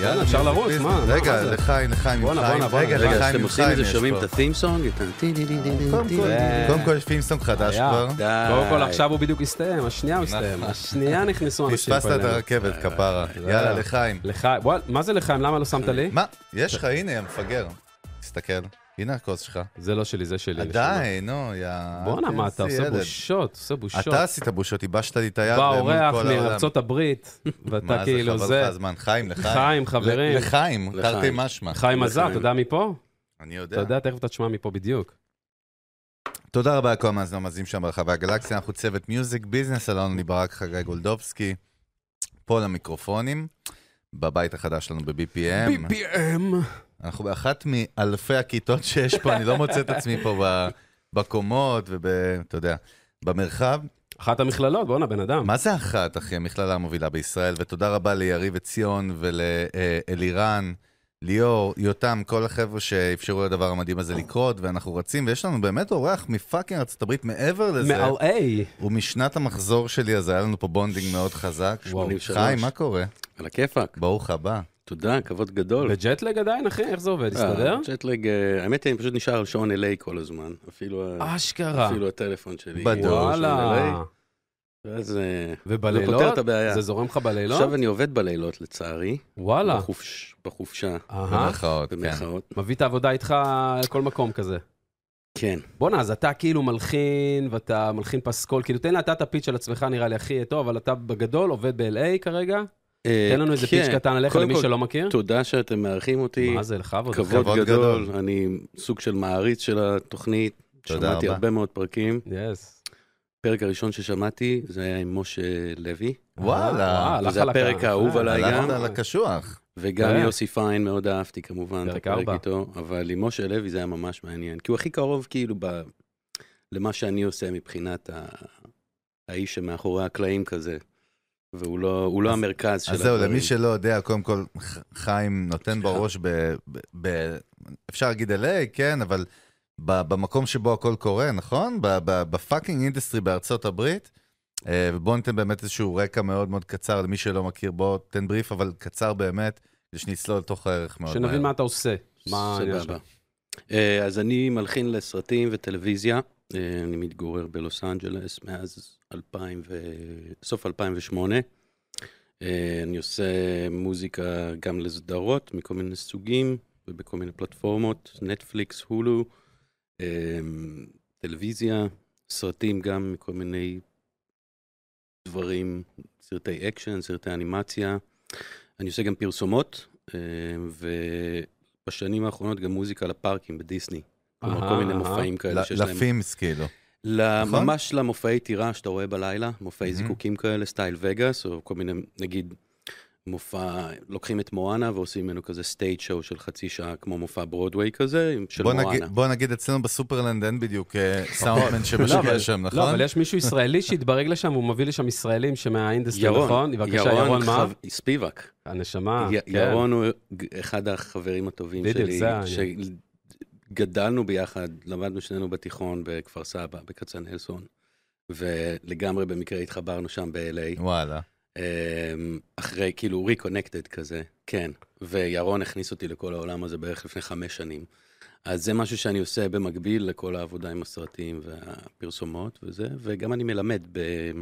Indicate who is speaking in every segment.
Speaker 1: יאללה, אפשר לרוץ, מה?
Speaker 2: רגע, לחיים, לחיים, עם
Speaker 1: בואנה,
Speaker 2: חיים,
Speaker 1: בואנה, בואנה.
Speaker 2: רגע,
Speaker 3: רגע,
Speaker 2: לחיים,
Speaker 3: כשאתם
Speaker 2: עם
Speaker 3: עושים
Speaker 2: חיים
Speaker 3: את זה,
Speaker 2: יש
Speaker 3: שומעים
Speaker 2: פה.
Speaker 3: את ה-theme song? את ה...
Speaker 2: קודם כל-
Speaker 1: אה.
Speaker 2: קודם כל יש פימסטון חדש
Speaker 1: היה.
Speaker 2: כבר.
Speaker 1: נכון.
Speaker 3: די.
Speaker 1: קודם כל עכשיו הוא בדיוק הסתיים, השנייה הוא הסתיים, השנייה נכנסו אנשים
Speaker 2: פספסת
Speaker 1: פה
Speaker 2: את
Speaker 1: אלינו.
Speaker 2: הרכבת, כפרה. יאללה, לחיים.
Speaker 1: לחיים, וואל, מה זה לחיים? למה לא שמת לי?
Speaker 2: מה? יש לך, הנה, המפגר. תסתכל. הנה הכוס שלך.
Speaker 1: זה לא שלי, זה שלי. נשמה.
Speaker 2: די, נו, יא...
Speaker 1: בואנה, מה אתה
Speaker 2: איזה
Speaker 1: עושה
Speaker 2: ילד.
Speaker 1: בושות, עושה בושות.
Speaker 2: אה, אוקיי, אתה עשית בושות, ייבשת לי את היד.
Speaker 1: בא
Speaker 2: מול
Speaker 1: אורח
Speaker 2: כל העולם.
Speaker 1: מארצות הברית, ואתה
Speaker 2: מה זה,
Speaker 1: כאילו
Speaker 2: חבל
Speaker 1: זה.
Speaker 2: לך הזמן. חיים, לחיים.
Speaker 1: חיים, חברים.
Speaker 2: ל- לחיים,
Speaker 3: לחיים.
Speaker 2: תרתי משמע.
Speaker 1: חיים עזר,
Speaker 3: לחיים.
Speaker 1: אתה יודע מפה?
Speaker 2: אני
Speaker 1: אתה
Speaker 2: יודע.
Speaker 1: יודע, תכף אתה תשמע מפה בדיוק.
Speaker 2: תודה רבה לכל המאזינים המאזינים שם ברחבי הגלקסיה, אנחנו צוות מיוזיק ביזנס, אלון ליברק, חגי גולדובסקי, פה למיקרופונים, בבית החדש שלנו ב-BPM.
Speaker 1: BPM.
Speaker 2: אנחנו באחת מאלפי הכיתות שיש פה, אני לא מוצא את עצמי פה ב- בקומות וב... אתה יודע, במרחב.
Speaker 1: אחת המכללות, בואנה, בן אדם.
Speaker 2: מה זה אחת, אחי, המכללה המובילה בישראל, ותודה רבה ליריב עציון ולאלירן, ליאור, יותם, כל החבר'ה שאפשרו לדבר המדהים הזה לקרות, ואנחנו רצים, ויש לנו באמת אורח מפאקינג ארה"ב מעבר לזה.
Speaker 1: מ-LA.
Speaker 2: ומשנת המחזור שלי, אז היה לנו פה בונדינג מאוד חזק.
Speaker 1: וואו.
Speaker 3: 83.
Speaker 2: חיים, מה קורה?
Speaker 3: על הכיפאק.
Speaker 2: ברוך הבא.
Speaker 3: תודה, כבוד גדול. אה,
Speaker 1: בג'טלג עדיין, אחי? איך זה עובד? הסתדר?
Speaker 3: ג'טלג, האמת היא, אני פשוט נשאר על שעון LA כל הזמן. אפילו ה-
Speaker 1: אשכרה.
Speaker 3: אפילו הטלפון שלי.
Speaker 2: בדוק.
Speaker 3: הוא על שעון
Speaker 1: אה, וואלה.
Speaker 3: LA, ואז אה, זה פותר
Speaker 1: ובלילות?
Speaker 3: את הבעיה.
Speaker 1: זה זורם לך בלילות?
Speaker 3: עכשיו אני עובד בלילות, לצערי.
Speaker 1: וואלה.
Speaker 3: בחופש- בחופשה,
Speaker 1: אהה.
Speaker 2: במרכאות, כן.
Speaker 3: במירכאות.
Speaker 1: מביא את העבודה איתך לכל מקום כזה.
Speaker 3: כן.
Speaker 1: בואנה, אז אתה כאילו מלחין, ואתה מלחין פסקול, כאילו תן לה אתה את הפיץ של עצמך, נראה לי הכי טוב, אבל אתה בגדול עובד ב-LA כרגע.
Speaker 3: אה,
Speaker 1: תן לנו איזה פיץ'
Speaker 3: כן.
Speaker 1: קטן עליך
Speaker 3: קודם
Speaker 1: למי
Speaker 3: כל,
Speaker 1: שלא מכיר.
Speaker 3: תודה שאתם מארחים אותי.
Speaker 1: מה זה, לכבוד.
Speaker 3: כבוד
Speaker 2: כבוד גדול.
Speaker 3: גדול. אני סוג של מעריץ של התוכנית.
Speaker 2: תודה
Speaker 3: שמעתי
Speaker 2: רבה.
Speaker 3: הרבה מאוד פרקים.
Speaker 1: יס.
Speaker 3: הפרק הראשון ששמעתי זה היה עם משה לוי,
Speaker 2: וואלה.
Speaker 1: הלך
Speaker 3: זה
Speaker 1: על
Speaker 3: הפרק
Speaker 1: הקרח.
Speaker 3: האהוב
Speaker 1: אה,
Speaker 3: עליי
Speaker 2: הלכת
Speaker 3: גם.
Speaker 2: על הקשוח.
Speaker 3: וגם
Speaker 1: אה.
Speaker 3: יוסי פיין מאוד אהבתי כמובן, את
Speaker 1: פרק
Speaker 3: הפרק
Speaker 1: ארבע.
Speaker 3: איתו, אבל עם משה לוי זה היה ממש מעניין, כי הוא הכי קרוב כאילו ב... למה שאני עושה מבחינת ה... האיש שמאחורי הקלעים כזה, והוא לא, הוא לא
Speaker 2: אז-
Speaker 3: המרכז של
Speaker 2: אז זהו, למי שלא יודע, קודם כל, ח- חיים נותן בראש ב... ב- ב- אפשר להגיד LA, כן, אבל ב- במקום שבו הכל קורה, נכון? ב- ב- בפאקינג אינדסטרי בארצות הברית. אה, ובואו ניתן באמת איזשהו רקע מאוד מאוד קצר למי שלא מכיר, בואו תן בריף, אבל קצר באמת, כדי שנצלול לתוך הערך מאוד
Speaker 1: שנבין מה
Speaker 2: מהר.
Speaker 1: אתה עושה. מה העניין שלך?
Speaker 3: סבבה. אה, אז אני מלחין לסרטים וטלוויזיה, אה, אני מתגורר בלוס אנג'לס מאז 2000 ו... סוף 2008. אה, אני עושה מוזיקה גם לסדרות מכל מיני סוגים ובכל מיני פלטפורמות, נטפליקס, הולו, אה, טלוויזיה, סרטים גם מכל מיני דברים, סרטי אקשן, סרטי אנימציה. אני עושה גם פרסומות, אה, ובשנים האחרונות גם מוזיקה לפארקים בדיסני. כלומר, כל
Speaker 1: אהה,
Speaker 3: מיני
Speaker 1: אהה.
Speaker 3: מופעים כאלה שיש
Speaker 2: ל-
Speaker 3: להם.
Speaker 2: לפימס, כאילו.
Speaker 3: ל-
Speaker 2: נכון?
Speaker 3: ממש למופעי טירה שאתה רואה בלילה, מופעי
Speaker 2: Mhm.
Speaker 3: זיקוקים כאלה, סטייל וגאס, או כל מיני, נגיד, מופע, לוקחים את מואנה ועושים ממנו כזה סטייט שואו של חצי שעה, כמו מופע ברודוויי כזה, עם- של
Speaker 2: בוא
Speaker 3: מואנה.
Speaker 2: נגיד, בוא נגיד אצלנו בסופרלנד אין בדיוק אה, סאונדמן
Speaker 1: לא, אבל-
Speaker 2: שמשקיע שם, נכון?
Speaker 1: לא, אבל יש מישהו ישראלי שהתברג לשם, הוא מביא לשם ישראלים שמהאינדסטרי, נכון? בבקשה, ירון, מה?
Speaker 3: חב- ספיבק.
Speaker 1: הנשמה,
Speaker 3: י-
Speaker 1: כן.
Speaker 3: ירון הוא ג- אחד החברים הטובים
Speaker 1: בדיוק,
Speaker 3: שלי,
Speaker 1: זה העניין.
Speaker 3: שגדלנו ביחד, למדנו שנינו בתיכון בכפר סבא, בכצנלסון, ולגמרי במקרה התחברנו שם ב-LA.
Speaker 2: וואלה.
Speaker 1: כן.
Speaker 3: אמ, אחרי, כאילו, ריקונקטד כזה, כן. וירון הכניס אותי לכל העולם הזה בערך לפני חמש שנים. אז זה משהו שאני עושה במקביל לכל העבודה עם הסרטים והפרסומות וזה, וגם אני מלמד ב-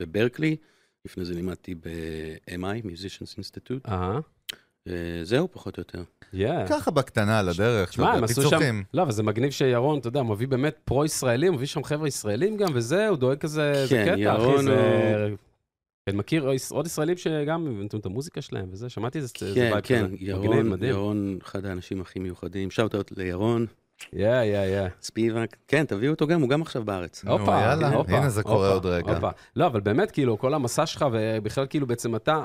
Speaker 3: בברקלי, לפני זה לימדתי ב-MI, Musicians Institute.
Speaker 1: אהה,
Speaker 3: אה, זהו, פחות או יותר.
Speaker 1: אוקיי, yeah.
Speaker 2: ככה בקטנה על הדרך,
Speaker 1: שמע,
Speaker 2: אתה
Speaker 1: הם
Speaker 2: יודע,
Speaker 1: עשו שם...
Speaker 2: פיצוחים.
Speaker 1: לא, אבל זה מגניב שירון, אתה יודע, מביא באמת פרו-ישראלים, מביא שם חבר'ה ישראלים גם, וזה, הוא דואג כזה, זה
Speaker 3: כן,
Speaker 1: קטע,
Speaker 3: ירון
Speaker 1: אחי, זה... אני מכיר עוד ישראלים שגם נתנו את המוזיקה שלהם וזה, שמעתי איזה איזה
Speaker 3: כן,
Speaker 1: וייב
Speaker 3: כן,
Speaker 1: כזה. מגניב,
Speaker 3: ירון,
Speaker 1: מדהים.
Speaker 3: ירון, אחד האנשים הכי מיוחדים. שאוט לירון,
Speaker 1: יא, יא, יא.
Speaker 3: ספיבק. כן, תביאו אותו גם, הוא גם עכשיו בארץ.
Speaker 2: נו,
Speaker 1: הופה,
Speaker 2: יאללה,
Speaker 1: הופה,
Speaker 2: הנה זה קורה
Speaker 1: הופה,
Speaker 2: עוד רגע.
Speaker 1: הופה. לא, אבל באמת, כאילו, כל המסע שלך, ובכלל, כאילו, בעצם אתה,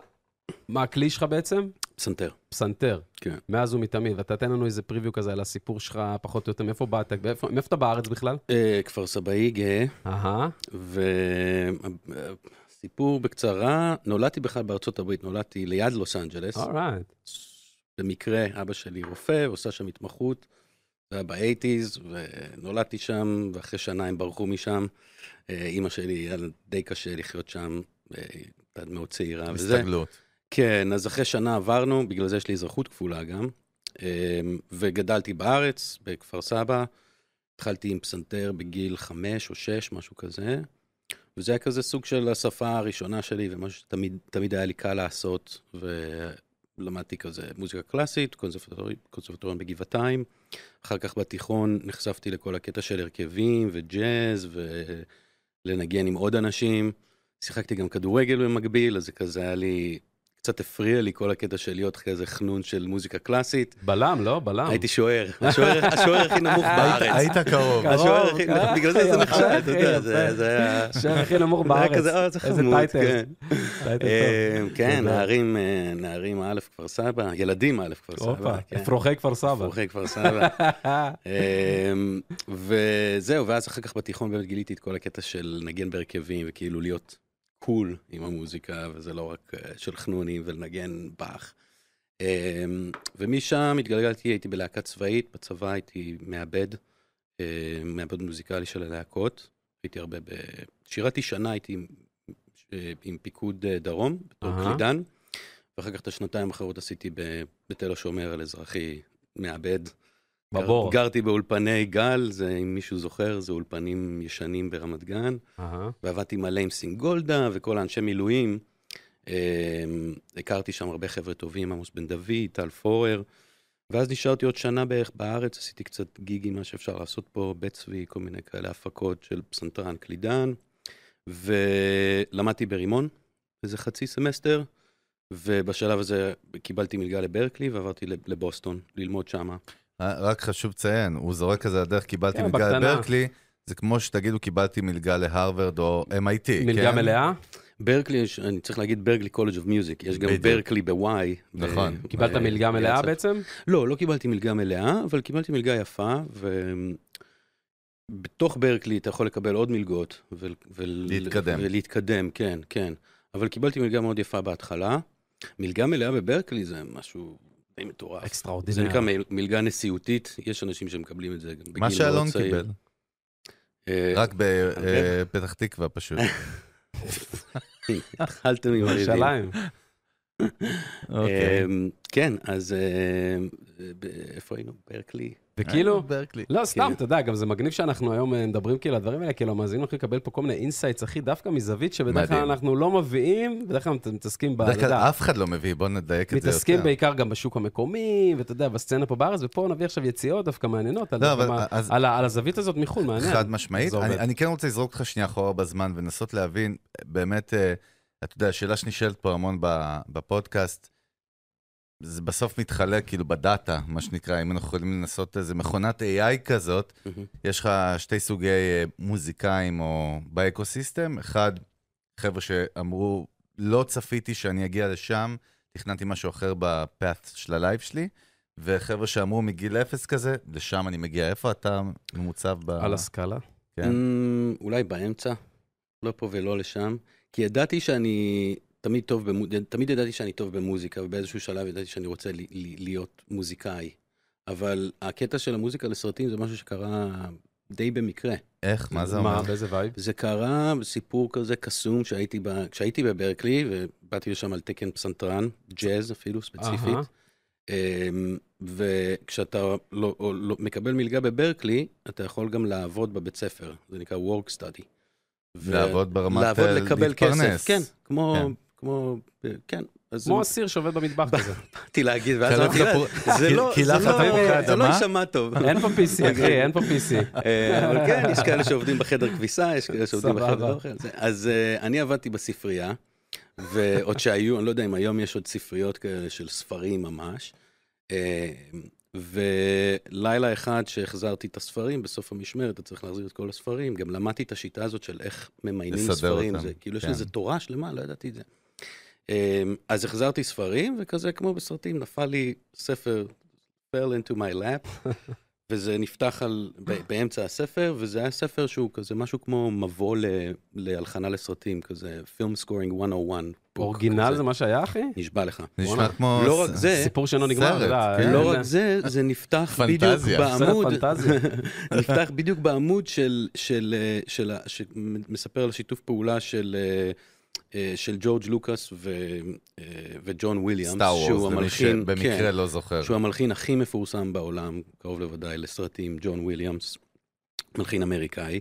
Speaker 1: מה הכלי שלך בעצם?
Speaker 3: פסנתר.
Speaker 1: פסנתר.
Speaker 3: כן.
Speaker 1: מאז ומתמיד, ואתה תן לנו איזה פריוויו כזה על הסיפור שלך, פחות או יותר, מאיפה באת, מאיפה מאיפה אתה בארץ בכלל?
Speaker 3: אה, כפר סבאי גאה.
Speaker 1: אהה,
Speaker 3: וסיפור בקצרה, נולדתי בכלל בארצות הברית, נולדתי ליד לוס אנג'לס.
Speaker 1: אורייט.
Speaker 3: במקרה, אבא שלי רופא, עושה שם התמחות, זה היה באייטיז, ונולדתי שם, ואחרי שנה הם ברחו משם. אה, אימא שלי, היה לה די קשה לחיות שם, אה, הייתה מאוד צעירה וזה.
Speaker 2: הסתגלות.
Speaker 3: כן, אז אחרי שנה עברנו, בגלל זה יש לי אזרחות כפולה גם, אמ, וגדלתי בארץ, בכפר סבא. התחלתי עם פסנתר בגיל חמש או שש, משהו כזה, וזה היה כזה סוג של השפה הראשונה שלי, ומשהו שתמיד תמיד היה לי קל לעשות, ולמדתי כזה מוזיקה קלאסית, קונסרבטוריון, קונסרבטוריון בגבעתיים. אחר כך בתיכון נחשפתי לכל הקטע של הרכבים וג'אז, ולנגן עם עוד אנשים. שיחקתי גם כדורגל במקביל, אז זה כזה היה לי... קצת הפריע לי כל הקטע של להיות כזה חנון של מוזיקה קלאסית.
Speaker 1: בלם, לא? בלם.
Speaker 3: הייתי שוער, השוער השוער הכי נמוך
Speaker 1: אה,
Speaker 2: היית-
Speaker 3: בארץ.
Speaker 2: היית קרוב.
Speaker 1: קרוב,
Speaker 3: השוער הכי,
Speaker 1: קרוב.
Speaker 3: בגלל זה זה
Speaker 1: יפה,
Speaker 3: נחשב, אתה יודע,
Speaker 1: יפה.
Speaker 3: זה זה היה...
Speaker 1: השוער הכי נמוך
Speaker 3: זה היה
Speaker 1: בארץ.
Speaker 3: כזה, "אה, זה
Speaker 1: איזה
Speaker 3: חמוד",
Speaker 1: טייטל.
Speaker 3: כן.
Speaker 1: טייטל טוב.
Speaker 3: אה, כן,
Speaker 1: תודה.
Speaker 3: נערים, אה, נערים א' כפר סבא, ילדים א' כפר סבא.
Speaker 1: הופה,
Speaker 3: כן.
Speaker 1: אפרוחי כפר סבא.
Speaker 3: אפרוחי כפר סבא. אה, וזהו, ואז אחר כך בתיכון באמת גיליתי את כל הקטע של נגן בהרכבים, וכאילו להיות קול עם המוזיקה, וזה לא רק אה, של חנונים ולנגן באך. אה, ומשם התגלגלתי, הייתי בלהקה צבאית, בצבא הייתי מעבד, אה, מעבד מוזיקלי של הלהקות. הייתי הרבה ב... שירתי שנה, הייתי עם, אה, עם פיקוד אה, דרום, בתור
Speaker 1: אהה.
Speaker 3: קלידן, ואחר כך את השנתיים האחרות עשיתי ב- בתל השומר על אזרחי מעבד.
Speaker 1: בבור.
Speaker 3: גרתי באולפני גל, זה אם מישהו זוכר, זה אולפנים ישנים ברמת גן,
Speaker 1: אהה.
Speaker 3: ועבדתי מלא עם סינגולדה וכל האנשי מילואים. אה, הכרתי שם הרבה חבר'ה טובים, עמוס בן דוד, טל פורר, ואז נשארתי עוד שנה בערך בארץ, עשיתי קצת גיגים, מה שאפשר לעשות פה, בית צבי, כל מיני כאלה הפקות של פסנתרן קלידן, ולמדתי ברימון איזה חצי סמסטר, ובשלב הזה קיבלתי מלגה לברקלי ועברתי לב- לבוסטון ללמוד שמה.
Speaker 2: אה, רק חשוב לציין, הוא זורק כזה על הדרך, קיבלתי
Speaker 1: כן,
Speaker 2: מלגה
Speaker 1: בקטנה.
Speaker 2: לברקלי, זה כמו שתגידו קיבלתי מלגה להרווארד או MIT,
Speaker 3: אה,
Speaker 2: כן?
Speaker 1: מלגה מלאה?
Speaker 3: ברקלי, יש- אני צריך להגיד ברקלי קולג' אוף מיוזיק, יש גם
Speaker 2: בדיוק.
Speaker 3: ברקלי בוואי.
Speaker 2: נכון.
Speaker 3: ב-
Speaker 1: קיבלת
Speaker 3: ב-
Speaker 1: מלגה מלאה
Speaker 3: בארצות-
Speaker 1: בעצם?
Speaker 3: לא, לא קיבלתי מלגה מלאה, אבל קיבלתי מלגה יפה, ובתוך ברקלי אתה יכול לקבל עוד מלגות. ו... ו...
Speaker 2: להתקדם.
Speaker 3: ולהתקדם, כן, כן. אבל קיבלתי מלגה מאוד יפה בהתחלה. מלגה מלאה בברקלי זה משהו די מטורף. זה
Speaker 1: אקסטראורדינר.
Speaker 3: נקרא מל- מלגה נשיאותית, יש אנשים שמקבלים את זה גם בגיל
Speaker 2: מה
Speaker 3: מאוד
Speaker 2: שאלון
Speaker 3: צעיר.
Speaker 2: קיבל,
Speaker 3: אה,
Speaker 1: כן.
Speaker 2: רק
Speaker 1: אוקיי.
Speaker 2: בפתח תקווה פשוט.
Speaker 1: אה,
Speaker 3: התחלתם עם הריבים.
Speaker 1: ירושלים.
Speaker 2: אוקיי.
Speaker 3: אמ, כן, אז אמ, ב- איפה היינו? ברקלי?
Speaker 1: וכאילו,
Speaker 2: אה, ברקלי.
Speaker 1: לא, סתם,
Speaker 3: כן.
Speaker 1: אתה יודע, גם זה מגניב שאנחנו היום אה, מדברים כאילו על הדברים האלה, כאילו המאזינים הולכים לקבל פה כל מיני אינסייטס, אחי, דווקא מזווית שבדרך כלל
Speaker 2: מדהים.
Speaker 1: אנחנו לא מביאים, בדרך כלל מת- מתעסקים ב...
Speaker 2: בדרך
Speaker 1: אתה
Speaker 2: כלל
Speaker 1: יודע,
Speaker 2: אף אחד לא מביא, בוא נדייק את זה יותר.
Speaker 1: מתעסקים בעיקר גם בשוק המקומי, ואתה יודע, בסצנה פה בארץ, ופה נביא עכשיו יציאות דווקא מעניינות, על
Speaker 2: לא, אבל
Speaker 1: מה-
Speaker 2: אז-
Speaker 1: על ה- על הזווית הזאת מחו"ל, מעניין.
Speaker 2: חד משמעית.
Speaker 1: זה עובד.
Speaker 2: אני, אני כן רוצה לזרוק אותך שנייה אחורה בזמן ולנסות להבין, באמת, אה, אתה יודע, השאלה שנשאלת פה המון ב- בפודקאסט, זה בסוף מתחלק כאילו בדאטה, מה שנקרא, אם אנחנו יכולים לנסות איזה מכונת AI כזאת, יש לך שתי סוגי אה, מוזיקאים או באקוסיסטם, אחד, חבר'ה שאמרו, לא צפיתי שאני אגיע לשם, תכננתי משהו אחר בפאט של הלייב שלי, וחבר'ה שאמרו מגיל אפס כזה, לשם אני מגיע. איפה אתה ממוצב ב...
Speaker 1: על הסקאלה.
Speaker 2: כן.
Speaker 3: אמ, אולי באמצע, לא פה ולא לשם, כי ידעתי שאני תמיד טוב, במו- תמיד ידעתי שאני טוב במוזיקה, ובאיזשהו שלב ידעתי שאני רוצה ל- ל- להיות מוזיקאי. אבל הקטע של המוזיקה לסרטים זה משהו שקרה די במקרה.
Speaker 2: איך? מה זה
Speaker 1: מה,
Speaker 2: אומר?
Speaker 1: באיזה וייב?
Speaker 3: זה קרה בסיפור כזה קסום שהייתי ב... כשהייתי בברקלי, ובאתי לשם על תקן פסנתרן, ג'אז אפילו ספציפית.
Speaker 1: אהה.
Speaker 3: אמ, וכשאתה לא, או, לא, מקבל מלגה בברקלי, אתה יכול גם לעבוד בבית ספר, זה נקרא work study. ו-
Speaker 2: לעבוד ברמת...
Speaker 3: לעבוד,
Speaker 2: אה,
Speaker 3: לקבל
Speaker 2: להתפרנס.
Speaker 3: כסף, כן, כמו,
Speaker 2: כן.
Speaker 3: כמו, אה, כן. אז
Speaker 1: כמו
Speaker 3: זה
Speaker 1: אסיר שעובד במטבח כזה.
Speaker 3: באתי להגיד, ואז
Speaker 2: קלט
Speaker 3: אמרתי, "לא,
Speaker 2: לפו-
Speaker 3: זה לא,
Speaker 2: קיל-
Speaker 3: זה
Speaker 2: קילחת
Speaker 3: לא,
Speaker 2: תפוחי
Speaker 3: זה לא
Speaker 2: אדמה?
Speaker 3: יישמע טוב.
Speaker 1: אין פה PC, אחי, אין פה PC.
Speaker 3: אה, אבל כן, יש כאלה שעובדים בחדר כביסה, יש כאלה שעובדים
Speaker 1: סבבה.
Speaker 3: בחדר אוכל. זה- אז אה, אני עבדתי בספרייה, ועוד שהיו, אני לא יודע אם היום יש עוד ספריות כאלה של ספרים ממש. אה, ולילה אחד שהחזרתי את הספרים, בסוף המשמרת אתה צריך להחזיר את כל הספרים, גם למדתי את השיטה הזאת של איך ממיינים
Speaker 2: לסדר
Speaker 3: ספרים,
Speaker 2: אותם,
Speaker 3: זה כאילו יש
Speaker 2: כן.
Speaker 3: לזה תורה שלמה, לא ידעתי את זה. אה, אז החזרתי ספרים, וכזה כמו בסרטים, נפל לי ספר fell into my lap, וזה נפתח על, ב- באמצע הספר, וזה היה ספר שהוא כזה משהו כמו מבוא ל, להלחנה לסרטים, כזה film scoring 101. book
Speaker 1: אורגינל
Speaker 3: כזה.
Speaker 1: זה מה שהיה, אחי?
Speaker 3: נשבע לך.
Speaker 2: זה נשמע
Speaker 1: בואנה.
Speaker 2: כמו...
Speaker 3: לא רק זה,
Speaker 1: סיפור שלא נגמר,
Speaker 2: סרט,
Speaker 1: אתה יודע,
Speaker 2: כן.
Speaker 1: אה,
Speaker 3: לא
Speaker 1: אה,
Speaker 3: רק זה, זה נפתח בדיוק
Speaker 2: פנטזיה.
Speaker 1: סרט
Speaker 3: בעמוד,
Speaker 1: פנטזיה.
Speaker 3: נפתח בדיוק בעמוד של, של, אה, של, ה- שמספר על שיתוף פעולה של אה, אה, של ג'ורג' לוקאס ו, אה, וג'ון וויליאמס,
Speaker 2: סטאר
Speaker 3: שהוא
Speaker 2: וורס, למי
Speaker 3: המלחין,
Speaker 2: שבמקרה
Speaker 3: כן,
Speaker 2: לא זוכר.
Speaker 3: שהוא המלחין הכי מפורסם בעולם, קרוב לוודאי, לסרטים, ג'ון וויליאמס, מלחין אמריקאי.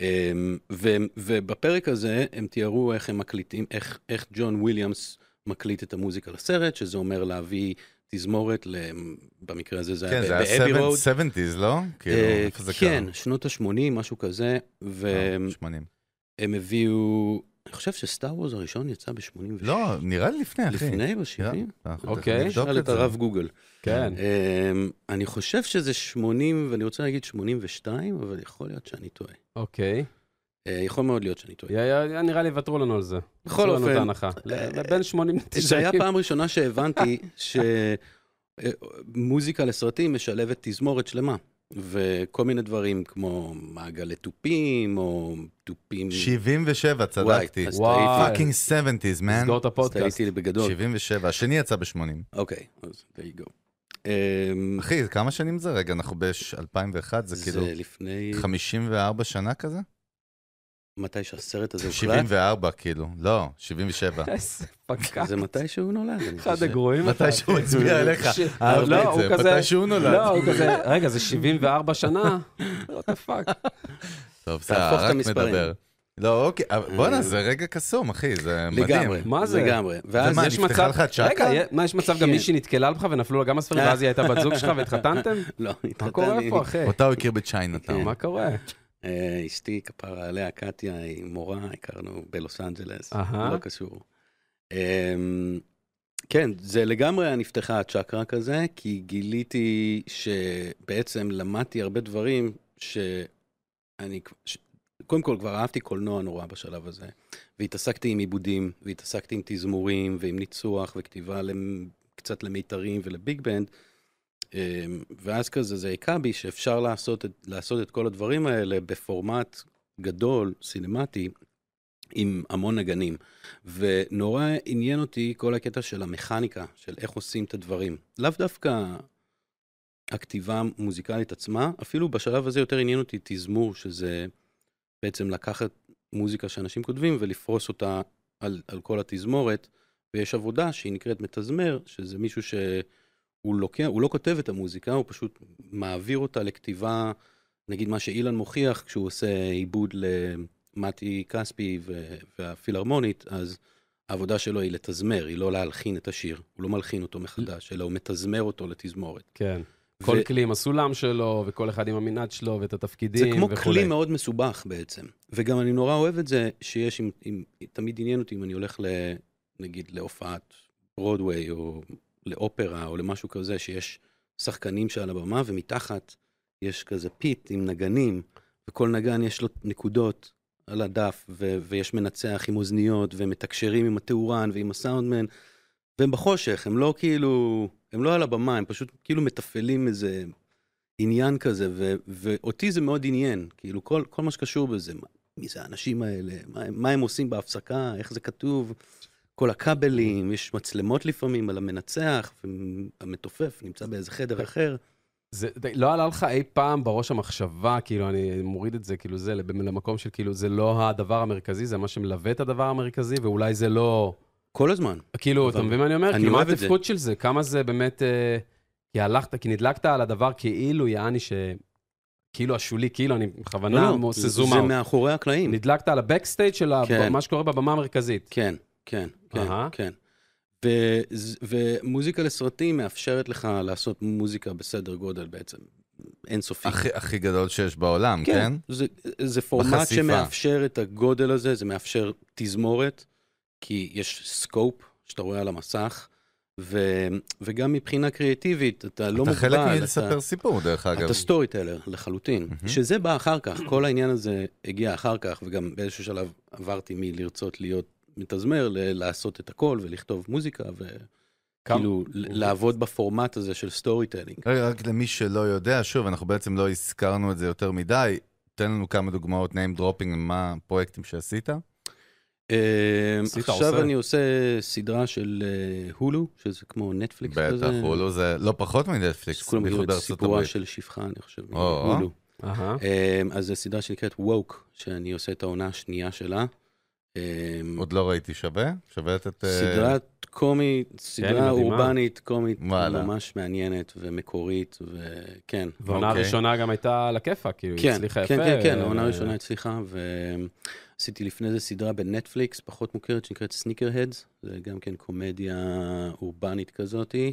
Speaker 3: אמ, ו, ובפרק הזה הם תיארו איך הם מקליטים, איך, איך ג'ון וויליאמס מקליט את המוזיקה לסרט, שזה אומר להביא תזמורת, ל, במקרה הזה זה
Speaker 2: כן,
Speaker 3: היה
Speaker 2: זה
Speaker 3: ב- ב-Abbey
Speaker 2: היה
Speaker 3: Road.
Speaker 2: 70's, לא? כאילו,
Speaker 3: אה,
Speaker 2: איפה זה קרה?
Speaker 3: כן, אמ, שנות ה-80, משהו כזה, והם
Speaker 2: לא, 80.
Speaker 3: הם הביאו, אני חושב שסטאר וורז הראשון יצא ב-86.
Speaker 2: לא, נראה לי לפני, אחי.
Speaker 3: לפני, ב-70?
Speaker 2: אנחנו
Speaker 1: אוקיי.
Speaker 2: תכף נבדוק
Speaker 3: שאל
Speaker 2: את
Speaker 3: את
Speaker 2: זה.
Speaker 3: הרב גוגל.
Speaker 1: כן.
Speaker 3: אמ, אני חושב שזה 80, ואני רוצה להגיד 82, אבל יכול להיות שאני טועה.
Speaker 1: אוקיי.
Speaker 3: אה, יכול מאוד להיות שאני טועה.
Speaker 1: יא- יא- נראה לי יוותרו לנו על זה.
Speaker 3: בכל
Speaker 2: לא
Speaker 1: עשו לנו את
Speaker 3: אופן,
Speaker 1: ההנחה. ל- בין 80 ל-90.
Speaker 3: זה היה פעם ראשונה שהבנתי שמוזיקה לסרטים משלבת תזמורת שלמה. וכל מיני דברים כמו מעגלי תופים, או תופים...
Speaker 2: 77, צדקתי.
Speaker 3: וואי, אז
Speaker 1: וואי.
Speaker 3: טעיתי.
Speaker 1: וואי.
Speaker 2: פאקינג 70's, man.
Speaker 1: סגור את הפודקאסט.
Speaker 3: טעיתי לי בגדול.
Speaker 2: 77, השני יצא ב-80.
Speaker 3: אוקיי, אז there you go. אמ,
Speaker 2: אחי, כמה שנים זה רגע? אנחנו ב-2001, זה
Speaker 3: זה
Speaker 2: כאילו
Speaker 3: לפני...
Speaker 2: 54 שנה כזה?
Speaker 3: מתי שהסרט הזה הוקלט?
Speaker 2: 74, כאילו. לא, 77.
Speaker 1: איזה פקק.
Speaker 3: זה מתי שהוא נולד, אני
Speaker 1: אחד
Speaker 3: חושב.
Speaker 1: הגרועים.
Speaker 2: מתי שהוא הצביע עליך.
Speaker 1: ש-
Speaker 2: אהבתי
Speaker 1: לא,
Speaker 2: את
Speaker 1: הוא
Speaker 2: זה,
Speaker 1: כזה-
Speaker 2: מתי שהוא נולד.
Speaker 1: לא, הוא כזה, רגע, זה 74 שנה? what the fuck.
Speaker 2: טוב,
Speaker 3: תהפוך
Speaker 2: בסדר,
Speaker 3: את
Speaker 2: רק
Speaker 3: המספרים.
Speaker 2: מדבר. לא, אוקיי, אבל בואנה,
Speaker 3: אה.
Speaker 2: זה רגע קסום, אחי, זה מדהים.
Speaker 3: לגמרי.
Speaker 1: מה זה?
Speaker 3: לגמרי. ואז
Speaker 2: מה,
Speaker 1: אה, יש
Speaker 2: נפתחה
Speaker 1: מצב-
Speaker 2: לך הצ'קרה?
Speaker 1: רגע, יה- מה, יש מצב גם
Speaker 3: כן.
Speaker 1: מישהי נתקלה לך ונפלו לה גם הספרים, ואז היא הייתה בת זוג שלך והתחתנתם?
Speaker 3: לא,
Speaker 1: מה קורה
Speaker 3: התחתנתי.
Speaker 1: פה, אחי?
Speaker 2: אותה הוא הכיר בצ'יינתאון.
Speaker 3: כן.
Speaker 1: מה קורה?
Speaker 3: אה, אשתי, כפרה עליה, קטיה, היא מורה, הכרנו בלוס אנג'לס,
Speaker 1: אהה.
Speaker 3: לא קשור. אמ, כן, זה לגמרי נפתחה הצ'קרה כזה, כי גיליתי שבעצם למדתי הרבה דברים שאני... ש... קודם כל, כבר אהבתי קולנוע נורא בשלב הזה, והתעסקתי עם עיבודים, והתעסקתי עם תזמורים, ועם ניצוח, וכתיבה למ... קצת למיתרים ולביג בנד, אמ, ואז כזה זה הכה בי שאפשר לעשות את, לעשות את כל הדברים האלה בפורמט גדול, סינמטי, עם המון נגנים. ונורא עניין אותי כל הקטע של המכניקה, של איך עושים את הדברים. לאו דווקא הכתיבה המוזיקלית עצמה, אפילו בשלב הזה יותר עניין אותי תזמור, שזה בעצם לקחת מוזיקה שאנשים כותבים ולפרוס אותה על, על כל התזמורת, ויש עבודה שהיא נקראת מתזמר, שזה מישהו ש... הוא, לוקח, הוא לא כותב את המוזיקה, הוא פשוט מעביר אותה לכתיבה, נגיד מה שאילן מוכיח כשהוא עושה עיבוד למתי כספי ו- והפילהרמונית, אז העבודה שלו היא לתזמר, היא לא להלחין את השיר. הוא לא מלחין אותו מחדש, אלא הוא מתזמר אותו לתזמורת.
Speaker 1: כן. כל
Speaker 3: ו-
Speaker 1: כלי עם הסולם שלו, וכל אחד עם המנעד שלו, ואת התפקידים
Speaker 3: זה
Speaker 1: וכולי.
Speaker 3: כמו כלי מאוד מסובך בעצם. וגם אני נורא אוהב את זה שיש, עם, עם, תמיד עניין אותי אם אני הולך ל, נגיד להופעת ברודוויי או לאופרה או למשהו כזה, שיש שחקנים שעל הבמה ומתחת יש כזה פיט עם נגנים, וכל נגן יש לו נקודות על הדף, ו, ויש מנצח עם אוזניות, והם מתקשרים עם התאורן ועם הסאונדמן, והם בחושך, הם לא כאילו, הם לא על הבמה, הם פשוט כאילו מתפעלים איזה עניין כזה, ו, ואותי זה מאוד עניין, כאילו כל, כל מה שקשור בזה, מה- מי זה האנשים האלה, מה, הם- מה הם עושים בהפסקה, איך זה כתוב, כל הכבלים, יש מצלמות לפעמים על המנצח, והמתופף נמצא באיזה חדר אחר.
Speaker 1: זה, די, לא עלה לך אי פעם בראש המחשבה, כאילו, אני מוריד את זה, כאילו, זה לב- למקום של, כאילו, זה לא הדבר המרכזי, זה מה שמלווה את הדבר המרכזי, ואולי זה לא...
Speaker 3: כל הזמן.
Speaker 1: כאילו,
Speaker 3: אבל-
Speaker 1: אתה מבין מה אני אומר?
Speaker 3: אני
Speaker 1: כאילו, מה
Speaker 3: אוהב את זה.
Speaker 1: התפקוד של זה? כמה זה באמת... אה, כי הלכת, כי נדלקת על הדבר כאילו, יעני, ש... כאילו השולי, כאילו, אני בכוונה עושה זום
Speaker 3: לא, זה
Speaker 1: אאוט.
Speaker 3: מאחורי הקלעים.
Speaker 1: נדלקת על הבקסטייג' של ה-
Speaker 3: כן.
Speaker 1: מה שקורה בבמה המרכזית.
Speaker 3: כן, כן, כן,
Speaker 1: אהה.
Speaker 3: כן. וז- ומוזיקה לסרטים מאפשרת לך לעשות מוזיקה בסדר גודל בעצם, אינסופי.
Speaker 2: הכי- הכי גדול שיש בעולם, כן?
Speaker 3: זה, זה פורמט
Speaker 2: בחשיפה.
Speaker 3: שמאפשר את הגודל הזה, זה מאפשר תזמורת, כי יש סקופ שאתה רואה על המסך, ו, וגם מבחינה קריאטיבית, אתה לא
Speaker 2: אתה
Speaker 3: מוגבל.
Speaker 2: חלק מלספר סיפור, דרך אגב.
Speaker 3: אתה סטורי טיילר לחלוטין,
Speaker 2: מהמם.
Speaker 3: שזה בא אחר כך, כל העניין הזה הגיע אחר כך, וגם באיזשהו שלב עברתי מלרצות להיות מתזמר, ל- לעשות את הכל ולכתוב מוזיקה, וכאילו ל- לעבוד בפורמט הזה של סטורי טיילינג.
Speaker 2: רגע, רק למי שלא יודע, שוב, אנחנו בעצם לא הזכרנו את זה יותר מדי. תן לנו כמה דוגמאות, name dropping, מה הפרויקטים שעשית.
Speaker 3: אה,
Speaker 1: עשית,
Speaker 3: עכשיו
Speaker 1: עושה.
Speaker 3: אני עושה סדרה של אה, הולו, שזה כמו נטפליקס כזה.
Speaker 2: בטח, הולו זה לא פחות מנטפליקס,
Speaker 3: שכולם מכירים
Speaker 2: בייחוד
Speaker 3: את
Speaker 2: בארצות
Speaker 3: סיפורה
Speaker 2: הברית.
Speaker 3: של שפחה, אני חושב, אה,
Speaker 2: או.
Speaker 3: הולו.
Speaker 1: אהה.
Speaker 3: אה, אז זו סדרה שנקראת ווק, שאני עושה את העונה השנייה שלה. אמ,
Speaker 2: עוד לא ראיתי שווה? שווה לתת... אה, כן,
Speaker 3: סדרת קומית, סדרה
Speaker 1: מדהימה.
Speaker 3: אורבנית, קומית,
Speaker 2: וואלה.
Speaker 3: ממש מעניינת ומקורית, וכן.
Speaker 1: והעונה
Speaker 2: אוקיי.
Speaker 1: הראשונה גם הייתה על הכיפאק, כאילו, היא
Speaker 3: כן,
Speaker 1: הצליחה
Speaker 3: כן,
Speaker 1: יפה. אה,
Speaker 3: כן, כן,
Speaker 1: ו-
Speaker 2: אה,
Speaker 3: העונה הראשונה הצליחה, ועשיתי לפני זה סדרה בנטפליקס, פחות מוכרת, שנקראת סניקר הדס, זה גם כן קומדיה אורבנית כזאתי.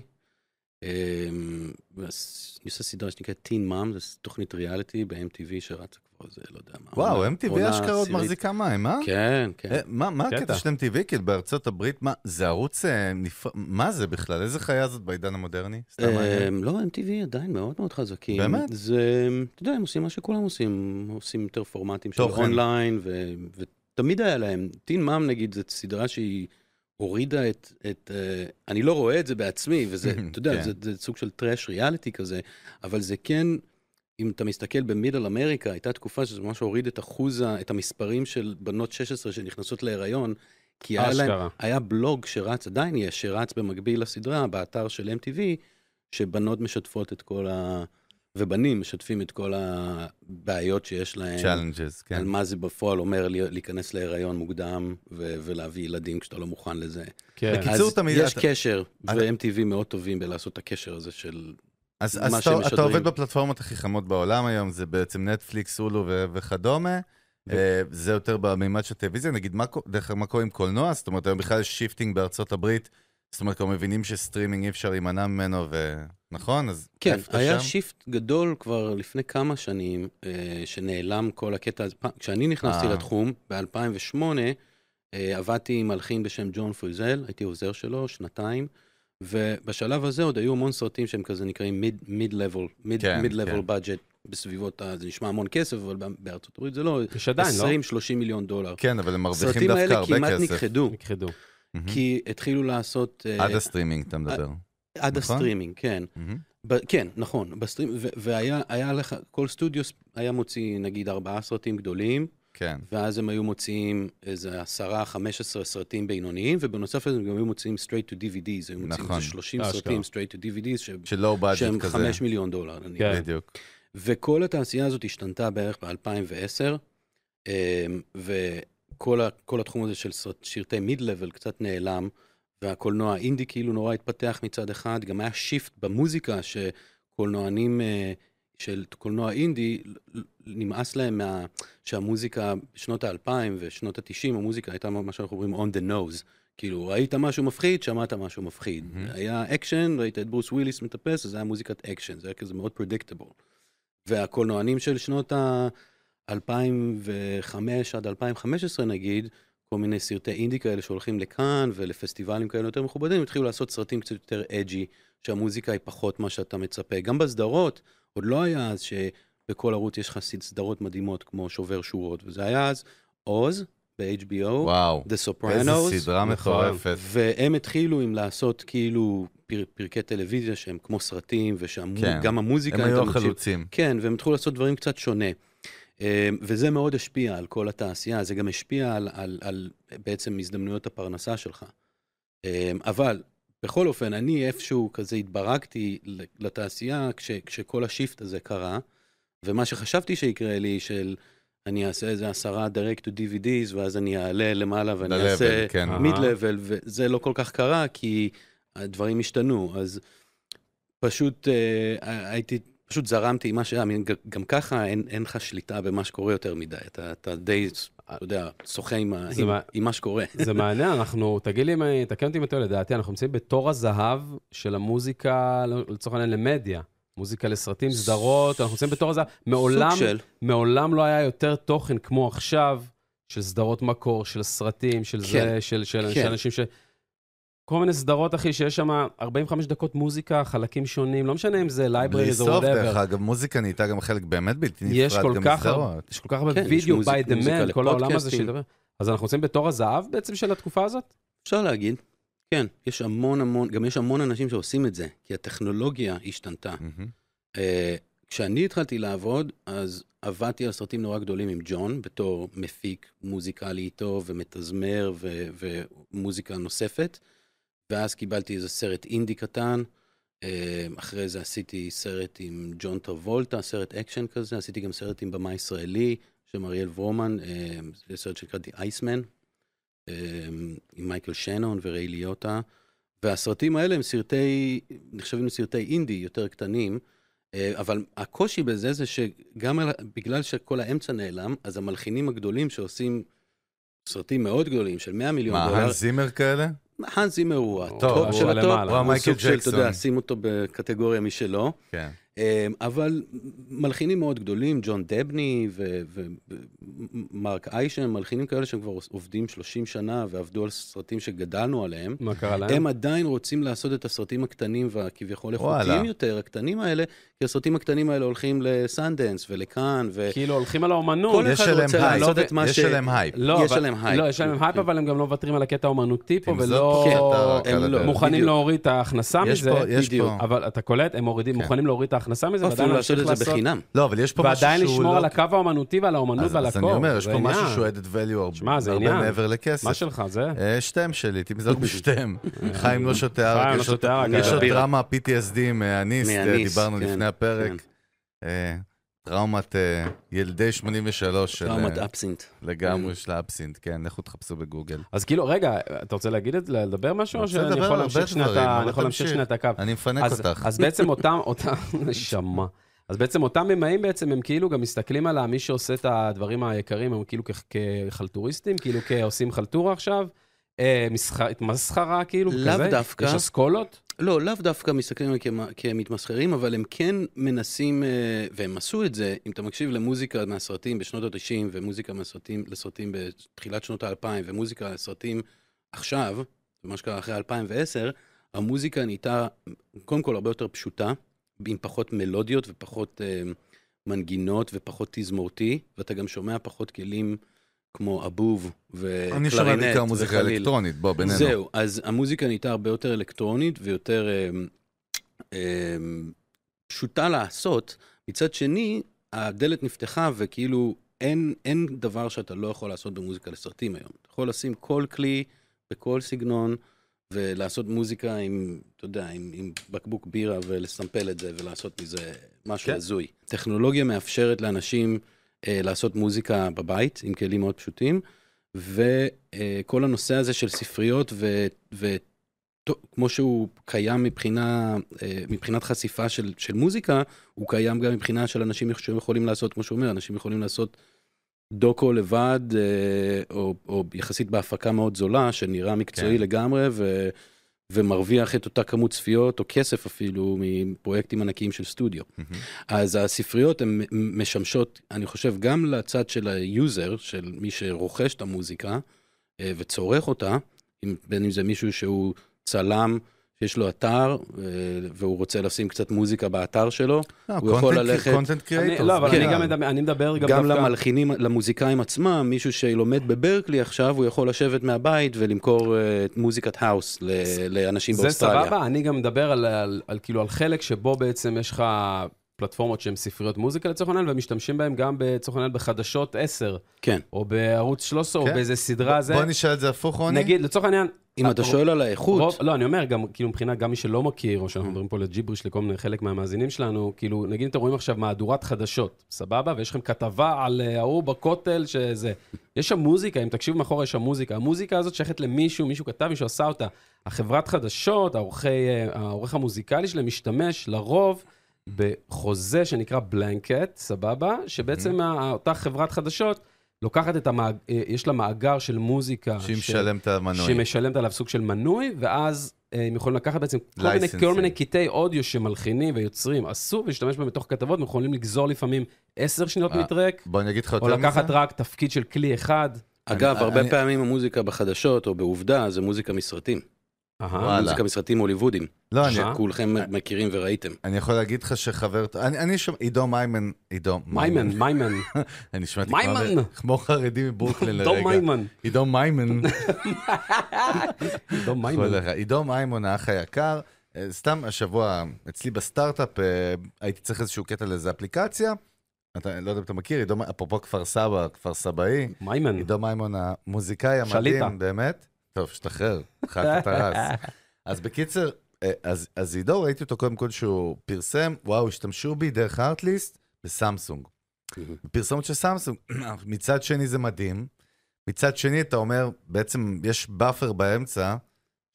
Speaker 3: אמ, ואז אני עושה סדרה שנקראת טין מאם, זו תוכנית ריאליטי ב-MTV שרצה כבר איזה, לא יודע מה.
Speaker 2: וואו,
Speaker 3: עונה-
Speaker 2: MTV
Speaker 3: עונה
Speaker 2: אשכרה עוד
Speaker 3: עשירית.
Speaker 2: מחזיקה מים, אה?
Speaker 3: כן, כן.
Speaker 2: אה, מה מה
Speaker 1: קטע.
Speaker 2: הקטע של MTV? כאילו בארצות הברית, מה, זה ערוץ אה, נפרד, מה זה בכלל? איזה חיה זאת בעידן המודרני? סתם מעניין.
Speaker 3: אמ, לא, MTV עדיין מאוד מאוד חזקים.
Speaker 2: באמת?
Speaker 3: זה, אתה יודע, הם עושים מה שכולם עושים, עושים יותר פורמטים של
Speaker 2: תוכן.
Speaker 3: אונליין, ו- ותמיד היה להם. טין מאם נגיד, זאת סדרה שהיא הורידה את, את אה, אני לא רואה את זה בעצמי, וזה, אתה יודע,
Speaker 2: כן.
Speaker 3: זה, זה סוג של טראש ריאליטי כזה, אבל זה כן, אם אתה מסתכל במידל אמריקה, הייתה תקופה שזה ממש הוריד את אחוזה, את המספרים של בנות 16 שנכנסות להיריון, כי היה להם,
Speaker 1: אשכרה.
Speaker 3: היה בלוג שרץ, עדיין יש, שרץ במקביל לסדרה, באתר של MTV, שבנות משתפות את כל ה... ובנים משתפים את כל הבעיות שיש להם.
Speaker 2: Challenges,
Speaker 3: אה, על
Speaker 2: כן.
Speaker 3: מה זה בפועל אומר לי- להיכנס להיריון מוקדם ו- ולהביא ילדים כשאתה לא מוכן לזה.
Speaker 1: כן.
Speaker 2: בקיצור,
Speaker 3: אז
Speaker 2: תמיד
Speaker 3: יש
Speaker 2: אתה-
Speaker 3: קשר,
Speaker 2: אתה-
Speaker 3: ו-MTV מאוד טובים בלעשות את הקשר הזה של...
Speaker 2: אז
Speaker 3: מה
Speaker 2: אז
Speaker 3: שהם
Speaker 2: אתה אתה
Speaker 3: משדרים.
Speaker 2: עובד בפלטפורמות הכי חמות בעולם היום, זה בעצם נטפליקס, הולו ו- וכדומה.
Speaker 3: כן.
Speaker 1: ו-
Speaker 2: אה, זה יותר במימד של טלוויזיה, נגיד, מה קו- דרך אגב, מה קורה עם קולנוע? זאת אומרת, היום בכלל יש שיפטינג בארצות הברית, זאת אומרת, כבר מבינים שסטרימינג אי אפשר להימנע ממנו, ונכון? אז
Speaker 3: כן,
Speaker 2: איפה אתה
Speaker 3: היה
Speaker 2: שם?
Speaker 3: שיפט גדול כבר לפני כמה שנים, אה, שנעלם כל הקטע הזה. פעם- כשאני נכנסתי
Speaker 2: אה.
Speaker 3: לתחום, ב-2008, אה, עבדתי עם מלחין בשם ג'ון פריזל, הייתי עוזר שלו שנתיים, ובשלב הזה עוד היו המון סרטים שהם כזה נקראים מיד- mid-level, mid-
Speaker 2: כן,
Speaker 3: mid-level
Speaker 2: כן.
Speaker 3: budget בסביבות, ה- זה נשמע המון כסף, אבל ב- בארצות הברית זה לא,
Speaker 1: יש עדיין, לא?
Speaker 3: 20-30 מיליון דולר.
Speaker 2: כן, אבל הם מרוויחים
Speaker 3: הסרטים
Speaker 2: דווקא
Speaker 3: האלה
Speaker 2: הרבה
Speaker 3: כמעט
Speaker 2: כסף.
Speaker 3: נכחדו,
Speaker 1: נכחדו.
Speaker 2: מהמם.
Speaker 3: כי התחילו לעשות... אה,
Speaker 2: עד הסטרימינג אתה מדבר.
Speaker 1: אה,
Speaker 3: עד
Speaker 2: נכון?
Speaker 3: הסטרימינג, כן.
Speaker 2: מהמם.
Speaker 3: ב- כן, נכון, בסטרים, ו- והיה היה לך, כל סטודיו ס- היה מוציא נגיד ארבעה סרטים גדולים,
Speaker 2: כן.
Speaker 3: ואז הם היו מוציאים איזה עשרה, חמש עשרה סרטים בינוניים, ובנוסף לזה הם גם היו מוציאים straight to DVDs, היו מוציאים
Speaker 2: נכון.
Speaker 3: איזה 30
Speaker 1: אשכרה.
Speaker 3: סרטים straight to DVDs, ש-
Speaker 2: של לואו
Speaker 3: שהם
Speaker 2: בדג'ט כזה.
Speaker 3: חמש מיליון דולר. נניח.
Speaker 1: כן.
Speaker 2: בדיוק.
Speaker 3: וכל התעשייה הזאת השתנתה בערך ב-2010, אמ, וכל ה- כל התחום הזה של סרט- שרטי מיד-לבל קצת נעלם, והקולנוע האינדי כאילו נורא התפתח מצד אחד, גם היה שיפט במוזיקה שקולנוענים אה, של קולנוע אינדי, ל- ל- נמאס להם מה, שהמוזיקה בשנות האלפיים ושנות התשעים, המוזיקה הייתה מה שאנחנו אומרים on the nose. כאילו, ראית משהו מפחיד, שמעת משהו מפחיד.
Speaker 2: מהמם.
Speaker 3: היה אקשן, ראית את ברוס וויליס מטפס, אז זה היה מוזיקת אקשן, זה היה כזה מאוד predictable. והקולנוענים של שנות ה-2005 עד 2015 נגיד, כל מיני סרטי אינדי כאלה שהולכים לכאן ולפסטיבלים כאלה יותר מכובדים, התחילו לעשות סרטים קצת יותר אג'י, שהמוזיקה היא פחות מה שאתה מצפה. גם בסדרות, עוד לא היה אז שבכל ערוץ יש לך סדרות מדהימות כמו שובר שורות, וזה היה אז עוז ב-HBO,
Speaker 2: וואו.
Speaker 3: The
Speaker 2: איזה
Speaker 3: Sopranos,
Speaker 2: סדרה
Speaker 1: נכון.
Speaker 2: מטורפת.
Speaker 3: והם התחילו עם לעשות כאילו פר, פרקי טלוויזיה שהם כמו סרטים, ושגם
Speaker 2: כן.
Speaker 3: כן. המוזיקה,
Speaker 2: הם
Speaker 3: אם
Speaker 2: היו
Speaker 3: אתה מקשיב-
Speaker 2: החלוצים.
Speaker 3: כן, והם התחילו לעשות דברים קצת שונה. אמ, וזה מאוד השפיע על כל התעשייה, זה גם השפיע על, על, על בעצם הזדמנויות הפרנסה שלך. אמ, אבל, בכל אופן, אני איפשהו כזה התברקתי ל- לתעשייה כש, כשכל השיפט הזה קרה, ומה שחשבתי שיקרה לי, של אני אעשה איזה עשרה direct to DVDs, ואז אני אעלה למעלה ואני
Speaker 2: ל-level,
Speaker 3: אעשה...
Speaker 2: כן.
Speaker 1: אה.
Speaker 3: מיד לבל, וזה לא כל כך קרה, כי הדברים השתנו, אז פשוט אה, הייתי, פשוט זרמתי עם מה שהיה, מין- גם ככה אין, אין לך שליטה במה שקורה יותר מדי, אתה, אתה די, אתה יודע, שוחה עם, ה-
Speaker 1: זה
Speaker 3: עם,
Speaker 1: מה-
Speaker 3: עם מה שקורה.
Speaker 1: זה מעניין, אנחנו, תגיד לי אם, אני- תקן אותי אם אתה טועה, לדעתי, אנחנו נמצאים בתור הזהב של המוזיקה, לא, לצורך העניין, למדיה. מוזיקה לסרטים, סדרות, אנחנו נמצאים בתור הזהב. מעולם,
Speaker 3: סוג של,
Speaker 1: מעולם לא היה יותר תוכן כמו עכשיו, של סדרות מקור, של סרטים, של זה,
Speaker 3: כן,
Speaker 1: של, של,
Speaker 3: כן.
Speaker 1: של אנשים ש... כל מיני סדרות, אחי, שיש שם 45 דקות מוזיקה, חלקים שונים, לא משנה אם זה
Speaker 2: בלי
Speaker 1: libraries או
Speaker 2: סוף, דרך
Speaker 1: whatever.
Speaker 2: אגב, מוזיקה נהייתה גם חלק באמת בלתי נפרד,
Speaker 1: יש כל
Speaker 2: גם
Speaker 1: כך הרבה,
Speaker 2: מסדרות.
Speaker 1: יש כל כך הרבה
Speaker 3: כן, יש
Speaker 1: וידאו
Speaker 3: מוזיק-
Speaker 1: by the
Speaker 3: מוזיקה
Speaker 1: man, כל העולם הזה
Speaker 3: לפודקאסטים.
Speaker 1: שידבר. אז אנחנו נמצאים בתור הזהב בעצם של התקופה הזאת?
Speaker 3: אפשר להגיד, כן, יש המון המון, גם יש המון אנשים שעושים את זה, כי הטכנולוגיה השתנתה.
Speaker 1: Mm.
Speaker 2: מהמם.
Speaker 3: אה, כשאני התחלתי לעבוד, אז עבדתי על סרטים נורא גדולים עם ג'ון, בתור מפיק מוזיקלי איתו ומתזמר ו- ומוזיקה נוספת. ואז קיבלתי איזה סרט אינדי קטן. אה, אחרי זה עשיתי סרט עם ג'ון טרבולטה, סרט אקשן כזה, עשיתי גם סרט עם במה ישראלי, שם אריאל ורומן, אה, זה סרט שנקרא The Iceman, אה, עם מייקל שנון וריי ליוטה, והסרטים האלה הם סרטי, נחשבים לסרטי אינדי יותר קטנים, אה, אבל הקושי בזה זה שגם על- בגלל שכל האמצע נעלם, אז המלחינים הגדולים שעושים סרטים מאוד גדולים של 100 מיליון
Speaker 2: מה,
Speaker 3: דולר,
Speaker 2: האנס זימר כאלה?
Speaker 3: האנס זימר הוא
Speaker 1: הוא-
Speaker 3: הטופ
Speaker 2: הוא
Speaker 3: של
Speaker 1: הלמעלה.
Speaker 3: הטופ,
Speaker 1: הוא
Speaker 3: הוא
Speaker 2: המייקל
Speaker 3: סוג של, אתה
Speaker 2: ג'קסון.
Speaker 3: יודע, שים אותו בקטגוריה משלו.
Speaker 2: כן.
Speaker 3: אמ, אבל מלחינים מאוד גדולים, ג'ון דבני ומרק איישם, מלחינים כאלה שהם כבר עובדים 30 שנה ועבדו על סרטים שגדלנו עליהם.
Speaker 1: מה קרה להם?
Speaker 3: הם עדיין רוצים לעשות את הסרטים הקטנים והכביכול
Speaker 2: וואלה.
Speaker 3: איכותיים יותר, הקטנים האלה, כי הסרטים הקטנים האלה הולכים לסנדנס ולכאן, ו-
Speaker 1: כאילו הולכים על האומנות.
Speaker 3: כל
Speaker 2: יש
Speaker 3: אחד
Speaker 2: עליהם
Speaker 3: רוצה
Speaker 2: הייפ,
Speaker 3: לעשות את מה
Speaker 2: יש
Speaker 3: ש-
Speaker 2: עליהם הייפ.
Speaker 1: לא,
Speaker 3: יש
Speaker 1: אבל-
Speaker 3: עליהם כן. הייפ.
Speaker 1: לא, יש עליהם הייפ, אבל הם גם לא מוותרים על הקטע האומנותי פה,
Speaker 2: עם זאת, כן,
Speaker 1: ולא
Speaker 2: אתה-
Speaker 3: הם לא.
Speaker 1: מוכנים
Speaker 3: בדיוק.
Speaker 1: להוריד את ההכנסה
Speaker 2: יש
Speaker 1: מזה.
Speaker 2: פה, יש
Speaker 3: בדיוק.
Speaker 2: פה.
Speaker 1: אבל אתה קולט, הם מורידים,
Speaker 2: כן.
Speaker 1: מוכנים להוריד את ההכנסה מזה, ועדיין
Speaker 3: אפילו לעשות
Speaker 1: להמשיך
Speaker 3: את זה בחינם.
Speaker 2: לא, אבל יש פה משהו שהוא
Speaker 1: ועדיין לשמור
Speaker 2: לא-
Speaker 1: על הקו האומנותי ועל האומנות
Speaker 2: אז-
Speaker 1: ועל
Speaker 2: אז אני
Speaker 1: הקור.
Speaker 2: אומר, יש
Speaker 1: זה
Speaker 2: פה משהו
Speaker 1: עניין.
Speaker 2: שהוא added value
Speaker 1: שמע,
Speaker 2: הרבה
Speaker 1: זה
Speaker 2: הרבה
Speaker 1: עניין.
Speaker 2: מעבר לכסף.
Speaker 1: מה שלך, זה?
Speaker 2: אה, שתיהם שלי, תמזוג בשתיהם. חיים לא שותה
Speaker 1: אה. חיים
Speaker 2: ערק,
Speaker 1: לא
Speaker 2: יש עוד-
Speaker 1: שותה ערק,
Speaker 2: יש
Speaker 1: אה.
Speaker 2: עוד
Speaker 3: בירה.
Speaker 2: דרמה PTSD מאניס, אה,
Speaker 3: מאניס,
Speaker 2: דיברנו
Speaker 3: כן,
Speaker 2: לפני הפרק.
Speaker 3: כן.
Speaker 2: אה, טראומת אה, ילדי 83 של...
Speaker 3: טראומת
Speaker 2: אה,
Speaker 3: אפסינט.
Speaker 2: לגמרי של האפסינט, כן, לכו תחפשו בגוגל.
Speaker 1: אז כאילו, רגע, אתה רוצה להגיד את זה, לדבר משהו, או
Speaker 2: רוצה
Speaker 1: שאני
Speaker 2: לדבר
Speaker 1: יכול
Speaker 2: על הרבה
Speaker 1: להמשיך שנייה את
Speaker 2: דברים,
Speaker 1: ה-
Speaker 2: אבל
Speaker 1: אני יכול להמשיך
Speaker 2: תמשיך.
Speaker 1: שנייה את הקו?
Speaker 2: אני מפנק
Speaker 1: אז,
Speaker 2: אותך.
Speaker 1: אז בעצם אותם, אותם, נשמה. אז בעצם אותם ממאים בעצם, הם כאילו גם מסתכלים על מי שעושה את הדברים היקרים, הם כאילו כ- כחלטוריסטים, כאילו כעושים חלטורה עכשיו, אה, מסחר- מסחרה כאילו,
Speaker 3: לאו
Speaker 1: כזה?
Speaker 3: דווקא.
Speaker 1: יש אסכולות?
Speaker 3: לא, לאו דווקא מסתכלים עליהם כמה- כמתמסחרים, אבל הם כן מנסים, אה, והם עשו את זה, אם אתה מקשיב למוזיקה מהסרטים בשנות ה-90, ומוזיקה מהסרטים לסרטים בתחילת שנות ה-2000, ומוזיקה לסרטים עכשיו, ומה שקרה אחרי 2010, המוזיקה נהייתה קודם כל הרבה יותר פשוטה, עם פחות מלודיות ופחות אה, מנגינות ופחות תזמורתי, ואתה גם שומע פחות כלים כמו אבוב
Speaker 1: אה,
Speaker 3: וקלרינט
Speaker 2: אני שומע בעיקר מוזיקה
Speaker 3: וחליל.
Speaker 2: אלקטרונית, בוא, בינינו.
Speaker 3: זהו, אז המוזיקה נהייתה הרבה יותר אלקטרונית ויותר אמ, אמ, פשוטה לעשות. מצד שני, הדלת נפתחה וכאילו אין, אין דבר שאתה לא יכול לעשות במוזיקה לסרטים היום. אתה יכול לשים כל כלי בכל סגנון ולעשות מוזיקה עם, אתה יודע, עם, עם בקבוק בירה ולסמפל את זה ולעשות מזה משהו
Speaker 2: כן.
Speaker 3: הזוי. טכנולוגיה מאפשרת לאנשים אה, לעשות מוזיקה בבית עם כלים מאוד פשוטים. וכל הנושא הזה של ספריות, וכמו שהוא קיים מבחינה, אה, מבחינת חשיפה של, של מוזיקה, הוא קיים גם מבחינה של אנשים שיכולים לעשות, כמו שהוא אומר, אנשים יכולים לעשות דוקו לבד, אה, או, או יחסית בהפקה מאוד זולה, שנראה מקצועי
Speaker 2: כן.
Speaker 3: כן. לגמרי, ו, ומרוויח את אותה כמות צפיות, או כסף אפילו, מפרויקטים ענקיים של סטודיו.
Speaker 2: מהמם.
Speaker 3: אז הספריות הן משמשות, אני חושב, גם לצד של היוזר, של מי שרוכש את המוזיקה אה, וצורך אותה, אם- בין אם זה מישהו שהוא צלם, שיש לו אתר, אה, והוא רוצה לשים קצת מוזיקה באתר שלו,
Speaker 2: לא,
Speaker 3: הוא יכול
Speaker 2: content-
Speaker 3: ללכת-
Speaker 2: content
Speaker 1: אני-
Speaker 2: creators,
Speaker 1: לא, אבל
Speaker 2: כן.
Speaker 1: אני גם מדבר- אני מדבר גם
Speaker 3: גם
Speaker 1: דווקא...
Speaker 3: למלחינים, למוזיקאים עצמם, מישהו שלומד בברקלי עכשיו, הוא יכול לשבת מהבית ולמכור אה, את מוזיקת האוס ל- לאנשים
Speaker 1: זה
Speaker 3: באוסטרליה.
Speaker 1: סבבה, אני גם מדבר על, על, על כאילו על חלק שבו בעצם יש לך פלטפורמות שהן ספריות מוזיקה לצורך העניין, ומשתמשים בהן גם לצורך העניין בחדשות 10,
Speaker 3: כן.
Speaker 1: או בערוץ 13,
Speaker 2: כן.
Speaker 1: או באיזה סדרה זה.
Speaker 2: בוא נשאל את זה הפוך, רוני.
Speaker 1: נגיד, לצורך העניין... אה,
Speaker 3: אם אתה
Speaker 1: רוב-
Speaker 3: שואל על האיכות,
Speaker 1: רוב, לא, אני אומר, גם כאילו מבחינת, גם מי שלא מכיר, או שאנחנו מדברים פה לג'יבריש לכל מיני חלק מהמאזינים שלנו, כאילו, נגיד אתם רואים עכשיו מהדורת חדשות, סבבה? ויש לכם כתבה על אה, ההוא בכותל, שזה... יש שם מוזיקה, אם תקשיבו מאחורה, יש שם מוזיקה. המוזיקה הזאת שייכת למישהו, מישהו כתב, מישהו עשה אותה. החברת חדשות, העורכי, אה, העורך המוזיקלי שלהם משתמש לרוב בחוזה שנקרא בלנקט, סבבה? שבעצם ה- אותה חברת חדשות לוקחת את המאג... אה, יש לה מאגר של מוזיקה.
Speaker 2: שהיא
Speaker 1: של-
Speaker 2: משלמת על המנוי.
Speaker 1: שמשלמת עליו סוג של מנוי, ואז אה, הם יכולים לקחת בעצם כל מיני,
Speaker 2: Licensing.
Speaker 1: כל מיני קטעי אודיו שמלחינים ויוצרים, אסור להשתמש בהם בתוך כתבות, הם יכולים לגזור לפעמים עשר שניות
Speaker 2: אה,
Speaker 1: מטרק,
Speaker 2: בוא אני אגיד לך
Speaker 1: או
Speaker 2: יותר
Speaker 1: לקחת
Speaker 2: מזה.
Speaker 1: רק תפקיד של כלי אחד.
Speaker 3: אגב,
Speaker 2: אני-
Speaker 3: הרבה
Speaker 2: אני-
Speaker 3: פעמים המוזיקה בחדשות או בעובדה זה מוזיקה מסרטים.
Speaker 1: אהה.
Speaker 2: וואלה.
Speaker 3: מוזיקה מסרטים הוליוודיים,
Speaker 2: לא, אני-
Speaker 1: אה?
Speaker 3: שכולכם מכירים וראיתם.
Speaker 2: אני יכול להגיד לך שחבר... אני אני שומע... עידו מיימן... עידו
Speaker 1: מיימן, מיימן,
Speaker 2: אני שמעתי
Speaker 1: מיימן.
Speaker 2: כמו- כמו חרדי מברוקלין לרגע.
Speaker 1: דום מיימן,
Speaker 2: עידו מיימן.
Speaker 1: דום
Speaker 2: כל
Speaker 1: מיימן.
Speaker 2: אחד. עידו מימון, האח היקר, אה, סתם השבוע אצלי בסטארט-אפ אה, הייתי צריך איזשהו קטע לאיזה אפליקציה. אתה לא יודע אם אתה מכיר, עידו, מ- אפרופו כפר סבא, כפר סבאי,
Speaker 1: מיימן,
Speaker 2: עידו מימון המוזיקאי
Speaker 1: שליטה.
Speaker 2: המדהים, באמת. טוב, שתחרר, חכה טרס. אז בקיצר, אה, אז אז עידו, ראיתי אותו קודם כל שהוא פרסם, וואו, השתמשו בי דרך הארטליסט בסמסונג. פרסומת של סמסונג. מצד שני זה מדהים, מצד שני, אתה אומר, בעצם יש באפר באמצע,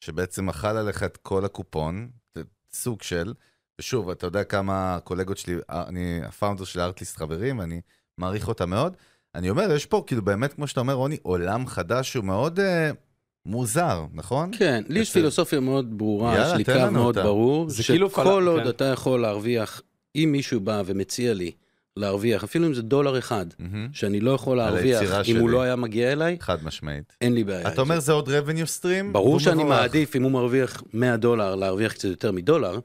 Speaker 2: שבעצם אכל עליך את כל הקופון, זה סוג של, ושוב, אתה יודע כמה הקולגות שלי, אני, הפאונדר של הארטליסט חברים, ואני מעריך אותה מאוד. אני אומר, יש פה, כאילו, באמת, כמו שאתה אומר, רוני, עולם חדש שהוא מאוד אה, מוזר, נכון?
Speaker 3: כן, לי יש
Speaker 2: בסדר.
Speaker 3: פילוסופיה מאוד ברורה,
Speaker 2: יאללה,
Speaker 3: יש לי
Speaker 2: תן
Speaker 3: קו
Speaker 2: לנו
Speaker 3: מאוד
Speaker 2: אותה.
Speaker 3: ברור,
Speaker 1: זה כאילו
Speaker 3: שכל
Speaker 1: פלא-
Speaker 3: עוד
Speaker 1: כן.
Speaker 3: אתה יכול להרוויח, אם מישהו בא ומציע לי להרוויח, אפילו אם זה דולר אחד,
Speaker 2: מהמם.
Speaker 3: שאני לא יכול
Speaker 2: על היצירה
Speaker 3: להרוויח אם
Speaker 2: שלי.
Speaker 3: הוא לא היה מגיע אליי,
Speaker 2: חד משמעית.
Speaker 3: אין לי בעיה. עם
Speaker 2: אתה אומר, זה עוד revenue stream?
Speaker 3: אה, ברור
Speaker 2: והוא
Speaker 3: שאני
Speaker 2: מבורך.
Speaker 3: מעדיף, אם הוא מרוויח 100 דולר, להרוויח קצת יותר מדולר,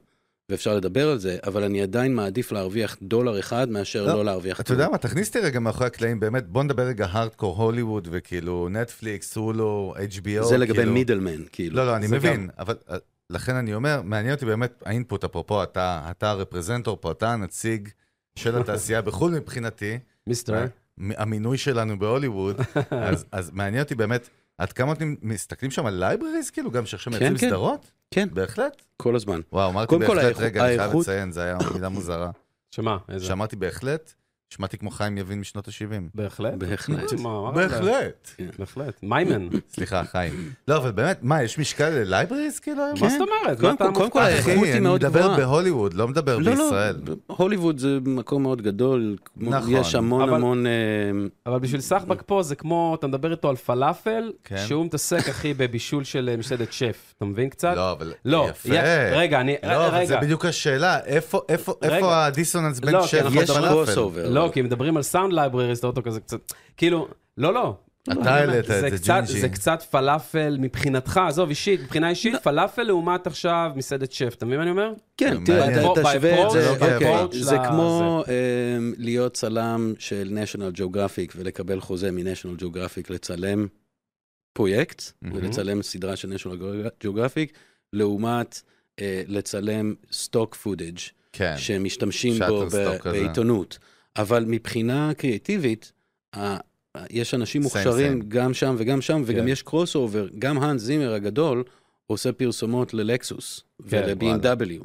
Speaker 3: ואפשר לדבר על זה, אבל אני עדיין מעדיף להרוויח דולר אחד מאשר
Speaker 2: לא,
Speaker 3: לא להרוויח
Speaker 2: אתה יודע מה, תכניס אותי רגע מאחורי הקלעים, באמת, בוא נדבר רגע הארדקור הוליווד, וכאילו נטפליקס, הולו, HBO, כאילו...
Speaker 3: זה לגבי מידלמן, כאילו.
Speaker 2: לא, לא, אני
Speaker 1: זה
Speaker 2: מבין,
Speaker 1: גם-
Speaker 2: אבל אה, לכן אני אומר, מעניין אותי באמת האינפוט, אפרופו, אתה אתה הרפרזנטור פה, אתה הנציג של התעשייה בחו"ל מבחינתי, אה.
Speaker 1: מיסטר,
Speaker 2: מ- המינוי שלנו בהוליווד, אז- אז מעניין אותי באמת, עד כמה אתם מסתכלים שם על לייבריז, כאילו, גם שעכשיו
Speaker 3: כן,
Speaker 2: מייצרים
Speaker 3: כן.
Speaker 2: סדרות?
Speaker 3: כן,
Speaker 2: בהחלט.
Speaker 3: כל הזמן.
Speaker 2: וואו, אמרתי
Speaker 3: קודם כל,
Speaker 2: בהחלט,
Speaker 3: האיכות-
Speaker 2: רגע, אני חייב
Speaker 3: האיכות-
Speaker 2: לציין, זו הייתה מילה מוזרה.
Speaker 1: שמה? איזה?
Speaker 2: שאמרתי בהחלט, שמעתי כמו חיים יבין משנות ה-70.
Speaker 1: בהחלט.
Speaker 3: בהחלט.
Speaker 1: מה, אמרת?
Speaker 2: בהחלט.
Speaker 1: בהחלט. מיימן.
Speaker 2: סליחה, חיים. לא, אבל באמת, מה, יש משקל ללייבריז כאילו היום?
Speaker 1: מה זאת אומרת? מה
Speaker 3: כן. קודם
Speaker 1: אתה
Speaker 3: כל- קודם כל,
Speaker 1: מופתע?
Speaker 3: האיכות היא
Speaker 2: אחי, אני
Speaker 3: מאוד
Speaker 2: מדבר
Speaker 3: גבוהה.
Speaker 2: בהוליווד, לא מדבר
Speaker 3: לא, לא,
Speaker 2: בישראל.
Speaker 3: הוליווד זה מקום מאוד גדול, כמו-
Speaker 2: נכון.
Speaker 3: יש המון
Speaker 1: אבל-
Speaker 3: המון... אה,
Speaker 1: אבל בשביל סחבק פה זה כמו, אתה מדבר איתו על פלאפל,
Speaker 2: כן.
Speaker 1: שהוא מתעסק, אחי, בבישול של אה, מסעדת שף. אתה מבין קצת?
Speaker 2: לא, אבל
Speaker 1: לא,
Speaker 2: יפה.
Speaker 1: יש- רגע, אני...
Speaker 2: לא, אבל זה
Speaker 1: רגע.
Speaker 2: בדיוק השאלה, איפה- איפה
Speaker 1: רגע.
Speaker 2: איפה הדיסוננס בין
Speaker 1: לא, כי
Speaker 2: שף
Speaker 1: אנחנו
Speaker 3: יש
Speaker 1: מדברים-
Speaker 2: לפלאפל?
Speaker 3: crossover.
Speaker 1: לא, כי מדברים על סאונד לייבריריס, אתה אותו כזה קצת... כאילו, לא, לא.
Speaker 2: אתה העלית את זה,
Speaker 1: קצת-
Speaker 2: ג'ינג'י.
Speaker 1: זה קצת פלאפל מבחינתך, עזוב, אישית, מבחינה אישית, פלאפל לעומת עכשיו מסעדת שף, אתה מבין מה אני אומר?
Speaker 3: כן,
Speaker 2: מעניין.
Speaker 3: תראה, אתה-
Speaker 1: ב-
Speaker 3: תשווה את זה,
Speaker 2: ב- approach,
Speaker 3: אוקיי,
Speaker 1: ב-
Speaker 3: זה
Speaker 1: approach
Speaker 3: כמו אמ, להיות צלם של national geographic ולקבל חוזה מ-national geographic לצלם פרויקט,
Speaker 2: מהמם.
Speaker 3: ולצלם סדרה של national geographic, לעומת אה, לצלם סטוק פודג'
Speaker 2: כן,
Speaker 3: שמשתמשים
Speaker 2: Shutterstock
Speaker 3: בו ב-
Speaker 2: כזה.
Speaker 3: בעיתונות. אבל מבחינה קריאטיבית, ה- ה- יש אנשים
Speaker 2: Same,
Speaker 3: מוכשרים
Speaker 2: same.
Speaker 3: גם שם וגם שם, וגם
Speaker 2: כן.
Speaker 3: יש קרוס אובר, גם האנס זימר הגדול עושה פרסומות ללקסוס
Speaker 1: כן,
Speaker 3: ול-B&W,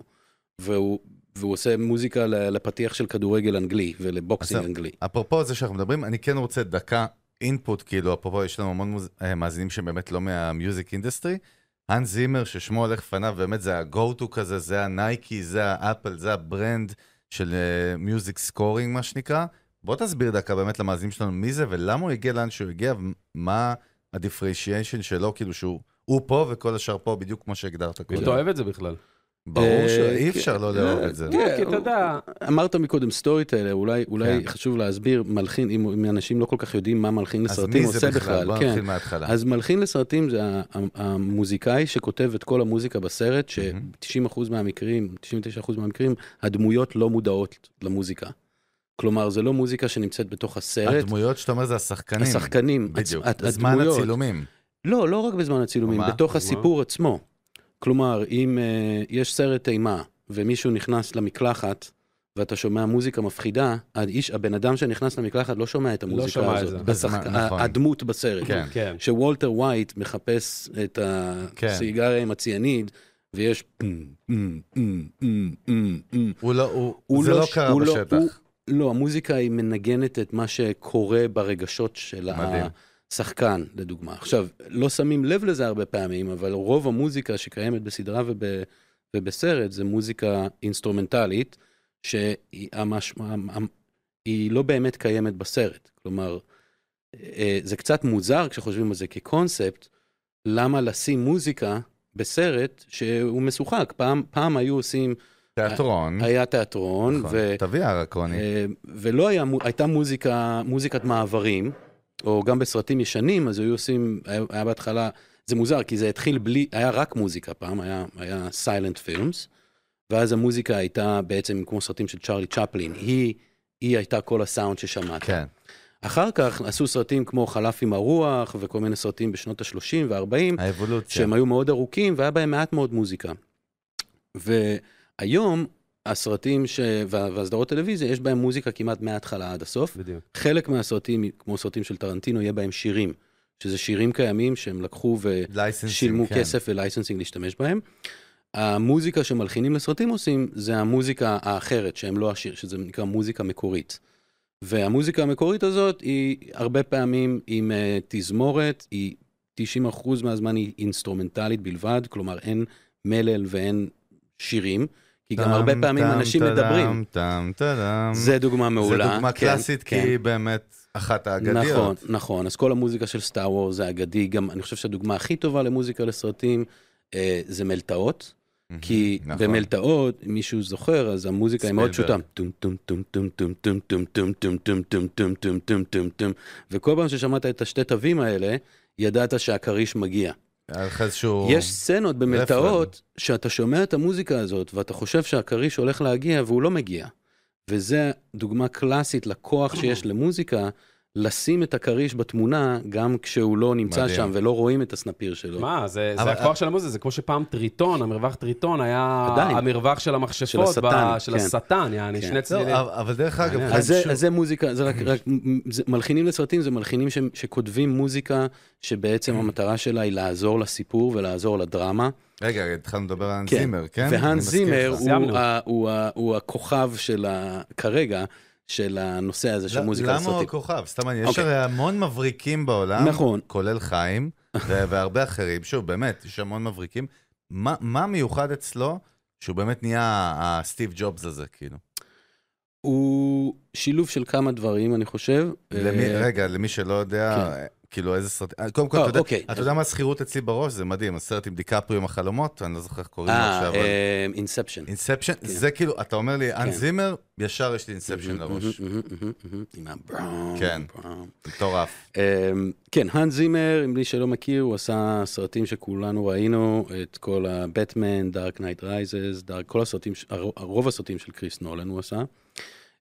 Speaker 3: והוא והוא עושה מוזיקה ל- לפתיח של כדורגל אנגלי ולבוקסינג
Speaker 2: אז-
Speaker 3: אנגלי.
Speaker 2: אפרופו זה שאנחנו מדברים, אני כן רוצה דקה אינפוט, כאילו, אפרופו, יש לנו המון מוז... אה, מאזינים שהם באמת לא מהמיוזיק אינדסטרי. האן זימר, ששמו הולך לפניו, באמת זה ה-go-to כזה, זה הנייקי, זה האפל, זה הברנד של מיוזיק סקורינג, מה שנקרא. בוא תסביר דקה באמת למאזינים שלנו מי זה ולמה הוא הגיע לאן שהוא הגיע ומה הדיפריישיישן שלו, כאילו שהוא הוא פה וכל השאר פה, בדיוק כמו שהגדרת
Speaker 1: מי
Speaker 2: קודם.
Speaker 1: תאהב את זה בכלל?
Speaker 2: ברור
Speaker 3: אה,
Speaker 2: שאי
Speaker 3: כן.
Speaker 2: אפשר לא לאהוב את זה.
Speaker 3: כן,
Speaker 1: כי אתה יודע,
Speaker 3: אמרת מקודם סטורי טיילר, אולי, אולי
Speaker 2: כן.
Speaker 3: חשוב להסביר, מלחין, אם, אם אנשים לא כל כך יודעים מה מלחין
Speaker 2: אז
Speaker 3: לסרטים
Speaker 2: מי
Speaker 3: עושה
Speaker 2: זה בכלל?
Speaker 3: בכלל,
Speaker 2: בוא
Speaker 3: כן.
Speaker 2: נתחיל מההתחלה.
Speaker 3: אז מלחין לסרטים זה ה- ה- המוזיקאי שכותב את כל המוזיקה בסרט,
Speaker 2: מהמם.
Speaker 3: ש-90% מהמקרים, 99% מהמקרים, הדמויות לא מודעות למוזיקה. כלומר, זה לא מוזיקה שנמצאת בתוך הסרט.
Speaker 2: הדמויות שאתה אומר זה השחקנים.
Speaker 3: השחקנים, עצ-
Speaker 2: בדיוק,
Speaker 3: הד-
Speaker 2: בזמן
Speaker 3: הדמויות.
Speaker 2: הצילומים.
Speaker 3: לא, לא רק בזמן הצילומים,
Speaker 2: מה?
Speaker 3: בתוך
Speaker 1: מה?
Speaker 3: הסיפור עצמו. כלומר, אם אה, יש סרט אימה ומישהו נכנס למקלחת, ואתה שומע מוזיקה מפחידה, האיש, הבן אדם שנכנס למקלחת לא שומע את המוזיקה
Speaker 1: שומע את
Speaker 3: הזאת.
Speaker 1: זה.
Speaker 2: בזמן,
Speaker 3: השחק-
Speaker 2: נכון.
Speaker 3: הדמות בסרט.
Speaker 2: כן.
Speaker 1: כן.
Speaker 3: שוולטר ווייט מחפש את
Speaker 2: כן.
Speaker 3: הסיגריה עם הציאניד, ויש... פם, פם, פם, פם, פם, פם.
Speaker 2: הוא לא, הוא,
Speaker 3: mm, הוא
Speaker 2: זה לא
Speaker 3: ש-
Speaker 2: קרה
Speaker 3: הוא
Speaker 2: בשטח.
Speaker 3: הוא- לא, המוזיקה היא מנגנת את מה שקורה ברגשות של
Speaker 2: מדהים.
Speaker 3: השחקן, לדוגמה. עכשיו, לא שמים לב לזה הרבה פעמים, אבל רוב המוזיקה שקיימת בסדרה וב, ובסרט זה מוזיקה אינסטרומנטלית, שהיא המשמע, המ- היא לא באמת קיימת בסרט. כלומר, אה, זה קצת מוזר כשחושבים על זה כקונספט, למה לשים מוזיקה בסרט שהוא משוחק. פעם, פעם היו עושים,
Speaker 2: תיאטרון.
Speaker 3: היה תיאטרון,
Speaker 2: נכון.
Speaker 3: אה, ו...
Speaker 2: תביא הרקוני.
Speaker 3: אה, ולא היה, מו- הייתה מוזיקה, מוזיקת מעברים, או גם בסרטים ישנים, אז היו עושים, היה, היה בהתחלה, זה מוזר, כי זה התחיל בלי, היה רק מוזיקה פעם, היה, היה סיילנט פילמס, ואז המוזיקה הייתה בעצם כמו סרטים של צ'רלי צ'פלין, היא, היא הייתה כל הסאונד ששמעת.
Speaker 2: כן.
Speaker 3: אחר כך עשו סרטים כמו חלף עם הרוח, וכל מיני סרטים בשנות ה-30 וה-40,
Speaker 2: האבולוציה.
Speaker 3: שהם היו מאוד ארוכים והיה בהם מעט מאוד מוזיקה. והיום הסרטים ש... וה- והסדרות טלוויזיה, יש בהם מוזיקה כמעט מההתחלה עד הסוף.
Speaker 1: בדיוק.
Speaker 3: חלק מהסרטים, כמו סרטים של טרנטינו, יהיה בהם שירים, שזה שירים קיימים שהם לקחו
Speaker 2: לייסנסים,
Speaker 3: ושילמו
Speaker 2: כן.
Speaker 3: כסף ולייסנסינג להשתמש בהם. המוזיקה שמלחינים לסרטים עושים, זה המוזיקה האחרת, שהם לא השיר, שזה נקרא מוזיקה מקורית. והמוזיקה המקורית הזאת היא הרבה פעמים עם אה, תזמורת, היא 90% מהזמן היא אינסטרומנטלית בלבד, כלומר אין מלל ואין שירים, כי גם הרבה פעמים אנשים מדברים.
Speaker 2: טאם טאם.
Speaker 3: זה דוגמה מעולה.
Speaker 2: זו דוגמה
Speaker 3: כן,
Speaker 2: קלאסית, כי
Speaker 3: כן.
Speaker 2: היא באמת אחת האגדיות.
Speaker 3: נכון, נכון. אז כל המוזיקה של סטאר וור זה אגדי. גם, אני חושב שהדוגמה הכי טובה למוזיקה לסרטים אה, זה מלטעות. כי
Speaker 2: נכון.
Speaker 3: במלטעות, אם מישהו זוכר, אז המוזיקה היא מאוד פשוטה.
Speaker 2: ספילברג.
Speaker 3: טום טום טום טום טום טום טום טום טום טום טום טום טום טום טום טום וכל פעם ששמעת את השתי תווים האלה, ידעת שהכריש מגיע.
Speaker 2: היה לך איזשהו...
Speaker 3: יש סצנות במלטעות שאתה שומע את המוזיקה הזאת ואתה חושב שהכריש הולך להגיע והוא לא מגיע. וזה דוגמה קלאסית לכוח שיש למוזיקה, לשים את הכריש בתמונה גם כשהוא לא נמצא
Speaker 2: מדהים.
Speaker 3: שם ולא רואים את הסנפיר שלו.
Speaker 1: מה, זה,
Speaker 2: אבל-
Speaker 1: זה הכוח של המוזיקה, זה כמו שפעם טריטון, המרווח טריטון היה
Speaker 3: עדיין.
Speaker 1: המרווח של המכשפות,
Speaker 3: של השטן,
Speaker 1: ב- של
Speaker 3: כן.
Speaker 1: השטן, יעני,
Speaker 3: כן.
Speaker 1: שני
Speaker 2: לא,
Speaker 1: צלילים.
Speaker 2: אבל- אבל דרך אגב,
Speaker 1: מעניין.
Speaker 2: חיים,
Speaker 3: אז זה,
Speaker 2: שוב-
Speaker 3: אז זה מוזיקה, זה רק, רק זה, מלחינים לסרטים, זה מלחינים ש, שכותבים מוזיקה שבעצם המטרה שלה היא לעזור לסיפור ולעזור לדרמה.
Speaker 2: רגע, התחלנו לדבר על האנס
Speaker 3: כן.
Speaker 2: זימר, כן? אני
Speaker 3: והאנס
Speaker 2: מזכיר
Speaker 3: זימר
Speaker 2: לך.
Speaker 3: הוא,
Speaker 1: סיימנו.
Speaker 3: ה, הוא, ה, הוא הכוכב של ה, כרגע של הנושא הזה של
Speaker 2: ל-
Speaker 3: מוזיקה
Speaker 2: לא, למה הוא
Speaker 3: לסרטים.
Speaker 2: הכוכב? סתם, אני- יש
Speaker 3: אוקיי.
Speaker 2: הרי המון מבריקים בעולם,
Speaker 3: נכון.
Speaker 2: כולל חיים, ו- והרבה אחרים. שוב, באמת, יש המון מבריקים. מה מה מיוחד אצלו שהוא באמת נהיה הסטיב ג'ובס הזה, כאילו?
Speaker 3: הוא שילוב של כמה דברים, אני חושב.
Speaker 2: למי,
Speaker 3: אה, כן.
Speaker 2: רגע, למי שלא יודע, כאילו איזה סרט... קודם כל,
Speaker 3: אה,
Speaker 2: אתה יודע-
Speaker 3: אוקיי.
Speaker 2: אתה יודע מה השכירות אצלי בראש? זה מדהים, הסרט עם דיקפרי עם החלומות, אני לא זוכר איך קוראים לו
Speaker 3: אה, כן.
Speaker 2: עכשיו. אבל-
Speaker 3: אינספשן.
Speaker 2: אינספשן, זה כאילו, אתה אומר לי, אנ זימר, ישר יש לי אינספשן
Speaker 3: Mm-hmm,
Speaker 2: לראש.
Speaker 3: עם הברום.
Speaker 2: כן.
Speaker 3: ברום.
Speaker 2: מטורף.
Speaker 3: אמ, כן, האן זימר, אם מי שלא מכיר, הוא עשה סרטים שכולנו ראינו, את כל הבטמן, דארק נייט רייזס, כל הסרטים, ש- הר- הרוב הסרטים של קריס נולן הוא עשה.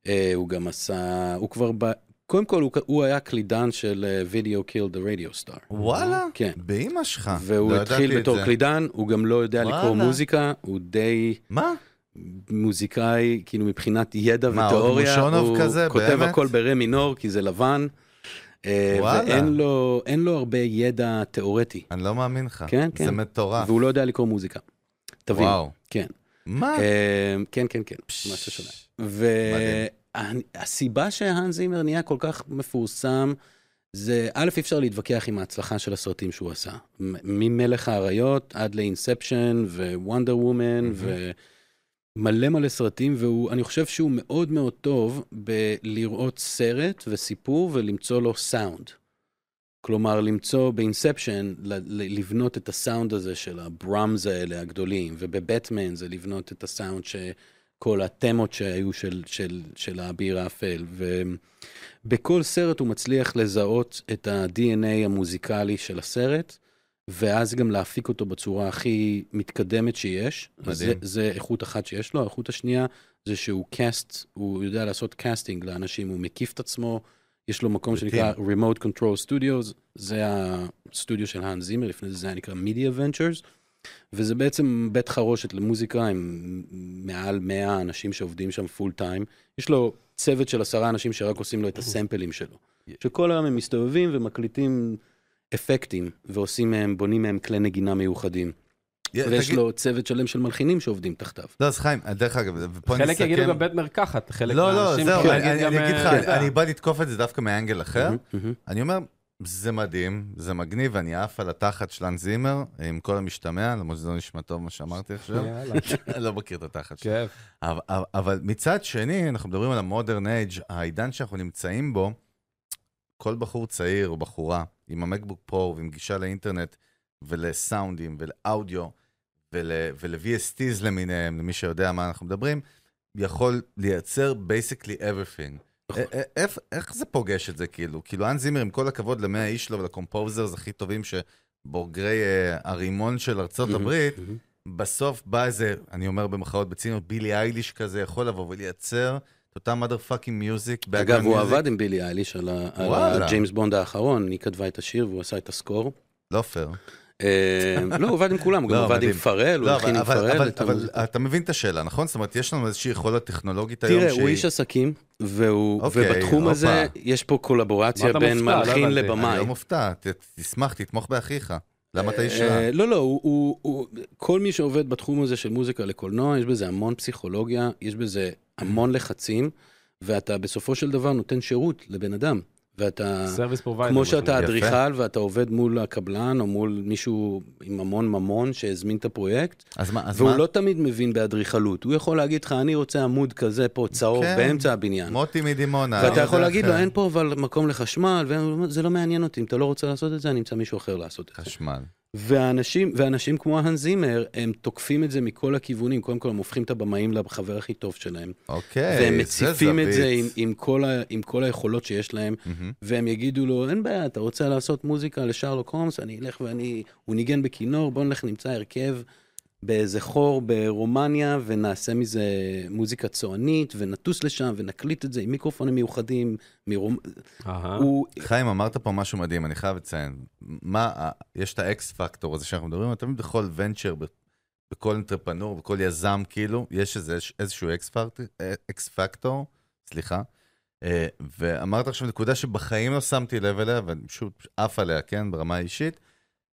Speaker 3: אה, הוא גם עשה, הוא כבר, ב... קודם כל, הוא, כ- הוא היה קלידן של אה, וידאו קיל דה רדיו סטאר.
Speaker 2: וואלה?
Speaker 3: כן.
Speaker 2: באימא שלך.
Speaker 3: והוא
Speaker 2: לא ידעתי
Speaker 3: התחיל
Speaker 2: את
Speaker 3: בתור
Speaker 2: זה.
Speaker 3: קלידן, הוא גם לא יודע לקרוא
Speaker 2: וואלה.
Speaker 3: מוזיקה, הוא די
Speaker 2: מה?
Speaker 3: מוזיקאי, כאילו מבחינת ידע
Speaker 2: מה, עוד
Speaker 3: ותיאוריה,
Speaker 2: מושונוב
Speaker 3: הוא
Speaker 2: כזה?
Speaker 3: כותב
Speaker 2: באמת?
Speaker 3: הכל ברע מינור, כי זה לבן, אה,
Speaker 2: וואלה.
Speaker 3: ואין לו, אין לו הרבה ידע תיאורטי,
Speaker 2: אני לא מאמין לך.
Speaker 3: כן, כן.
Speaker 2: זה מטורף.
Speaker 3: והוא לא יודע לקרוא מוזיקה. תבין.
Speaker 2: וואו.
Speaker 3: כן.
Speaker 2: מה?
Speaker 3: אה, כן, כן, כן, משהו שונה. והסיבה שהאנס זימר נהיה כל כך מפורסם, זה א', אי אפשר להתווכח עם ההצלחה של הסרטים שהוא עשה. מ- ממלך האריות עד לאינספשן ווונדר וומן ומלא מלא סרטים, ואני חושב שהוא מאוד מאוד טוב בלראות סרט וסיפור ולמצוא לו סאונד. כלומר, למצוא באינספשן, לבנות את הסאונד הזה של הבראמז האלה הגדולים, ובבטמן זה לבנות את הסאונד ש... כל התמות שהיו של, של, של האביר האפל, ובכל סרט הוא מצליח לזהות את ה-DNA המוזיקלי של הסרט, ואז גם להפיק אותו בצורה הכי מתקדמת שיש.
Speaker 2: מדהים.
Speaker 3: זה, זה איכות אחת שיש לו, האיכות השנייה זה שהוא קאסט, הוא יודע לעשות קאסטינג לאנשים, הוא מקיף את עצמו, יש לו מקום שנקרא Remote Control Studios, זה הסטודיו של האן זימר, לפני זה זה היה נקרא Media Ventures. וזה בעצם בית חרושת למוזיקה עם מעל 100 אנשים שעובדים שם פול טיים. יש לו צוות של עשרה אנשים שרק עושים לו את הסמפלים שלו. שכל היום הם מסתובבים ומקליטים אפקטים, ועושים מהם, בונים מהם כלי נגינה מיוחדים.
Speaker 2: יא,
Speaker 3: ויש
Speaker 2: תגיד-
Speaker 3: לו צוות שלם של מלחינים שעובדים תחתיו.
Speaker 2: לא, אז חיים, דרך אגב, ופה אני
Speaker 1: חלק
Speaker 2: אסכם.
Speaker 1: יגידו גם בית מרקחת, חלק
Speaker 2: לא, לא,
Speaker 1: מהאנשים...
Speaker 2: זהו,
Speaker 1: כאילו,
Speaker 2: אני- אני
Speaker 1: גם,
Speaker 2: אני אגיד
Speaker 1: אה,
Speaker 2: לך,
Speaker 1: אתה יודע.
Speaker 2: אני בא לתקוף את זה דווקא מאנגל אחר.
Speaker 3: מהמם.
Speaker 2: אני אומר, זה מדהים, זה מגניב, אני עף על התחת של האן זימר, עם כל המשתמע, למרות שזה לא נשמע טוב מה שאמרתי עכשיו.
Speaker 3: כן.
Speaker 1: יאללה,
Speaker 2: לא מכיר את התחת שלו.
Speaker 1: כיף.
Speaker 2: אבל, אבל- אבל מצד שני, אנחנו מדברים על המודרן אייג', העידן שאנחנו נמצאים בו, כל בחור צעיר או בחורה, עם המקבוק פרו ועם גישה לאינטרנט ולסאונדים ולאודיו ול, ול-VSTs למיניהם, למי שיודע מה אנחנו מדברים, יכול לייצר basically everything. א- א- איך, איך זה פוגש את זה כאילו? כאילו, אנ זימר, עם כל הכבוד למאה איש שלו ולקומפוזרס הכי טובים שבוגרי אה, הרימון של ארצות
Speaker 3: מהמם,
Speaker 2: הברית,
Speaker 3: מהמם.
Speaker 2: בסוף בא איזה, אני אומר במחאות בציניות, בילי אייליש כזה יכול לבוא ולייצר את אותה mother fucking music.
Speaker 3: אגב, הוא עבד עם בילי אייליש על ה- על
Speaker 2: וואלה.
Speaker 3: הג'יימס בונד האחרון, היא כתבה את השיר והוא עשה את הסקור.
Speaker 2: לא פייר.
Speaker 3: אה, לא, הוא עבד עם כולם, הוא גם
Speaker 2: לא,
Speaker 3: עבד עם
Speaker 2: מדהים.
Speaker 3: פרל, הוא
Speaker 2: לא,
Speaker 3: הלחין
Speaker 2: אבל,
Speaker 3: עם
Speaker 2: אבל,
Speaker 3: פרל.
Speaker 2: אבל,
Speaker 3: את
Speaker 2: אבל
Speaker 3: המוזיקה.
Speaker 2: אתה מבין את השאלה, נכון? זאת אומרת, יש לנו איזושהי יכולת טכנולוגית היום
Speaker 3: תראה,
Speaker 2: שהיא... לא
Speaker 3: הוא איש עסקים, והוא,
Speaker 2: אוקיי,
Speaker 3: ובתחום
Speaker 2: הופה.
Speaker 3: הזה יש פה קולבורציה
Speaker 1: מה אתה
Speaker 3: בין
Speaker 1: מופתע? לא
Speaker 3: מלחין
Speaker 1: הבנתי.
Speaker 2: אני
Speaker 3: לבמאי.
Speaker 2: לא מופתע, ת, תשמח, תתמוך באחיך. למה אתה איש רע?
Speaker 3: אה, לא, לא, הוא- הוא- הוא- כל מי שעובד בתחום הזה של מוזיקה לקולנוע, יש בזה המון פסיכולוגיה, יש בזה המון לחצים, ואתה בסופו של דבר נותן שירות לבן אדם, ואתה...
Speaker 1: סרוויס פרוביידר.
Speaker 3: אה. כמו שאתה
Speaker 2: אה, יפה.
Speaker 3: אדריכל ואתה עובד מול הקבלן או מול מישהו עם המון ממון שהזמין את הפרויקט,
Speaker 2: אז מה, אז
Speaker 3: והוא
Speaker 2: מה?
Speaker 3: לא תמיד מבין באדריכלות. הוא יכול להגיד לך, אני רוצה עמוד כזה פה צהוב
Speaker 2: כן.
Speaker 3: באמצע הבניין.
Speaker 2: מוטי מדימונה.
Speaker 3: ואתה
Speaker 2: לא
Speaker 3: יכול
Speaker 2: יודע
Speaker 3: להגיד
Speaker 2: אחר.
Speaker 3: לו, אין פה אבל מקום לחשמל, וזה לא מעניין אותי, אם אתה לא רוצה לעשות את זה, אני אמצא מישהו אחר לעשות את זה.
Speaker 2: חשמל.
Speaker 3: ואנשים, ואנשים כמו ההאן זימר, הם תוקפים את זה מכל הכיוונים. קודם כל, הם הופכים את הבמאים לחבר הכי טוב שלהם.
Speaker 2: אוקיי,
Speaker 3: והם
Speaker 2: זה
Speaker 3: מציפים את זה עם,
Speaker 2: זווית.
Speaker 3: עם, כל ה, עם כל היכולות שיש להם,
Speaker 2: מהמם.
Speaker 3: והם יגידו לו, אין בעיה, אתה רוצה לעשות מוזיקה לשרלוק הומס, אני אלך ואני... הוא ניגן בכינור, בוא נלך נמצא הרכב באיזה חור ברומניה, ונעשה מזה מוזיקה צוענית, ונטוס לשם, ונקליט את זה עם מיקרופונים מיוחדים מרומ...
Speaker 2: לא,
Speaker 1: אהה.
Speaker 3: הוא...
Speaker 2: חיים, אמרת פה משהו מדהים, אני חייב לציין. מה, ה- יש את האקס פקטור הזה שאנחנו מדברים, עליו, תמיד בכל ונצ'ר, ב- בכל אינטרפנור, בכל יזם, כאילו, יש איזה, איזשהו אקס פקטור, אקס פקטור, סליחה. אה, ואמרת עכשיו נקודה שבחיים לא שמתי לב אליה, ואני פשוט עף עליה, כן, ברמה האישית,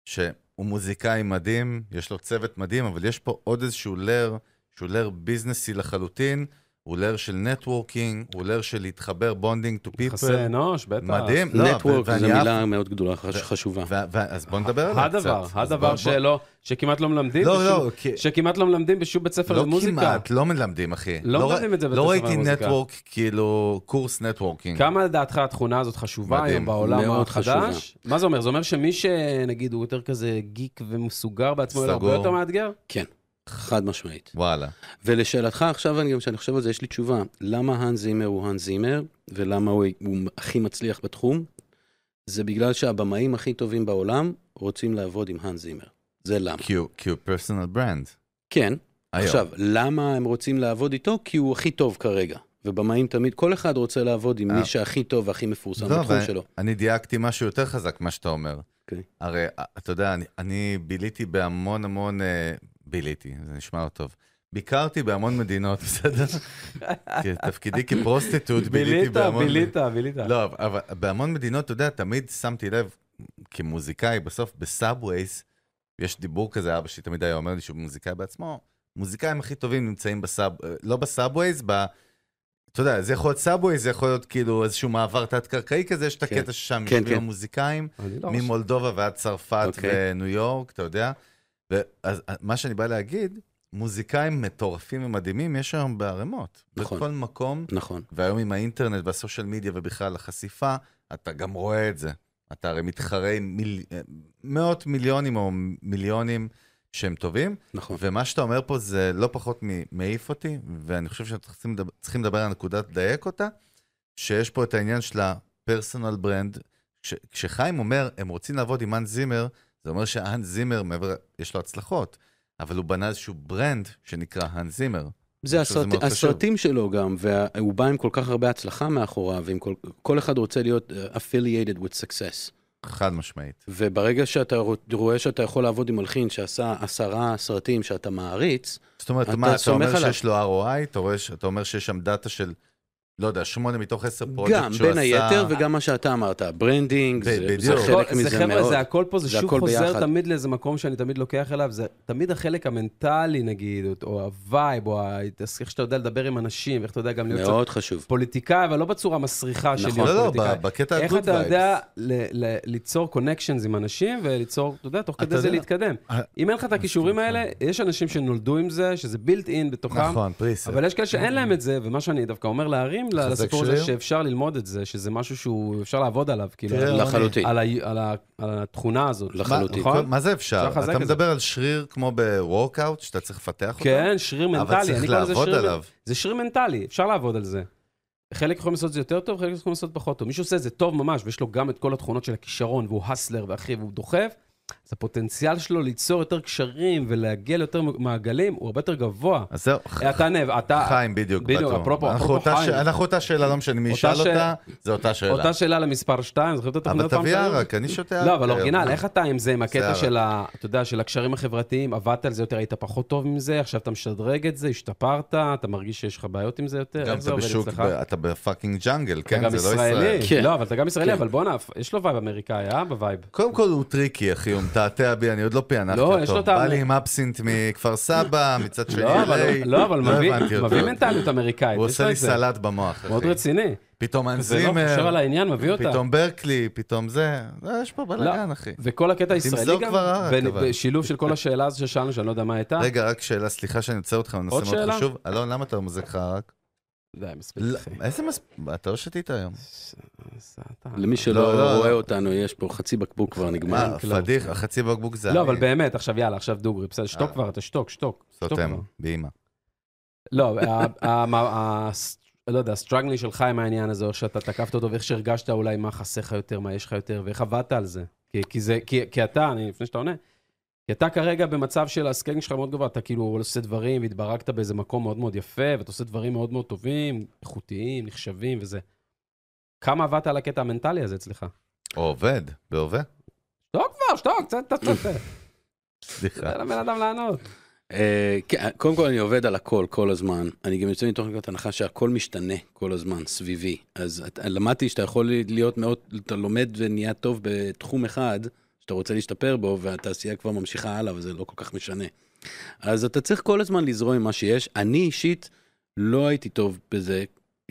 Speaker 2: שהוא מוזיקאי מדהים, יש לו צוות מדהים, אבל יש פה עוד איזשהו לר, שהוא לר ביזנסי לחלוטין, הוא לר של נטוורקינג, הוא לר של להתחבר בונדינג טו פיפל.
Speaker 1: יחסי אנוש, בטח.
Speaker 2: מדהים, לא,
Speaker 3: נטוורק
Speaker 2: ואני
Speaker 3: זו
Speaker 2: אהב-
Speaker 3: מילה מאוד גדולה, חש-
Speaker 2: ו-
Speaker 3: חשובה.
Speaker 2: ו- ו- אז בוא נדבר עליה לא, קצת.
Speaker 1: הדבר,
Speaker 2: אז בוא-
Speaker 1: הדבר
Speaker 2: בוא-
Speaker 1: שלא, שכמעט לא מלמדים.
Speaker 2: לא,
Speaker 1: בשום-
Speaker 2: לא, כי-
Speaker 1: שכמעט לא מלמדים בשום בית ספר
Speaker 2: לא
Speaker 1: למוזיקה.
Speaker 2: כמעט, לא מלמדים, אחי.
Speaker 1: לא
Speaker 2: ר-
Speaker 1: מלמדים את זה בבית
Speaker 2: לא
Speaker 1: ספר
Speaker 2: ראיתי
Speaker 1: למוזיקה.
Speaker 2: נטוורק, כאילו, קורס נטוורקינג.
Speaker 1: כמה לדעתך התכונה הזאת חשובה
Speaker 2: מדהים,
Speaker 1: היום בעולם
Speaker 3: מאוד
Speaker 1: החדש? מה זה אומר? זה אומר שמי שנגיד הוא יותר כזה גיק ומסוגר בעצמו, אלא הרבה
Speaker 2: סגור.
Speaker 1: יותר מאתגר?
Speaker 3: כן, חד משמעית.
Speaker 2: וואלה.
Speaker 3: ולשאלתך, עכשיו אני גם, כשאני חושב על זה, יש לי תשובה. למה האן זימר הוא האן זימר, ולמה הוא, הוא הכי מצליח בתחום? זה בגלל שהבמאים הכי טובים בעולם רוצים לעבוד עם האן זימר. זה למה.
Speaker 2: כי הוא- כי הוא פרסונל ברנד.
Speaker 3: כן, עכשיו, למה הם רוצים לעבוד איתו? כי הוא הכי טוב כרגע. ובמאים תמיד, כל אחד רוצה לעבוד עם
Speaker 2: אה.
Speaker 3: מי שהכי טוב והכי מפורסם
Speaker 2: לא,
Speaker 3: בתחום
Speaker 2: אבל-
Speaker 3: שלו.
Speaker 2: אני דייקתי משהו יותר חזק ממה שאתה אומר.
Speaker 3: אוקיי.
Speaker 2: הרי, אה, אתה יודע, אני, אני ביליתי בהמון המון... אה, ביליתי, זה נשמע לא טוב. ביקרתי בהמון מדינות, בסדר? כי תפקידי כפרוסטיטוט, ביליתי
Speaker 1: בילית,
Speaker 2: בהמון...
Speaker 1: בילית, בילית.
Speaker 2: לא, אבל- אבל בהמון מדינות, אתה יודע, תמיד שמתי לב, כמוזיקאי, בסוף בסאבווייז, יש דיבור כזה, אבא שלי תמיד היה אומר לי שהוא מוזיקאי בעצמו, מוזיקאים הכי טובים נמצאים בסאב, לא בסאבווייז, ב... אתה יודע, זה יכול להיות סאבווייז, זה יכול להיות כאילו איזשהו מעבר תת-קרקעי כזה, יש את
Speaker 3: כן.
Speaker 2: הקטע ששם
Speaker 3: כן,
Speaker 2: יושבים
Speaker 3: כן.
Speaker 2: המוזיקאים,
Speaker 1: אני לא חושב.
Speaker 2: ממולדובה ועד צרפת
Speaker 3: אוקיי.
Speaker 2: וניו יורק, אתה יודע. ואז מה שאני בא להגיד, מוזיקאים מטורפים ומדהימים יש היום בערימות.
Speaker 3: נכון.
Speaker 2: בכל מקום,
Speaker 3: נכון.
Speaker 2: והיום עם האינטרנט והסושיאל מדיה ובכלל החשיפה, אתה גם רואה את זה. אתה הרי מתחרה עם מיל... מאות מיליונים או מיליונים שהם טובים,
Speaker 3: נכון.
Speaker 2: ומה שאתה אומר פה זה לא פחות מעיף אותי, ואני חושב שאנחנו צריכים לדבר, צריכים לדבר על נקודה, לדייק אותה, שיש פה את העניין של הפרסונל ברנד. כש, כשחיים אומר, הם רוצים לעבוד עם האן זימר, זה אומר שהאן זימר, מעבר, יש לו הצלחות, אבל הוא בנה איזשהו ברנד שנקרא האן זימר.
Speaker 3: זה
Speaker 2: חושב שזה
Speaker 3: הסרט,
Speaker 2: מאוד חשוב.
Speaker 3: הסרטים שלו גם, והוא בא עם כל כך הרבה הצלחה מאחוריו, ועם כל, כל אחד רוצה להיות uh, affiliated with success.
Speaker 2: חד משמעית.
Speaker 3: וברגע שאתה רוא- רואה שאתה יכול לעבוד עם מלחין שעשה עשרה סרטים שאתה מעריץ,
Speaker 2: זאת אומרת,
Speaker 3: אתה
Speaker 2: מה, אתה
Speaker 3: סומך
Speaker 2: אומר
Speaker 3: עליו.
Speaker 2: שיש לו ROI, אתה, רואה, ש- אתה אומר שיש שם דאטה של, לא יודע, שמונה מתוך עשר פרודקט
Speaker 3: גם,
Speaker 2: שהוא
Speaker 3: בין
Speaker 2: עשה.
Speaker 3: היתר, וגם מה שאתה אמרת, ברנדינג, זה,
Speaker 2: ב-
Speaker 3: זה
Speaker 2: בדיוק.
Speaker 1: הכל-
Speaker 3: חלק מזה
Speaker 1: זה חבר'ה,
Speaker 3: מאוד.
Speaker 1: זה הכל פה, זה
Speaker 3: זה
Speaker 1: שוב
Speaker 3: הכל
Speaker 1: חוזר
Speaker 3: ביחד.
Speaker 1: תמיד לאיזה מקום שאני תמיד לוקח אליו, זה תמיד החלק המנטלי נגיד, או- או הווייב, או ה- איך שאתה יודע לדבר עם אנשים, ואיך אתה יודע גם להיות קצת
Speaker 3: מאוד חשוב.
Speaker 1: פוליטיקאי, אבל לא בצורה מסריחה של
Speaker 3: נכון.
Speaker 1: להיות
Speaker 2: לא, לא,
Speaker 1: פוליטיקאי.
Speaker 2: ב- בקטע
Speaker 1: איך
Speaker 2: ה-good
Speaker 1: אתה יודע
Speaker 2: vibes.
Speaker 1: ל- ל- ליצור קונקשנס עם אנשים וליצור, אתה יודע, תוך
Speaker 2: אתה
Speaker 1: כדי זה
Speaker 2: יודע.
Speaker 1: להתקדם.
Speaker 2: אה,
Speaker 1: אם אין לך את הכישורים האלה, יש אנשים שנולדו עם זה, שזה בילט אין בתוכם,
Speaker 2: נכון, פריסה.
Speaker 1: אבל יש כאלה שאין להם את זה, ומה שאני דווקא אומר להרים
Speaker 2: לחזק
Speaker 1: לסיפור הזה,
Speaker 2: שריר? כן.
Speaker 1: שאפשר ללמוד את זה, שזה משהו שהוא, אפשר לעבוד עליו, כאילו,
Speaker 2: תראה,
Speaker 1: על-
Speaker 3: לחלוטין.
Speaker 1: על ה- על ה- על התכונה הזאת.
Speaker 3: לחלוטין.
Speaker 2: מה,
Speaker 1: נכון?
Speaker 2: מה זה אפשר?
Speaker 1: אפשר לחזק
Speaker 2: אתה
Speaker 1: את זה.
Speaker 2: מדבר על שריר כמו בוורקאוט, שאתה צריך לפתח אותו?
Speaker 1: כן, שריר
Speaker 2: אבל
Speaker 1: מנטלי.
Speaker 2: צריך
Speaker 1: אני קורא לזה
Speaker 2: לעבוד
Speaker 1: שריר מנ-
Speaker 2: עליו.
Speaker 1: זה שריר מנטלי, אפשר לעבוד על זה. חלק יכולים לעשות את זה יותר טוב, חלק יכולים לעשות פחות טוב. מי שעושה את זה טוב ממש, ויש לו גם את כל התכונות של הכישרון, והוא הסלר, ואחי, והוא דוחף, אז הפוטנציאל שלו ליצור יותר קשרים ולהגיע ליותר מעגלים, הוא הרבה יותר גבוה.
Speaker 2: אז זהו, ח-
Speaker 1: אה, אתה נב, אתה...
Speaker 2: חיים בדיוק.
Speaker 1: בדיוק,
Speaker 2: בטוח.
Speaker 1: אפרופו-
Speaker 2: אנחנו
Speaker 1: אפרופו
Speaker 2: אותה ש-
Speaker 1: חיים.
Speaker 2: אנחנו אותה שאלה, לא משנה מי
Speaker 1: אותה
Speaker 2: ישאל
Speaker 1: ש-
Speaker 2: אותה, זו אותה שאלה.
Speaker 1: אותה שאלה למספר 2, זוכרים את התוכנית
Speaker 2: אבל
Speaker 1: פעם
Speaker 2: תביא כן.
Speaker 1: שהיו?
Speaker 2: ערק, אני שותה ערק.
Speaker 1: לא, אבל
Speaker 2: היום.
Speaker 1: אורגינל, איך אתה עם זה, עם
Speaker 2: שיער.
Speaker 1: הקטע של ה... אתה יודע, של הקשרים החברתיים, עבדת על זה יותר, היית פחות טוב עם זה, עכשיו אתה משדרג את זה, השתפרת, אתה מרגיש שיש לך בעיות עם זה יותר,
Speaker 2: גם
Speaker 1: איך זה
Speaker 2: אתה
Speaker 1: עובד
Speaker 2: בשוק,
Speaker 1: אצלך?
Speaker 2: ב- אתה בפאקינג ג'אנגל,
Speaker 1: אתה
Speaker 2: כן?
Speaker 1: גם
Speaker 2: זה לא ישראל.
Speaker 1: ישראלי.
Speaker 3: כן.
Speaker 1: לא, אבל אתה גם ישראלי,
Speaker 3: כן.
Speaker 1: אבל בואנה, יש לו וייב אמריקאי, אה? בווייב.
Speaker 2: קודם כל הוא טריקי, אחי, הוא מתעתע בי, אני עוד לא פענחתי
Speaker 1: לא,
Speaker 2: אותו.
Speaker 1: יש לו את ה-
Speaker 2: בא לי עם אפסינט מכפר סבא, מצד שני,
Speaker 1: לא, אבל-
Speaker 2: LA,
Speaker 1: לא, אבל מביא-
Speaker 2: הבנתי אותו.
Speaker 1: מביא מנטליות אמריקאית.
Speaker 2: הוא
Speaker 1: יש
Speaker 2: עושה
Speaker 1: לו
Speaker 2: לי
Speaker 1: את זה.
Speaker 2: סלט במוח,
Speaker 1: מאוד
Speaker 2: אחי.
Speaker 1: רציני.
Speaker 2: פתאום
Speaker 1: זה לא חושב על
Speaker 2: אנזימר,
Speaker 1: העניין, מביא אותה.
Speaker 2: פתאום ברקלי, פתאום זה. לא, יש פה בלאגן, אחי.
Speaker 1: וכל הקטע הישראלי
Speaker 2: תמזוג
Speaker 1: גם,
Speaker 2: כבר הארץ,
Speaker 1: ו-
Speaker 2: אבל.
Speaker 1: בשילוב של כל השאלה הזו ששאלנו, שאני לא יודע מה הייתה.
Speaker 2: רגע, רק שאלה, סליחה שאני עוצר אותך, נושא
Speaker 1: עוד
Speaker 2: מאוד
Speaker 1: שאלה?
Speaker 2: חשוב. אלון, למה אתה מוזג חרק?
Speaker 1: די, מספיק.
Speaker 2: לא,
Speaker 1: אחי.
Speaker 2: איזה מס... אתה לא שתית היום.
Speaker 1: ס- ס- אתה-
Speaker 3: למי
Speaker 2: לא, לא,
Speaker 3: שלא רואה
Speaker 2: לא.
Speaker 3: אותנו, יש פה חצי בקבוק כבר נגמר.
Speaker 2: מה,
Speaker 1: כלום.
Speaker 2: פדיח, החצי בקבוק זה אני.
Speaker 1: לא, אבל באמת, עכשיו יאללה, עכשיו דוגרי, בסדר, שתוק
Speaker 2: אה.
Speaker 1: כבר, אתה שתוק, שתוק. שתוק
Speaker 2: סותם,
Speaker 1: כבר.
Speaker 2: באימא.
Speaker 1: לא, ה- ה- מה- ה- הס- לא יודע, הסטרגלינג שלך עם העניין הזה, או שאתה תקפת אותו, ואיך שהרגשת אולי מה חסר לך יותר, מה יש לך יותר, ואיך עבדת על זה. כי- כי זה, כי- כי אתה, אני, לפני שאתה עונה, כי אתה כרגע במצב של הסקיינג שלך מאוד גבוה, אתה כאילו עושה דברים, והתברקת באיזה מקום מאוד מאוד יפה, ואתה עושה דברים מאוד מאוד טובים, איכותיים, נחשבים וזה. כמה עבדת על הקטע המנטלי הזה אצלך?
Speaker 2: או עובד, בהווה.
Speaker 1: שתוק כבר, שתוק, צא, צא, צא, צא.
Speaker 2: סליחה.
Speaker 1: תן לבן אדם לענות.
Speaker 3: אה, כן, קודם כל אני עובד על הכל, כל הזמן. אני גם יוצא מתוך נקודת הנחה שהכל משתנה כל הזמן, סביבי. אז את- למדתי שאתה יכול להיות מאוד, אתה לומד ונהיה טוב בתחום אחד, שאתה רוצה להשתפר בו, והתעשייה כבר ממשיכה הלאה, וזה לא כל כך משנה. אז אתה צריך כל הזמן לזרום עם מה שיש. אני אישית לא הייתי טוב בזה.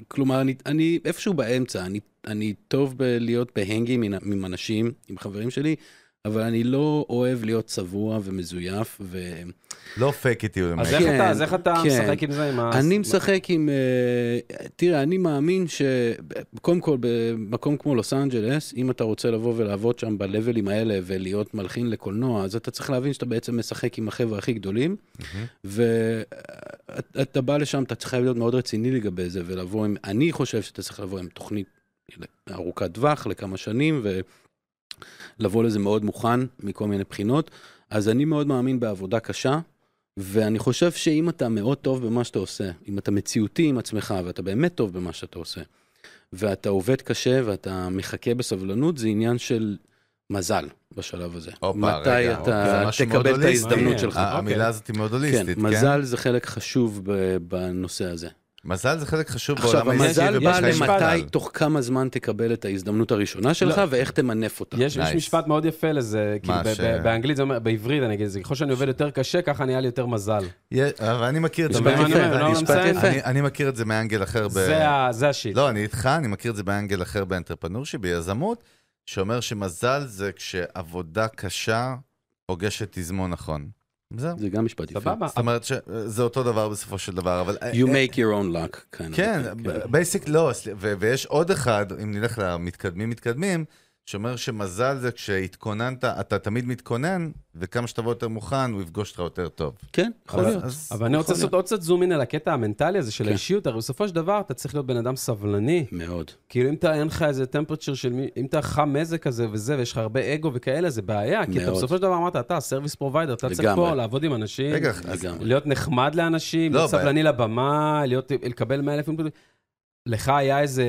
Speaker 3: כלומר, אני, אני איפשהו באמצע, אני, אני טוב בלהיות בהנגים עם, עם אנשים, עם חברים שלי, אבל אני לא אוהב להיות צבוע ומזויף, ו...
Speaker 2: לא פייק איטי, הוא
Speaker 1: אז
Speaker 2: אומר.
Speaker 1: איך
Speaker 3: כן,
Speaker 1: אתה- אז איך אתה
Speaker 3: כן.
Speaker 1: משחק עם זה? עם ה-
Speaker 3: אני משחק עם... אה, תראה, אני מאמין ש... קודם כל, במקום כמו לוס אנג'לס, אם אתה רוצה לבוא ולעבוד שם בלבלים האלה ולהיות מלחין לקולנוע, אז אתה צריך להבין שאתה בעצם משחק עם החבר'ה הכי גדולים, ואתה בא לשם, אתה צריך להיות מאוד רציני לגבי זה, ולבוא עם... אני חושב שאתה צריך לבוא עם תוכנית ארוכת טווח לכמה שנים, ולבוא לזה מאוד מוכן מכל מיני בחינות. אז אני מאוד מאמין בעבודה קשה, ואני חושב שאם אתה מאוד טוב במה שאתה עושה, אם אתה מציאותי עם עצמך ואתה באמת טוב במה שאתה עושה, ואתה עובד קשה ואתה מחכה בסבלנות, זה עניין של מזל בשלב הזה.
Speaker 2: הופה,
Speaker 3: מתי
Speaker 2: רגע, אוקיי, זה
Speaker 3: אתה
Speaker 2: משהו מאוד
Speaker 3: תקבל את
Speaker 2: הוליסטי. כן.
Speaker 3: ההזדמנות
Speaker 1: מעניין.
Speaker 3: שלך.
Speaker 2: ה-
Speaker 1: אוקיי.
Speaker 2: המילה הזאת היא מאוד
Speaker 3: כן,
Speaker 2: הוליסטית, כן?
Speaker 3: מזל זה חלק חשוב ב- בנושא הזה.
Speaker 2: מזל זה חלק חשוב בעולם
Speaker 3: עכשיו,
Speaker 2: האישי
Speaker 3: המזל בא
Speaker 2: ובחיים כן.
Speaker 1: יש משפט-
Speaker 3: למתי,
Speaker 2: בכלל.
Speaker 3: תוך כמה זמן תקבל את ההזדמנות הראשונה שלך, ואיך תמנף אותה.
Speaker 1: יש, יש
Speaker 2: Nice.
Speaker 1: משפט מאוד יפה לזה, כאילו ב-
Speaker 2: ש-
Speaker 1: ב- באנגלית זה אומר, בעברית אני אגיד את זה, ככל שאני עובד יותר קשה, ככה נהיה לי יותר מזל.
Speaker 2: יה- אבל אני מכיר את זה.
Speaker 1: משפט
Speaker 2: מאנגל-
Speaker 1: יפה, לא, לא
Speaker 2: אני-
Speaker 1: מצא
Speaker 2: אני-
Speaker 1: יפה.
Speaker 2: אני- אני מכיר את זה מאנגל אחר. ב-
Speaker 1: זה, ה, זה השיט.
Speaker 2: לא, אני איתך, אני מכיר את זה באנגל אחר באנטרפנורשי, ביזמות, שאומר שמזל זה כשעבודה קשה פוגשת תזמון נכון. זהו.
Speaker 3: זה גם משפט יפה.
Speaker 1: סבבה.
Speaker 2: זאת אומרת שזה אותו דבר בסופו של דבר, אבל...
Speaker 3: You make your own luck. kind of.
Speaker 2: כן, בייסיק לא, סל- ו- ויש עוד אחד, אם נלך למתקדמים מתקדמים, שאומר שמזל זה כשהתכוננת, אתה תמיד מתכונן, וכמה שתבוא יותר מוכן, הוא יפגוש אותך יותר טוב.
Speaker 3: כן, יכול
Speaker 2: אז-
Speaker 3: להיות.
Speaker 2: אז-
Speaker 1: אבל אני רוצה
Speaker 3: יכול
Speaker 1: לעשות עוד קצת זום אין על הקטע המנטלי הזה של
Speaker 3: כן.
Speaker 1: האישיות, הרי בסופו של דבר אתה צריך להיות בן אדם סבלני.
Speaker 3: מאוד.
Speaker 1: כאילו אם אתה, אין לך איזה טמפרצ'ר של מי, אם אתה חם מזג כזה וזה, ויש לך הרבה אגו וכאלה, זה בעיה. כי אתה
Speaker 3: מאוד.
Speaker 1: בסופו של דבר אמרת, אתה הסרוויס פרוביידר, אתה צריך
Speaker 3: לגמרי.
Speaker 1: פה לעבוד עם אנשים,
Speaker 2: רגע, אז
Speaker 3: לגמרי.
Speaker 1: להיות נחמד לאנשים,
Speaker 2: לא,
Speaker 1: להיות
Speaker 2: בעיה.
Speaker 1: סבלני לבמה, להיות, לקבל 100 אלף... לך היה איזה,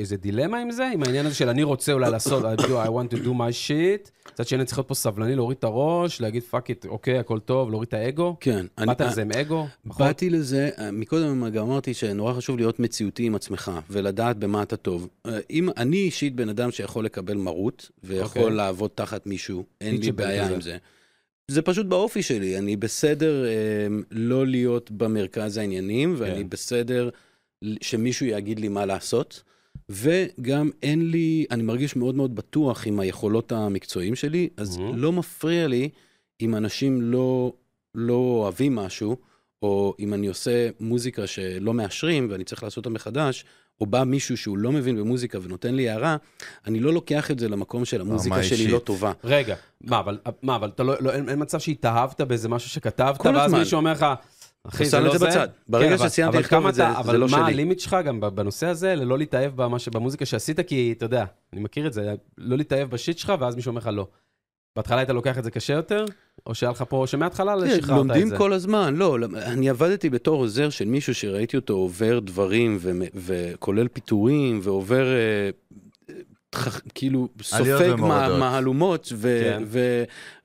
Speaker 1: איזה דילמה עם זה? עם העניין הזה של אני רוצה אולי לעשות, I, do, I want to do my shit. מצד שני, אני צריך להיות פה סבלני, להוריד את הראש, להגיד פאק איט, אוקיי, הכל טוב, להוריד את האגו.
Speaker 3: כן. אני-
Speaker 1: באת לזה עם אגו? נכון?
Speaker 3: באתי לזה, אה, מקודם גם אמרתי שנורא חשוב להיות מציאותי עם עצמך ולדעת במה אתה טוב. אה, אם אני אישית בן אדם שיכול לקבל מרות ויכול okay.
Speaker 1: אוקיי.
Speaker 3: לעבוד תחת מישהו, אין לי
Speaker 1: פיצ'בל
Speaker 3: בעיה
Speaker 1: כזה.
Speaker 3: עם זה. זה פשוט באופי שלי, אני בסדר אה, לא להיות במרכז העניינים ואני
Speaker 1: כן.
Speaker 3: בסדר ל- שמישהו יגיד לי מה לעשות. וגם אין לי, אני מרגיש מאוד מאוד בטוח עם היכולות המקצועיים שלי, אז
Speaker 1: Mhm.
Speaker 3: לא מפריע לי אם אנשים לא, לא אוהבים משהו, או אם אני עושה מוזיקה שלא מאשרים ואני צריך לעשות אותה מחדש, או בא מישהו שהוא לא מבין במוזיקה ונותן לי הערה, אני לא לוקח את זה למקום של המוזיקה שלי
Speaker 2: אישית.
Speaker 3: לא טובה.
Speaker 1: רגע, מה, אבל, מה, אבל אתה לא, לא, אין, אין מצב שהתאהבת באיזה משהו שכתבת,
Speaker 3: כל
Speaker 1: ואז
Speaker 3: הזמן.
Speaker 1: מישהו אומר לך, אחי,
Speaker 3: אתה
Speaker 1: זה
Speaker 3: שם
Speaker 1: לא זה.
Speaker 3: את זה בצד. ברגע
Speaker 1: אבל-
Speaker 3: שסיימתי
Speaker 1: אבל
Speaker 3: לכתוב
Speaker 1: כמה
Speaker 3: את זה,
Speaker 1: אתה-
Speaker 3: זה לא
Speaker 1: אבל מה
Speaker 3: שלי.
Speaker 1: הלימיט שלך גם ב- בנושא הזה, ללא להתאהב במה ש- במוזיקה שעשית, כי אתה יודע, אני מכיר את זה, לא להתאהב בשיט שלך, ואז מישהו אומר לך לא. בהתחלה היית לוקח את זה קשה יותר, או שהיה לך פה, שמההתחלה
Speaker 3: תראה,
Speaker 1: שחררת את
Speaker 3: כן, לומדים
Speaker 1: זה.
Speaker 3: כל הזמן, לא, למ- אני עבדתי בתור עוזר של מישהו שראיתי אותו עובר דברים, ומ- וכולל פיטורים, ועובר אה, אה, תח- כאילו
Speaker 2: עליות
Speaker 3: סופג מה-
Speaker 2: ומורדות.
Speaker 3: מהלומות, ו-
Speaker 1: כן.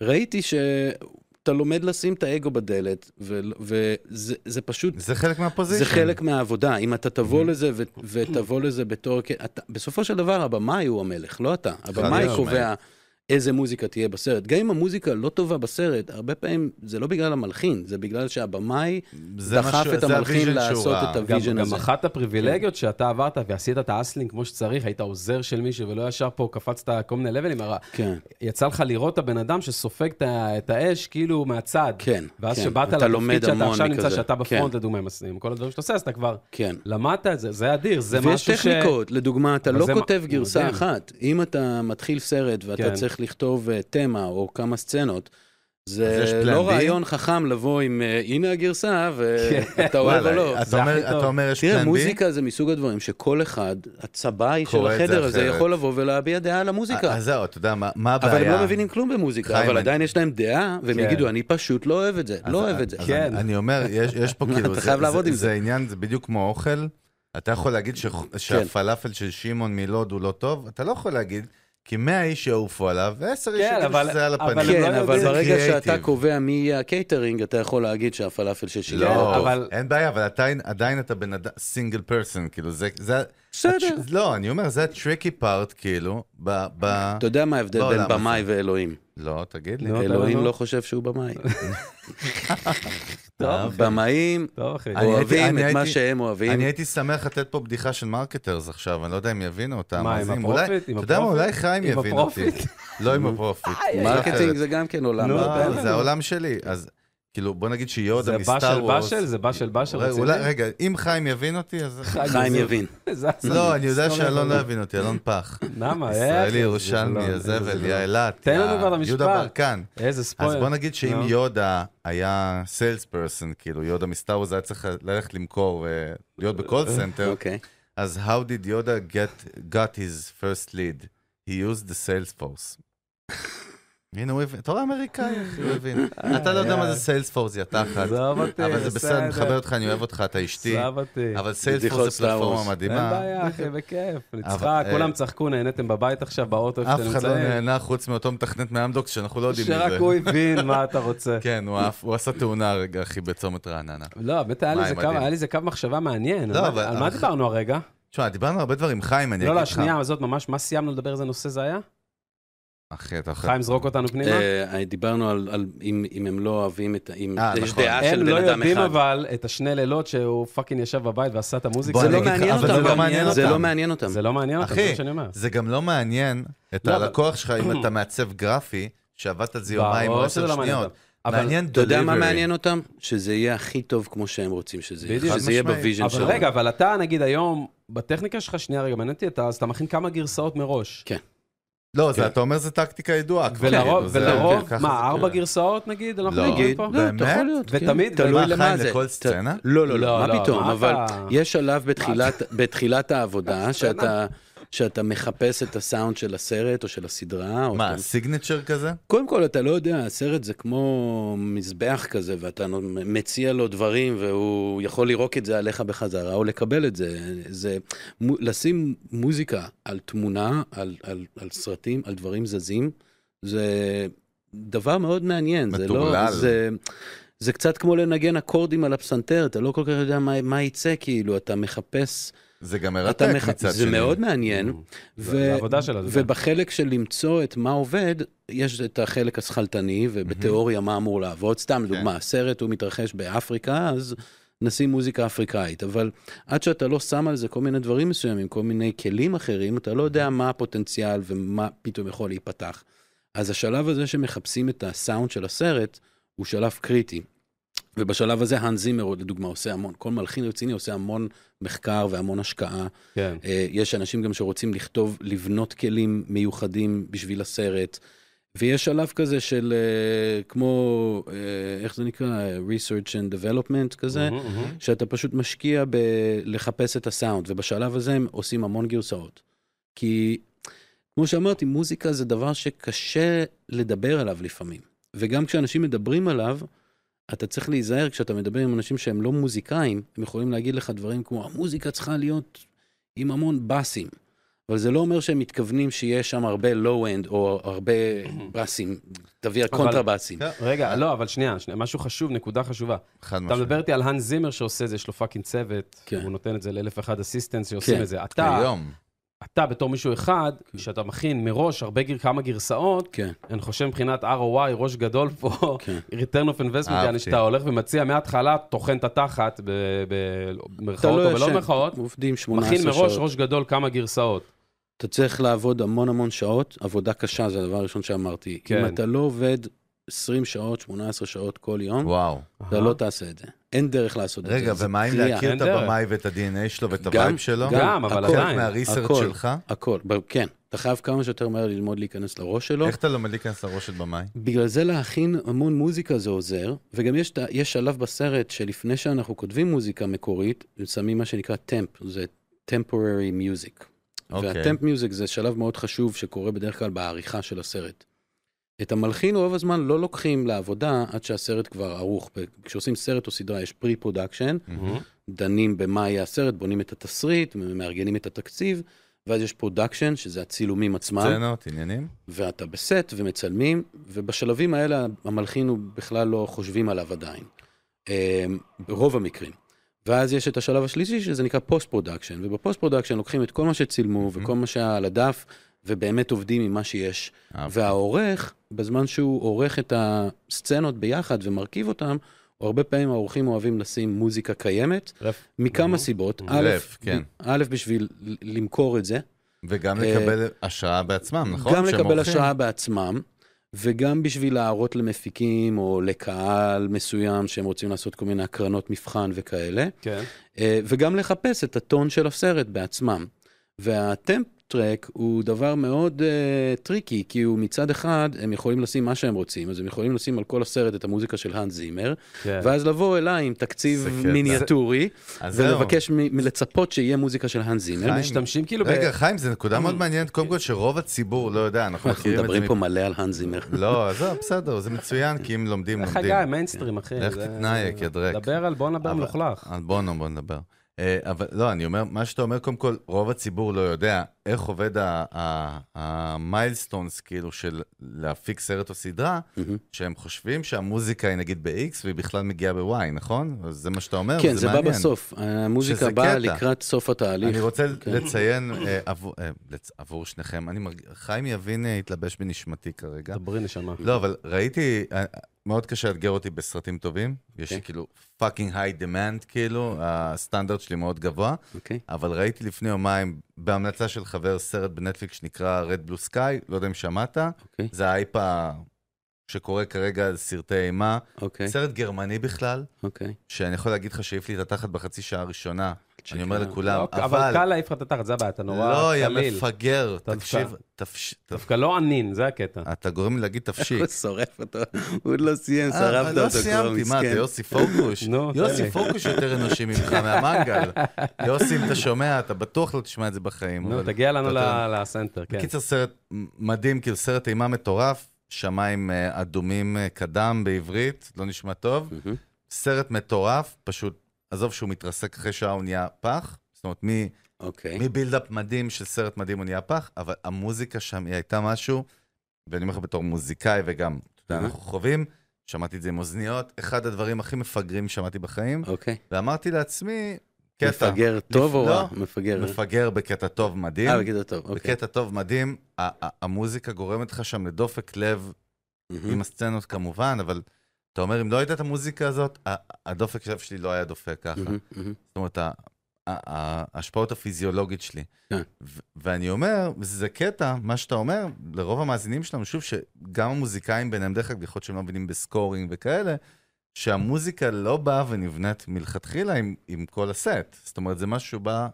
Speaker 3: וראיתי שאתה לומד לשים את האגו בדלת, ו- וזה זה פשוט
Speaker 2: זה חלק מהפוזיציה.
Speaker 3: זה חלק מהעבודה, אם אתה תבוא לזה ו- ותבוא לזה בתור... כ- אתה- בסופו של דבר הבמאי הוא המלך, לא אתה. הבמאי
Speaker 2: משמעית.
Speaker 3: קובע איזה מוזיקה תהיה בסרט. גם אם המוזיקה לא טובה בסרט, הרבה פעמים זה לא בגלל המלחין, זה בגלל שהבמאי
Speaker 2: זה מה
Speaker 3: דחף
Speaker 2: שהוא-
Speaker 3: את
Speaker 2: זה
Speaker 3: המלחין
Speaker 2: הוויז'ן שהוא
Speaker 3: לעשות
Speaker 2: ראה.
Speaker 3: את
Speaker 1: גם,
Speaker 3: הוויז'ן
Speaker 1: גם
Speaker 3: הזה. כן.
Speaker 1: אחת הפריבילגיות שאתה עברת ועשית את האסלינג כמו שצריך, היית עוזר של מישהו ולא ישר פה קפצת כל מיני לבלים, הרי
Speaker 3: כן,
Speaker 1: יצא לך לראות את הבן אדם שסופג את ה- את האש כאילו מהצד.
Speaker 3: כן.
Speaker 1: ואז
Speaker 3: כן.
Speaker 1: כשבאת
Speaker 3: אתה
Speaker 1: לתפקיד
Speaker 3: לומד
Speaker 1: שאתה
Speaker 3: המון
Speaker 1: עכשיו נמצא,
Speaker 3: מכזה.
Speaker 1: שאתה בפרונט
Speaker 3: כן.
Speaker 1: לדוגמה עם הס- עם כל הדברים שאתה עושה, אז אתה כבר
Speaker 3: כן.
Speaker 1: למדת את זה, זה אדיר, זה
Speaker 3: ויש
Speaker 1: משהו ש...
Speaker 3: טכניקות, לדוגמה, אתה
Speaker 1: אבל
Speaker 3: לא
Speaker 1: זה מ-
Speaker 3: כותב גרסה
Speaker 1: מדהים.
Speaker 3: אחת. אם אתה מתחיל סרט ואתה
Speaker 1: כן.
Speaker 3: צריך לכתוב אה, תמה או כמה סצנות,
Speaker 2: אז יש
Speaker 3: זה
Speaker 2: plan
Speaker 3: לא
Speaker 2: B?
Speaker 3: רעיון חכם לבוא עם אה, הנה הגרסה ואתה אוהב או
Speaker 2: כן. וואלה,
Speaker 3: לא.
Speaker 2: אתה
Speaker 1: זה הכי
Speaker 2: אומר-
Speaker 1: טוב.
Speaker 2: אתה אומר יש
Speaker 3: תראה,
Speaker 2: פלן בי?
Speaker 3: מוזיקה זה מסוג הדברים שכל אחד, הצבעי של
Speaker 2: קורא את זה
Speaker 3: החדר הזה
Speaker 2: אחרת.
Speaker 3: יכול לבוא ולהביע דעה על המוזיקה.
Speaker 2: אה, אז זהו, אתה יודע מה מה הבעיה?
Speaker 3: אבל הם לא מבינים כלום במוזיקה,
Speaker 2: חיים,
Speaker 3: אבל
Speaker 2: אני-
Speaker 3: עדיין יש להם דעה, והם
Speaker 1: כן.
Speaker 3: יגידו, אני פשוט לא אוהב את זה,
Speaker 2: אז- אה,
Speaker 3: לא אוהב את זה.
Speaker 2: אז
Speaker 1: כן.
Speaker 2: אני- אני אומר, יש יש פה כאילו,
Speaker 3: אתה
Speaker 2: זה-
Speaker 3: חייב
Speaker 2: זה-
Speaker 3: לעבוד עם
Speaker 2: זה עניין, זה בדיוק כמו אוכל. אתה יכול להגיד ש-
Speaker 3: כן.
Speaker 2: שהפלאפל של שמעון מלוד הוא לא טוב? אתה לא יכול להגיד, כי 100 איש יעופו עליו, ו-10 איש
Speaker 1: כן,
Speaker 2: יגידו
Speaker 1: אבל-
Speaker 2: שזה על
Speaker 1: אבל
Speaker 2: הפנים.
Speaker 1: הם
Speaker 3: כן,
Speaker 1: לא
Speaker 3: אבל
Speaker 1: יודעים.
Speaker 3: ברגע
Speaker 2: Creative.
Speaker 3: שאתה קובע מי יהיה הקייטרינג, אתה יכול להגיד שהפלאפל של שילה
Speaker 1: כן,
Speaker 3: הוא
Speaker 2: לא,
Speaker 3: טוב.
Speaker 1: אבל-
Speaker 2: אין בעיה, אבל עדיין- עדיין אתה בן אדם, סינגל פרסון, כאילו, זה... זה-
Speaker 3: בסדר.
Speaker 2: הטר- לא, אני אומר, זה הטריקי פארט, כאילו, ב... ב-
Speaker 3: אתה יודע מה ההבדל
Speaker 2: בעולם
Speaker 3: בין
Speaker 2: הזה.
Speaker 3: במאי ואלוהים?
Speaker 2: לא, תגיד לי.
Speaker 1: נו, אתה
Speaker 3: אלוהים
Speaker 1: לנו?
Speaker 3: לא חושב שהוא במאי.
Speaker 2: אה,
Speaker 1: טוב,
Speaker 2: אוקיי.
Speaker 3: במאים
Speaker 1: טוב, לא, אחי.
Speaker 2: אני הייתי-
Speaker 3: אוהבים
Speaker 2: אני
Speaker 3: את מה
Speaker 2: הייתי-
Speaker 3: שהם אוהבים.
Speaker 2: אני הייתי שמח לתת פה בדיחה של מרקטרס עכשיו, אני לא יודע אם יבינו אותה.
Speaker 1: מה, עם
Speaker 2: המאזינים.
Speaker 1: הפרופיט?
Speaker 2: אולי-
Speaker 1: עם
Speaker 2: אתה יודע מה,
Speaker 1: הפרופיט?
Speaker 2: אולי חיים
Speaker 1: עם
Speaker 2: יבין אותי.
Speaker 1: הפרופיט?
Speaker 2: לא עם הפרופיט. אה,
Speaker 3: מרקטינג זה גם כן עולם.
Speaker 1: נו,
Speaker 3: הרבה.
Speaker 1: תן
Speaker 2: לא,
Speaker 1: לנו.
Speaker 2: זה העולם שלי. אז כאילו, בוא נגיד שיודה
Speaker 1: זה
Speaker 2: מסטאר
Speaker 1: בא
Speaker 2: וורס.
Speaker 1: של בשל? זה בא של בשל?
Speaker 2: אולי-
Speaker 1: רציני?
Speaker 2: אולי- רגע, אם חיים יבין אותי, אז...
Speaker 3: חיים יבין.
Speaker 1: זה הסרט.
Speaker 2: לא, אני יודע
Speaker 1: היסטוריה
Speaker 2: שאלון לא
Speaker 1: טובה.
Speaker 2: יבין אותי, אלון פח.
Speaker 1: למה? איך?
Speaker 2: ישראלי,
Speaker 1: זה
Speaker 2: ירושלמי,
Speaker 1: לא-
Speaker 2: הזבל,
Speaker 1: זה
Speaker 2: יא
Speaker 1: לא-
Speaker 2: אילת.
Speaker 1: תן לנו
Speaker 2: יא-
Speaker 1: כבר את המשפט.
Speaker 2: יהודה ברקן.
Speaker 1: איזה
Speaker 2: אז
Speaker 1: ספוילר. לא.
Speaker 2: בוא נגיד שאם
Speaker 1: נו.
Speaker 2: יודה היה סיילס פרסון, כאילו יודה מסטאר וורס היה צריך ללכת למכור, אה, להיות בקול
Speaker 1: אה,
Speaker 2: סנטר,
Speaker 3: אוקיי.
Speaker 2: אז how did Yoda get got his first lead? He used the sales force. הנה הוא הבין, אתה רואה אמריקאי, אחי, הוא הבין. אתה לא יודע מה זה סיילס פורס, יא תחת,
Speaker 1: עזוב אותי,
Speaker 2: אבל זה בסדר, אני
Speaker 1: בסדר.
Speaker 2: מכבד אותך, אני אוהב אותך, אתה אשתי,
Speaker 1: עזב אותי.
Speaker 2: אבל סיילס
Speaker 3: בדיחות
Speaker 2: פורס זה
Speaker 3: סטאר וורס.
Speaker 2: פלטפורמה
Speaker 1: אין
Speaker 2: מדהימה.
Speaker 1: בעיה, אחי, בכיף. נצחק,
Speaker 2: אבל, אה,
Speaker 1: כולם צחקו, נהניתם בבית עכשיו, באוטו, איפה
Speaker 2: אף
Speaker 1: שאתם
Speaker 2: אחד לא
Speaker 1: נמצאים.
Speaker 2: נהנה חוץ מאותו מתכנת מאמדוקס שאנחנו לא יודעים
Speaker 1: שרק הוא
Speaker 2: מי זה.
Speaker 1: הבין מה אתה רוצה.
Speaker 2: כן, הוא עף- הוא עשה תאונה רגע, אחי, בצומת רעננה.
Speaker 1: לא, באמת היה לי
Speaker 2: וואי,
Speaker 1: איזה קו-
Speaker 2: מדהים.
Speaker 1: היה לי איזה קו מחשבה מעניין.
Speaker 2: לא,
Speaker 1: על מה-
Speaker 2: אבל-
Speaker 1: על מה
Speaker 2: אבל-
Speaker 1: דיברנו הרגע?
Speaker 2: תשמע, דיברנו הרבה דברים, חיים, אני אגיד לך.
Speaker 1: לא, לא, השנייה הזאת ממש, מה סיימנו לדבר איזה נושא זה היה?
Speaker 2: אחי, אתה אוכל.
Speaker 1: חיים, זרוק אותנו פנימה.
Speaker 3: אה, דיברנו על על אם אם הם לא אוהבים את ה... אם
Speaker 2: אה,
Speaker 3: יש
Speaker 2: נכון.
Speaker 3: דעה של
Speaker 1: הם לא
Speaker 3: בן אדם
Speaker 1: יודעים
Speaker 3: אחד.
Speaker 1: אבל את השני לילות שהוא פאקינג ישב בבית ועשה את המוזיקה.
Speaker 2: בוא,
Speaker 3: זה
Speaker 2: אני
Speaker 3: לא
Speaker 2: אגיד לך,
Speaker 3: מעניין
Speaker 2: אבל
Speaker 3: אותם.
Speaker 2: זה לא
Speaker 3: גם.
Speaker 2: מעניין
Speaker 3: זה לא
Speaker 2: אותם.
Speaker 3: מעניין אותם.
Speaker 1: זה לא מעניין אותם, זה
Speaker 2: אחי,
Speaker 1: מה שאני אומר.
Speaker 2: זה גם לא מעניין את
Speaker 1: לא,
Speaker 2: הלקוח שלך אם
Speaker 1: אבל-
Speaker 2: אתה מעצב גרפי, שעבדת על זה
Speaker 1: ברור
Speaker 2: יומיים או
Speaker 1: שזה
Speaker 2: עשר
Speaker 1: לא מעניין
Speaker 2: שניות.
Speaker 1: אותם. אבל-
Speaker 2: מעניין
Speaker 3: אתה יודע מה
Speaker 2: delivery.
Speaker 3: מעניין אותם? שזה יהיה הכי טוב כמו שהם רוצים שזה יהיה.
Speaker 1: בדיוק.
Speaker 3: שזה יהיה
Speaker 2: משמעית.
Speaker 3: בוויז'ן
Speaker 1: אבל
Speaker 3: שלהם.
Speaker 1: רגע, אבל אתה נגיד היום, בטכניקה שלך, שנייה רגע, מעניין אותי, אתה- אז אתה מכין כמה גרסאות מראש.
Speaker 2: לא,
Speaker 3: כן.
Speaker 2: זה אתה אומר זה טקטיקה ידועה. כבר,
Speaker 1: ולרוב,
Speaker 2: כאילו, זה-
Speaker 1: ולרוב,
Speaker 2: ככה זה
Speaker 1: מה, ארבע
Speaker 2: קורה.
Speaker 1: גרסאות נגיד? אנחנו
Speaker 2: לא.
Speaker 1: נגיד
Speaker 3: נגיד,
Speaker 1: פה?
Speaker 3: לא, אתה
Speaker 2: באמת?
Speaker 3: יכול להיות, כן.
Speaker 1: ותמיד-
Speaker 3: תלוי
Speaker 2: מה,
Speaker 3: למה
Speaker 2: חיים,
Speaker 3: זה.
Speaker 2: לכל
Speaker 3: ת-
Speaker 2: סצנה?
Speaker 3: לא, לא,
Speaker 1: לא,
Speaker 3: לא,
Speaker 1: לא,
Speaker 3: מה פתאום,
Speaker 1: מה
Speaker 3: אבל
Speaker 1: אתה-
Speaker 3: יש שלב בתחילת- בתחילת העבודה שאתה... שאתה מחפש את הסאונד של הסרט או של הסדרה. או
Speaker 2: מה,
Speaker 3: אתה-
Speaker 1: כן.
Speaker 2: סיגנצ'ר כזה?
Speaker 3: קודם כל, אתה לא יודע, הסרט זה כמו מזבח כזה, ואתה נו- מציע לו דברים, והוא יכול לירוק את זה עליך בחזרה, או לקבל את זה. זה מו- לשים מוזיקה על תמונה, על, על, על סרטים, על דברים זזים, זה דבר מאוד מעניין. זה,
Speaker 2: מטורלל.
Speaker 3: לא, זה, זה קצת כמו לנגן אקורדים על הפסנתר, אתה לא כל כך יודע מה, מה יצא, כאילו, אתה מחפש...
Speaker 2: זה גם
Speaker 3: אתה
Speaker 2: מרתק
Speaker 3: מח...
Speaker 2: מצד
Speaker 3: זה
Speaker 2: שני. Mm.
Speaker 3: מאוד מעניין.
Speaker 1: Mm-hmm, זה העבודה שלה, זה גם.
Speaker 3: ובחלק של למצוא את מה עובד, יש את החלק השכלתני, ובתיאוריה מה אמור לעבוד.
Speaker 1: כן.
Speaker 3: סתם לדוגמה, הסרט הוא מתרחש באפריקה, אז נשים מוזיקה אפריקאית. אבל עד שאתה לא שם על זה כל מיני דברים מסוימים, כל מיני כלים אחרים, אתה לא יודע מה הפוטנציאל ומה פתאום יכול להיפתח. אז השלב הזה שמחפשים את הסאונד של הסרט, הוא שלב קריטי. ובשלב הזה האן זימר, לדוגמה, עושה המון, כל מלחין רציני עושה המון מחקר והמון השקעה.
Speaker 1: כן.
Speaker 3: אה, יש אנשים גם שרוצים לכתוב, לבנות כלים מיוחדים בשביל הסרט. ויש שלב כזה של אה, כמו, אה, איך זה נקרא? research and development כזה,
Speaker 1: מהמם, מהמם.
Speaker 3: שאתה פשוט משקיע בלחפש את הסאונד, ובשלב הזה הם עושים המון גרסאות. כי כמו שאמרתי, מוזיקה זה דבר שקשה לדבר עליו לפעמים. וגם כשאנשים מדברים עליו, אתה צריך להיזהר כשאתה מדבר עם אנשים שהם לא מוזיקאים, הם יכולים להגיד לך דברים כמו, המוזיקה צריכה להיות עם המון באסים. אבל זה לא אומר שהם מתכוונים שיש שם הרבה לואו-אנד או הרבה באסים, תביא קונטרבאסים.
Speaker 2: כן.
Speaker 1: רגע, לא, אבל שנייה, שנייה, משהו חשוב, נקודה חשובה.
Speaker 2: חד
Speaker 1: אתה
Speaker 2: משמעית.
Speaker 1: מדבר איתי על האן זימר שעושה את זה, יש לו פאקינג צוות,
Speaker 3: כן.
Speaker 1: הוא נותן את זה לאלף ואחד אסיסטנט שעושים
Speaker 3: כן.
Speaker 1: את זה. אתה,
Speaker 2: היום.
Speaker 1: אתה בתור מישהו אחד,
Speaker 2: כן.
Speaker 1: שאתה מכין מראש הרבה, גר- כמה גרסאות,
Speaker 3: כן,
Speaker 1: אני חושב מבחינת ROI, ראש גדול פה,
Speaker 3: כן.
Speaker 1: return of investment, יעני
Speaker 2: אהבתי.
Speaker 1: שאתה הולך ומציע מההתחלה, טוחן את התחת, ב- ב-
Speaker 3: אתה
Speaker 1: במרכאות או
Speaker 3: ישן,
Speaker 1: בלא במרכאות,
Speaker 3: עובדים 18
Speaker 1: מכין
Speaker 3: שעות.
Speaker 1: מראש ראש גדול כמה גרסאות.
Speaker 3: אתה צריך לעבוד המון המון שעות, עבודה קשה, זה הדבר הראשון שאמרתי.
Speaker 1: כן.
Speaker 3: כן. אם אתה לא עובד 20 שעות, 18 שעות כל יום,
Speaker 2: וואו.
Speaker 3: אתה לא תעשה את זה. אין דרך לעשות
Speaker 2: רגע,
Speaker 3: את זה. זה
Speaker 2: ומה אם
Speaker 3: קריאה.
Speaker 2: להכיר
Speaker 1: אין
Speaker 2: את
Speaker 1: דרך.
Speaker 2: הבמאי ואת ה-DNA שלו ואת
Speaker 3: גם-
Speaker 2: הווייב שלו?
Speaker 1: גם, אבל
Speaker 3: הכל.
Speaker 2: חלק
Speaker 1: עדיין.
Speaker 2: מהריסרט
Speaker 3: הכל.
Speaker 2: שלך?
Speaker 3: הכל, ב- כן. אתה חייב כמה שיותר מהר ללמוד להיכנס לראש
Speaker 1: לא.
Speaker 3: שלו.
Speaker 2: איך אתה לומד להיכנס לראש של במאי?
Speaker 3: בגלל זה להכין המון מוזיקה זה עוזר, וגם יש, את ה- יש שלב בסרט שלפני שאנחנו כותבים מוזיקה מקורית, שמים מה שנקרא טמפ, זה temporary music.
Speaker 2: אוקיי.
Speaker 3: והטמפ מיוזיק זה שלב מאוד חשוב שקורה בדרך כלל בעריכה של הסרט. את המלחין רוב הזמן לא לוקחים לעבודה עד שהסרט כבר ערוך. כשעושים סרט או סדרה יש פרי פרודקשן, דנים במה יהיה הסרט, בונים את התסריט, מארגנים את התקציב, ואז יש פרודקשן, שזה הצילומים עצמם.
Speaker 2: סצנות, עניינים?
Speaker 3: ואתה בסט ומצלמים, ובשלבים האלה המלחין הוא בכלל לא חושבים עליו עדיין. אה, ברוב המקרים. ואז יש את השלב השלישי שזה נקרא פוסט פרודקשן, ובפוסט פרודקשן לוקחים את כל מה שצילמו וכל מה שהיה על הדף, ובאמת עובדים עם מה שיש.
Speaker 2: אהבתי.
Speaker 3: והעורך, בזמן שהוא עורך את הסצנות ביחד ומרכיב אותם, הרבה פעמים העורכים אוהבים לשים מוזיקה קיימת, מכמה סיבות. א',
Speaker 2: רף, כן.
Speaker 3: א', בשביל ל- למכור את זה,
Speaker 2: וגם
Speaker 3: אה,
Speaker 2: לקבל השראה בעצמם, נכון?
Speaker 3: גם
Speaker 2: שהם
Speaker 3: לקבל
Speaker 2: עורכים.
Speaker 3: השראה בעצמם, וגם בשביל להראות למפיקים או לקהל מסוים שהם רוצים לעשות כל מיני הקרנות מבחן וכאלה,
Speaker 1: כן.
Speaker 3: אה, וגם לחפש את הטון של הסרט בעצמם. והטמפ טרק הוא דבר מאוד uh, טריקי, כי הוא מצד אחד, הם יכולים לשים מה שהם רוצים, אז הם יכולים לשים על כל הסרט את המוזיקה של האנס זימר,
Speaker 1: כן.
Speaker 3: ואז לבוא אליי עם תקציב
Speaker 2: זה קטע.
Speaker 3: מיניאטורי,
Speaker 2: אז זהו.
Speaker 3: ולבקש, מ- לצפות שיהיה מוזיקה של האנס זימר.
Speaker 2: חיים,
Speaker 1: משתמשים כאילו ב...
Speaker 2: רגע, חיים, זו נקודה מאוד מעניינת. קודם כל, שרוב הציבור לא יודע, אנחנו
Speaker 3: אנחנו
Speaker 2: מכירים את זה.
Speaker 3: מדברים
Speaker 2: מפ-
Speaker 3: פה מלא על האנס זימר.
Speaker 2: לא, עזוב, בסדר, זה מצוין, כי אם לומדים,
Speaker 1: איך
Speaker 2: לומדים.
Speaker 1: הגע, מיינסטרים, אחי.
Speaker 2: לך
Speaker 1: זה-
Speaker 2: תתנייק, יא דרק.
Speaker 1: דבר על בוא נדבר
Speaker 2: אבל-
Speaker 1: מלוכלך.
Speaker 2: אז אה, בוא נו, בוא נדבר. אה, אבל לא, אני אומר, מה שאתה אומר, קודם כל, רוב הציבור לא יודע איך עובד המיילסטונס, כאילו, של להפיק סרט או סדרה,
Speaker 3: מהמם.
Speaker 2: שהם חושבים שהמוזיקה היא נגיד ב-X והיא בכלל מגיעה ב-Y, נכון? אז זה מה שאתה אומר,
Speaker 3: כן, זה בא
Speaker 2: מעניין.
Speaker 3: בסוף. המוזיקה
Speaker 2: שזה
Speaker 3: באה
Speaker 2: קטע.
Speaker 3: לקראת סוף התהליך.
Speaker 2: אני רוצה
Speaker 3: כן.
Speaker 2: לציין אה, עבור- אה, לצ- עבור שניכם, אני מרגיש, חיים יבין אה, התלבש בנשמתי כרגע.
Speaker 1: דברי נשמה.
Speaker 2: לא, אבל ראיתי, אה, מאוד קשה לאתגר אותי בסרטים טובים. יש לי
Speaker 1: כן.
Speaker 3: אוקיי.
Speaker 2: כאילו fucking high demand, כאילו, הסטנדרט שלי מאוד גבוה,
Speaker 3: אוקיי.
Speaker 2: אבל ראיתי לפני יומיים, בהמלצה של חבר, סרט בנטפליקס שנקרא Red Blue Sky, לא יודע אם שמעת,
Speaker 3: אוקיי.
Speaker 2: זה האייפ ה- שקורה כרגע על סרטי אימה.
Speaker 1: כן.
Speaker 3: אוקיי,
Speaker 2: סרט גרמני בכלל,
Speaker 3: אוקיי.
Speaker 2: שאני יכול להגיד לך שהעיף לי את התחת בחצי שעה הראשונה, אני אומר
Speaker 3: צ'קה.
Speaker 2: לכולם,
Speaker 1: לא, אבל
Speaker 2: אבל...
Speaker 1: קל להעיף לך את התחת, זה הבעיה, אתה נורא
Speaker 2: לא, יא
Speaker 1: קליל.
Speaker 2: מפגר,
Speaker 1: דווקא.
Speaker 2: תקשיב, תפש...
Speaker 1: דווקא לא ענין, זה הקטע.
Speaker 2: אתה גורם לי להגיד תפשיק.
Speaker 3: הוא שורף אותו, הוא עוד לא סיים,
Speaker 2: אה,
Speaker 3: שרפת
Speaker 2: אבל
Speaker 3: אותו כבר,
Speaker 2: לא סיימתי, מה, אתה
Speaker 3: מסכן.
Speaker 2: יוסי פורקוש?
Speaker 1: נו, תן לי.
Speaker 2: יוסי פורקוש יותר אנושי ממך מהמנגל. יוסי, אם אתה שומע, אתה בטוח לא תשמע את זה בחיים.
Speaker 1: נו,
Speaker 2: אבל-
Speaker 1: תגיע לנו
Speaker 2: אתה יודע.
Speaker 1: ל- לסנטר, כן.
Speaker 2: בקיצר, סרט מדהים, כאילו סרט אימה מטורף, שמיים אה, אדומים אה, קדם בעברית, לא נשמע טוב.
Speaker 3: מהמם.
Speaker 2: סרט מטורף, פשוט, עזוב שהוא מתרסק אחרי שעה, הוא נהיה פח. זאת אומרת, מ-
Speaker 3: אוקיי.
Speaker 2: מבילדאפ מדהים של סרט מדהים הוא נהיה פח, אבל המוזיקה שם היא הייתה משהו, ואני אומר לך בתור מוזיקאי וגם, אתה יודע, אנחנו חווים, שמעתי את זה עם אוזניות, אחד הדברים הכי מפגרים שמעתי בחיים,
Speaker 3: אוקיי.
Speaker 2: ואמרתי לעצמי, קטע,
Speaker 3: מפגר טוב או
Speaker 2: לא.
Speaker 3: רע? מפגר.
Speaker 2: מפגר בקטע טוב מדהים,
Speaker 3: אה, בקטע טוב, אוקיי.
Speaker 2: בקטע טוב מדהים, ה- ה- המוזיקה גורמת לך שם לדופק לב,
Speaker 3: מהמם.
Speaker 2: עם הסצנות כמובן, אבל אתה אומר, אם לא הייתה את המוזיקה הזאת, ה- הדופק לב שלי לא היה דופק ככה.
Speaker 3: מהמם, מהמם.
Speaker 2: זאת אומרת, ה- ה- ה- ההשפעות הפיזיולוגית שלי.
Speaker 3: כן.
Speaker 2: ו- ואני אומר, זה קטע, מה שאתה אומר, לרוב המאזינים שלנו, שוב, שגם המוזיקאים ביניהם, דרך אגב, יכול להיות שהם לא מבינים בסקורינג וכאלה, שהמוזיקה לא באה ונבנית מלכתחילה עם, עם כל הסט. זאת אומרת, זה משהו שבא,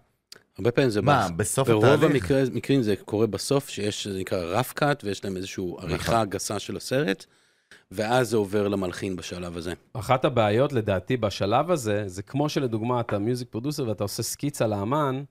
Speaker 3: הרבה פעמים זה
Speaker 2: מה,
Speaker 3: בא.
Speaker 2: בסוף
Speaker 3: ברוב
Speaker 2: התהליך?
Speaker 3: המקרים זה קורה בסוף, שיש, זה נקרא רף קאט, ויש להם איזושהי
Speaker 2: נכון.
Speaker 3: עריכה גסה של הסרט, ואז זה עובר למלחין בשלב הזה.
Speaker 1: אחת הבעיות לדעתי בשלב הזה, זה כמו שלדוגמה אתה מיוזיק פרודוסר ואתה עושה סקיצה לאמן,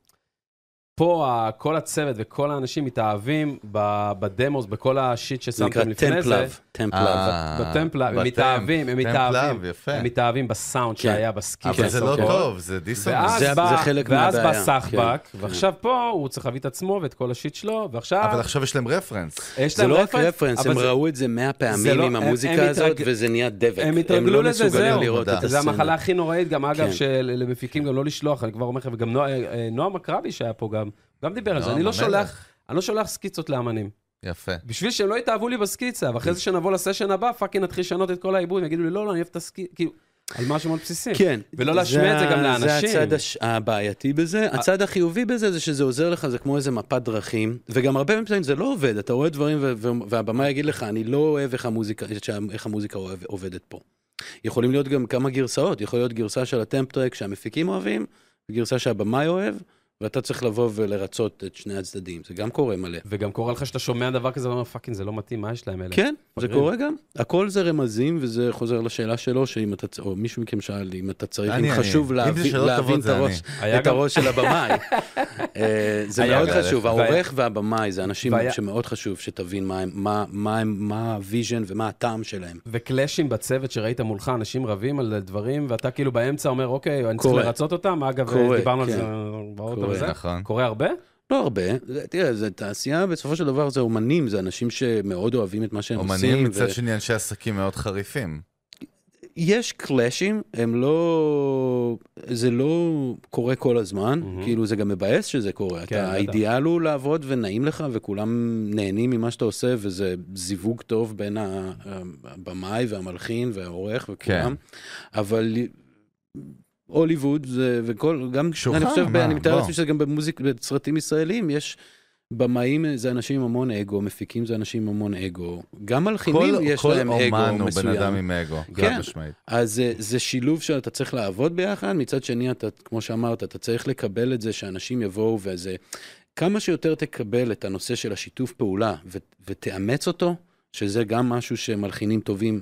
Speaker 1: פה ה- כל הצוות וכל האנשים מתאהבים ב- בדמוס, בכל השיט
Speaker 3: זה נקרא
Speaker 1: ששמתם לפני זה.
Speaker 3: טמפלאב, טמפלאב.
Speaker 2: אה,
Speaker 1: בטמפלאב, הם
Speaker 2: בטמפ,
Speaker 1: מתאהבים, הם
Speaker 2: טמפ
Speaker 1: מתאהבים.
Speaker 2: לאב, יפה.
Speaker 1: הם מתאהבים בסאונד
Speaker 3: כן.
Speaker 1: שהיה בסקיצה.
Speaker 2: אבל זה לא
Speaker 1: אוקיי.
Speaker 2: טוב, זה דיסוננס.
Speaker 1: ואז
Speaker 3: זה-
Speaker 1: בא,
Speaker 3: זה חלק
Speaker 1: ואז בא
Speaker 3: מהבעיה,
Speaker 1: סחבק,
Speaker 3: כן, כן.
Speaker 1: ועכשיו פה הוא צריך להביא את עצמו ואת כל השיט שלו, ועכשיו
Speaker 2: אבל עכשיו יש להם רפרנס.
Speaker 1: יש
Speaker 3: זה
Speaker 1: להם
Speaker 3: לא רק
Speaker 1: אבל
Speaker 3: רפרנס, הם
Speaker 1: זה-
Speaker 3: ראו את זה מאה
Speaker 1: זה
Speaker 3: פעמים
Speaker 1: לא-
Speaker 3: עם
Speaker 1: הם-
Speaker 3: המוזיקה
Speaker 1: הם
Speaker 3: הזאת,
Speaker 1: התרג-
Speaker 3: וזה נהיה דבק.
Speaker 1: הם
Speaker 3: לא
Speaker 1: התרגלו לזה,
Speaker 3: מסוגלים
Speaker 1: זהו.
Speaker 3: לראות
Speaker 2: תודה.
Speaker 3: את
Speaker 1: זה
Speaker 3: הסצנה.
Speaker 1: המחלה הכי נוראית, גם אגב,
Speaker 3: כן.
Speaker 1: שלמפיקים גם לא לשלוח, אני כבר אומר לך, וגם נוע- אה, נועם אקרבי אה, שהיה פה גם, גם דיבר על זה,
Speaker 2: נועם
Speaker 1: אני לא
Speaker 2: המלך.
Speaker 1: שולח, אני לא שולח סקיצות לאמנים.
Speaker 2: יפה.
Speaker 1: בשביל שהם לא יתאהבו לי בסקיצה, ואחרי זה שנבוא לסשן הבא, פאקינג נתחיל לשנות את כל העיבוד, יגידו לי, לא, לא, אני אוהב את הסקיצה, כאילו, על משהו מאוד בסיסי.
Speaker 3: כן.
Speaker 1: ולא להשמיע את זה גם
Speaker 3: זה
Speaker 1: לאנשים. אה.
Speaker 3: הצד הש... הבעייתי בזה. הצד החיובי בזה זה שזה עוזר לך, זה כמו איזה מפת דרכים. וגם הרבה פעמים זה לא עובד, אתה רואה דברים ו... ו... והבמה יגיד לך, אני לא אוהב איך המוזיקה, שה- איך המוזיקה אוהב- עובדת פה. יכולים להיות גם כמה גרסאות, יכול להיות גרסה של הטמפ טרק שהמפיקים אוהבים, וגרסה שהבמאי אוהב, ואתה צריך לבוא ולרצות את שני הצדדים, זה גם קורה מלא.
Speaker 1: וגם קורה לך שאתה שומע דבר כזה ואומר, פאקינג, זה לא מתאים, מה יש להם אלה?
Speaker 3: כן, זה
Speaker 1: פגרים.
Speaker 3: קורה גם. הכל זה רמזים, וזה חוזר לשאלה שלו, שאם אתה, צ- או מישהו מכם שאל אם אתה צריך,
Speaker 2: אני,
Speaker 3: אם
Speaker 2: אני.
Speaker 3: חשוב
Speaker 2: אם זה
Speaker 3: להבין-
Speaker 2: שאלות
Speaker 3: להבין
Speaker 2: טובות,
Speaker 3: את
Speaker 2: זה אני.
Speaker 3: הראש-
Speaker 1: היה
Speaker 3: את
Speaker 1: גם-
Speaker 3: הראש של הבמאי. אה, זה
Speaker 1: היה
Speaker 3: מאוד
Speaker 2: גם-
Speaker 3: חשוב,
Speaker 1: והיה-
Speaker 3: העורך והבמאי זה אנשים
Speaker 1: והיה-
Speaker 3: שמאוד חשוב שתבין מה הם- מה- מה הם- מה הוויז'ן ומה הטעם שלהם.
Speaker 1: וקלאשים בצוות שראית מולך, אנשים רבים על דברים, ואתה כאילו באמצע אומר, אוקיי, אני צריך
Speaker 3: קורה.
Speaker 1: לרצות אותם, אגב,
Speaker 3: קורה,
Speaker 1: דיברנו על
Speaker 3: כן.
Speaker 1: זה באוטו
Speaker 3: קורה.
Speaker 1: וזה.
Speaker 2: נכון.
Speaker 1: קורה הרבה?
Speaker 3: לא הרבה, תראה, זה תעשייה, בסופו של דבר זה אומנים, זה אנשים שמאוד אוהבים את מה שהם עושים.
Speaker 2: אומנים
Speaker 3: ו-
Speaker 2: מצד שני אנשי עסקים מאוד חריפים.
Speaker 3: יש קלאשים, הם לא... זה לא קורה כל הזמן,
Speaker 1: מהמם.
Speaker 3: mm-hmm. כאילו זה גם מבאס שזה קורה.
Speaker 1: כן,
Speaker 3: כן, אתה,
Speaker 1: בטח.
Speaker 3: האידיאל הוא לעבוד ונעים לך, וכולם נהנים ממה שאתה עושה, וזה זיווג טוב בין ה- הבמאי והמלחין והעורך וכולם. כן. אבל הוליווד זה, וכל, גם,
Speaker 2: קשוחה,
Speaker 3: אני חושב,
Speaker 2: מה,
Speaker 3: אני מתאר
Speaker 2: בוא.
Speaker 3: לעצמי שזה גם במוזיק, בסרטים ישראלים, יש... במאים זה אנשים עם המון אגו, מפיקים זה אנשים עם המון אגו, גם מלחינים
Speaker 2: כל-
Speaker 3: יש
Speaker 2: כל
Speaker 3: להם אגו מסוים.
Speaker 2: אומן הוא בן אדם עם אגו, חד
Speaker 3: כן.
Speaker 2: משמעית.
Speaker 3: אז אה, זה שילוב שאתה צריך לעבוד ביחד, מצד שני, אתה, כמו שאמרת, אתה צריך לקבל את זה שאנשים יבואו וזה... כמה שיותר תקבל את הנושא של השיתוף פעולה ו- ותאמץ אותו, שזה גם משהו שמלחינים טובים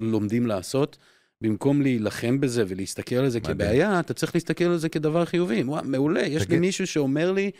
Speaker 3: לומדים לעשות, במקום להילחם בזה ולהסתכל על זה
Speaker 2: מדהים.
Speaker 3: כבעיה, אתה צריך להסתכל על זה כדבר חיובי. וואו, מעולה, יש
Speaker 2: תגיד-
Speaker 3: לי מישהו שאומר לי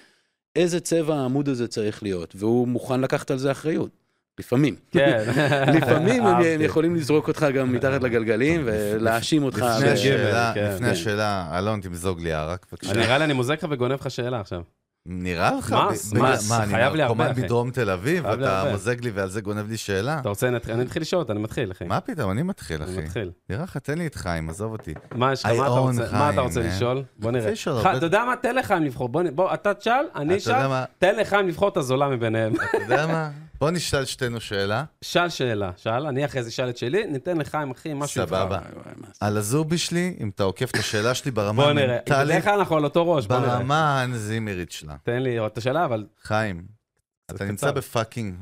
Speaker 3: איזה צבע העמוד הזה צריך להיות, והוא מוכן לקחת על זה אחריות, לפעמים.
Speaker 1: כן.
Speaker 3: לפעמים הם- הם
Speaker 1: אהבתי.
Speaker 3: יכולים לזרוק אותך גם מתחת לגלגלים ולהאשים אותך.
Speaker 2: לפני
Speaker 3: ב-
Speaker 2: השאלה,
Speaker 1: כן.
Speaker 2: לפני השאלה, אלון, תמזוג לי ערק,
Speaker 1: אני-
Speaker 2: בבקשה.
Speaker 1: נראה לי אני מוזג לך וגונב לך שאלה עכשיו.
Speaker 2: נראה לך?
Speaker 1: מס,
Speaker 2: בגלל-
Speaker 1: מס,
Speaker 2: מה, אני
Speaker 1: חייב לי הרבה,
Speaker 2: נרקומן
Speaker 1: אחי.
Speaker 2: בדרום תל אביב,
Speaker 1: חייב לי
Speaker 2: אתה
Speaker 1: הרבה.
Speaker 2: מוזג לי ועל זה גונב לי שאלה?
Speaker 1: אתה רוצה, אני אתחיל- אני אתחיל לשאול אותה, אני מתחיל, אחי.
Speaker 2: מה פתאום, אני מתחיל,
Speaker 1: אני
Speaker 2: אחי.
Speaker 1: מתחיל.
Speaker 2: נראה לך, תן לי את חיים, עזוב אותי.
Speaker 1: מה יש לך?
Speaker 2: I
Speaker 1: מה אתה
Speaker 2: own
Speaker 1: רוצה- מה אתה
Speaker 2: חיים, אה?
Speaker 1: רוצה
Speaker 2: man.
Speaker 1: לשאול? בוא נראה.
Speaker 2: רוצה לשאול
Speaker 1: ח-
Speaker 2: הרבה-
Speaker 1: אתה יודע מה? תן לחיים לבחור. בוא נ- בוא, אתה תשאל, אני
Speaker 2: אתה יודע
Speaker 1: אשאל.
Speaker 2: מה?
Speaker 1: תן לחיים לבחור את הזולה מביניהם.
Speaker 2: אתה יודע מה? בוא נשאל שתינו שאלה.
Speaker 1: שאל שאלה, שאל, אני אחרי זה אשאל את שלי, ניתן לחיים, אחי, משהו.
Speaker 2: סבבה.
Speaker 1: יבחר.
Speaker 3: וואי, וואי, מה זה?
Speaker 2: על הזובי שלי, אם אתה עוקף את השאלה שלי ברמה
Speaker 1: בוא נראה.
Speaker 2: המנטלית,
Speaker 1: בדרך כלל אנחנו על אותו ראש, בוא נראה.
Speaker 2: ברמה האנזימרית שלה.
Speaker 1: תן לי עוד את השאלה, אבל
Speaker 2: חיים,
Speaker 1: קצר.
Speaker 2: אתה נמצא בפאקינג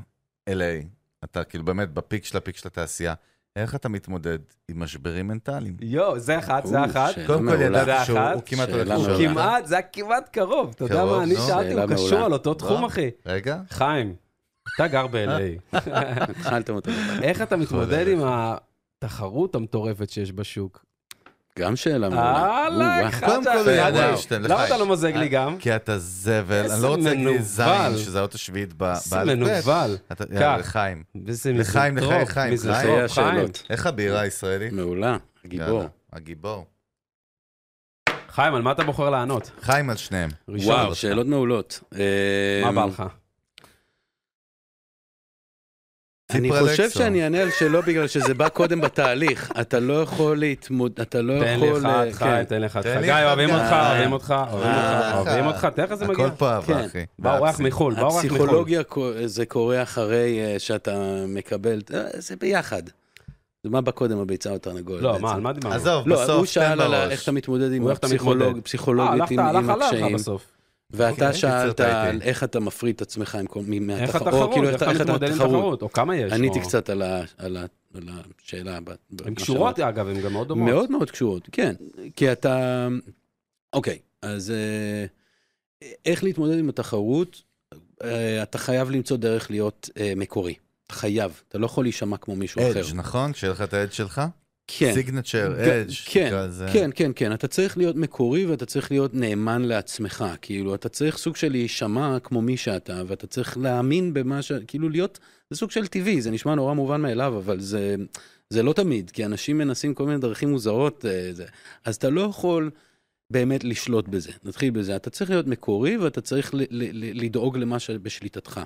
Speaker 2: LA, אתה כאילו באמת בפיק של הפיק של התעשייה, איך אתה מתמודד עם משברים מנטליים?
Speaker 1: יואו, זה אחת, זה
Speaker 3: או,
Speaker 1: אחת.
Speaker 3: שאלה
Speaker 2: קודם כל
Speaker 3: מעולה.
Speaker 1: זה
Speaker 2: ידעתי שהוא
Speaker 1: אחת.
Speaker 2: הוא כמעט הולך
Speaker 3: שאלה
Speaker 1: הוא
Speaker 2: לשאול.
Speaker 3: מעולה.
Speaker 2: אותך.
Speaker 1: כמעט, זה היה כמעט קרוב. אתה יודע
Speaker 2: קרוב, לא?
Speaker 1: מה, אני
Speaker 2: נו.
Speaker 1: שאלתי, הוא
Speaker 3: שאלה
Speaker 1: קשור
Speaker 3: מעולה.
Speaker 1: על אותו תחום, אחי.
Speaker 2: רגע,
Speaker 1: חיים, אתה גר
Speaker 2: אה?
Speaker 1: ב-LA.
Speaker 3: התחלתם אותו.
Speaker 1: איך אתה מתמודד
Speaker 2: חולה.
Speaker 1: עם התחרות המטורפת שיש בשוק?
Speaker 3: גם שאלה מעולה. או,
Speaker 1: אהלן,
Speaker 3: וואי.
Speaker 1: אחד
Speaker 2: קודם כל,
Speaker 1: שאלה.
Speaker 2: יאללה,
Speaker 1: וואו.
Speaker 2: שתיים,
Speaker 1: למה
Speaker 2: לחיים.
Speaker 1: אתה לא מוזג לי גם?
Speaker 2: כי אתה זבל, אני
Speaker 1: איזה
Speaker 2: לא רוצה להגיד
Speaker 1: מנוול.
Speaker 2: זין, שזה האות השביעית ב-
Speaker 1: איזה
Speaker 2: באלף בית.
Speaker 1: מנוול.
Speaker 2: אתה- יאללה,
Speaker 1: כך.
Speaker 2: חיים.
Speaker 1: איזה
Speaker 2: לחיים,
Speaker 1: מיזנטרופ,
Speaker 2: לחיים, חיים,
Speaker 1: מיזנטרופ,
Speaker 3: חיי
Speaker 1: חיים.
Speaker 3: השאלות.
Speaker 2: איך הבירה הישראלית?
Speaker 3: מעולה, גיבור.
Speaker 2: יאללה, הגיבור.
Speaker 1: חיים, על מה אתה בוחר לענות?
Speaker 2: חיים על שניהם.
Speaker 1: ראשון.
Speaker 3: וואו, שאלות מעולות.
Speaker 1: מה
Speaker 3: אה,
Speaker 1: בא לך?
Speaker 3: אני
Speaker 2: ציפרה
Speaker 3: חושב
Speaker 2: לקסו.
Speaker 3: שאני אענה על שלא בגלל שזה בא קודם בתהליך. אתה לא יכול להתמודד, אתה לא
Speaker 1: תן
Speaker 3: יכול...
Speaker 1: לי אחד,
Speaker 3: אה, כן.
Speaker 1: חיים, תן לי אחד.
Speaker 2: תן לי
Speaker 1: חגי,
Speaker 2: אחד,
Speaker 1: אוהבים אותך,
Speaker 2: חיים.
Speaker 1: אוהבים אותך, אוהבים
Speaker 3: אה,
Speaker 1: אותך, אוהבים
Speaker 2: אה,
Speaker 1: אותך, תראה איך זה מגיע.
Speaker 2: הכל פה
Speaker 3: כן.
Speaker 2: אהבה, אחי.
Speaker 1: בא אורח
Speaker 2: באפסים.
Speaker 1: מחו"ל, בא אורח מחו"ל.
Speaker 3: הפסיכולוגיה, קו- זה קורה אחרי אה, שאתה מקבל, אה, זה ביחד. זה מה בא קודם, הביצה או התרנגולת?
Speaker 1: לא,
Speaker 3: בעצם?
Speaker 1: מה, על מה דיברנו?
Speaker 2: עזוב,
Speaker 3: לא, הוא
Speaker 2: בסוף תן
Speaker 3: שאל על ה- איך
Speaker 2: בראש.
Speaker 3: אתה מתמודד עם
Speaker 1: הוא איך אתה מתמודד.
Speaker 3: הפסיכולוג,
Speaker 1: אה,
Speaker 3: פסיכולוגית
Speaker 1: הלכת,
Speaker 3: עם עם
Speaker 1: הלך עליך
Speaker 3: הקשיים,
Speaker 1: בסוף.
Speaker 3: ואתה
Speaker 2: אוקיי,
Speaker 3: שאלת
Speaker 2: קיצרת
Speaker 3: על
Speaker 2: איתי.
Speaker 3: איך אתה מפריד את עצמך עם כל- מ- מהתחרות,
Speaker 1: איך
Speaker 3: או
Speaker 1: התחרות,
Speaker 3: כאילו,
Speaker 1: איך אתה מתמודד עם תחרות, או כמה יש.
Speaker 3: עניתי
Speaker 1: או-
Speaker 3: קצת על ה- על ה- על השאלה. ב- ב-
Speaker 1: הן
Speaker 3: מה
Speaker 1: קשורות, אגב, הן גם מאוד דומות.
Speaker 3: מאוד מאוד קשורות, כן. כי אתה... אוקיי, אז אה, איך להתמודד עם התחרות? אה, אתה חייב למצוא דרך להיות אה, מקורי. אתה חייב. אתה לא יכול להישמע כמו מישהו אחר.
Speaker 2: אדג', נכון? שיהיה לך את האדג' שלך?
Speaker 3: כן.
Speaker 2: סיגנצ'ר,
Speaker 3: ג-
Speaker 2: אדג'.
Speaker 3: כן,
Speaker 2: תקרא לזה.
Speaker 3: כן, כן, כן. אתה צריך להיות מקורי ואתה צריך להיות נאמן לעצמך. כאילו, אתה צריך סוג של להישמע כמו מי שאתה, ואתה צריך להאמין במה ש... כאילו, להיות... זה סוג של טבעי, זה נשמע נורא מובן מאליו, אבל זה, זה לא תמיד, כי אנשים מנסים כל מיני דרכים מוזרות. אה, זה. אז אתה לא יכול באמת לשלוט בזה. נתחיל בזה. אתה צריך להיות מקורי ואתה צריך ל- ל- ל- לדאוג למה שבשליטתך.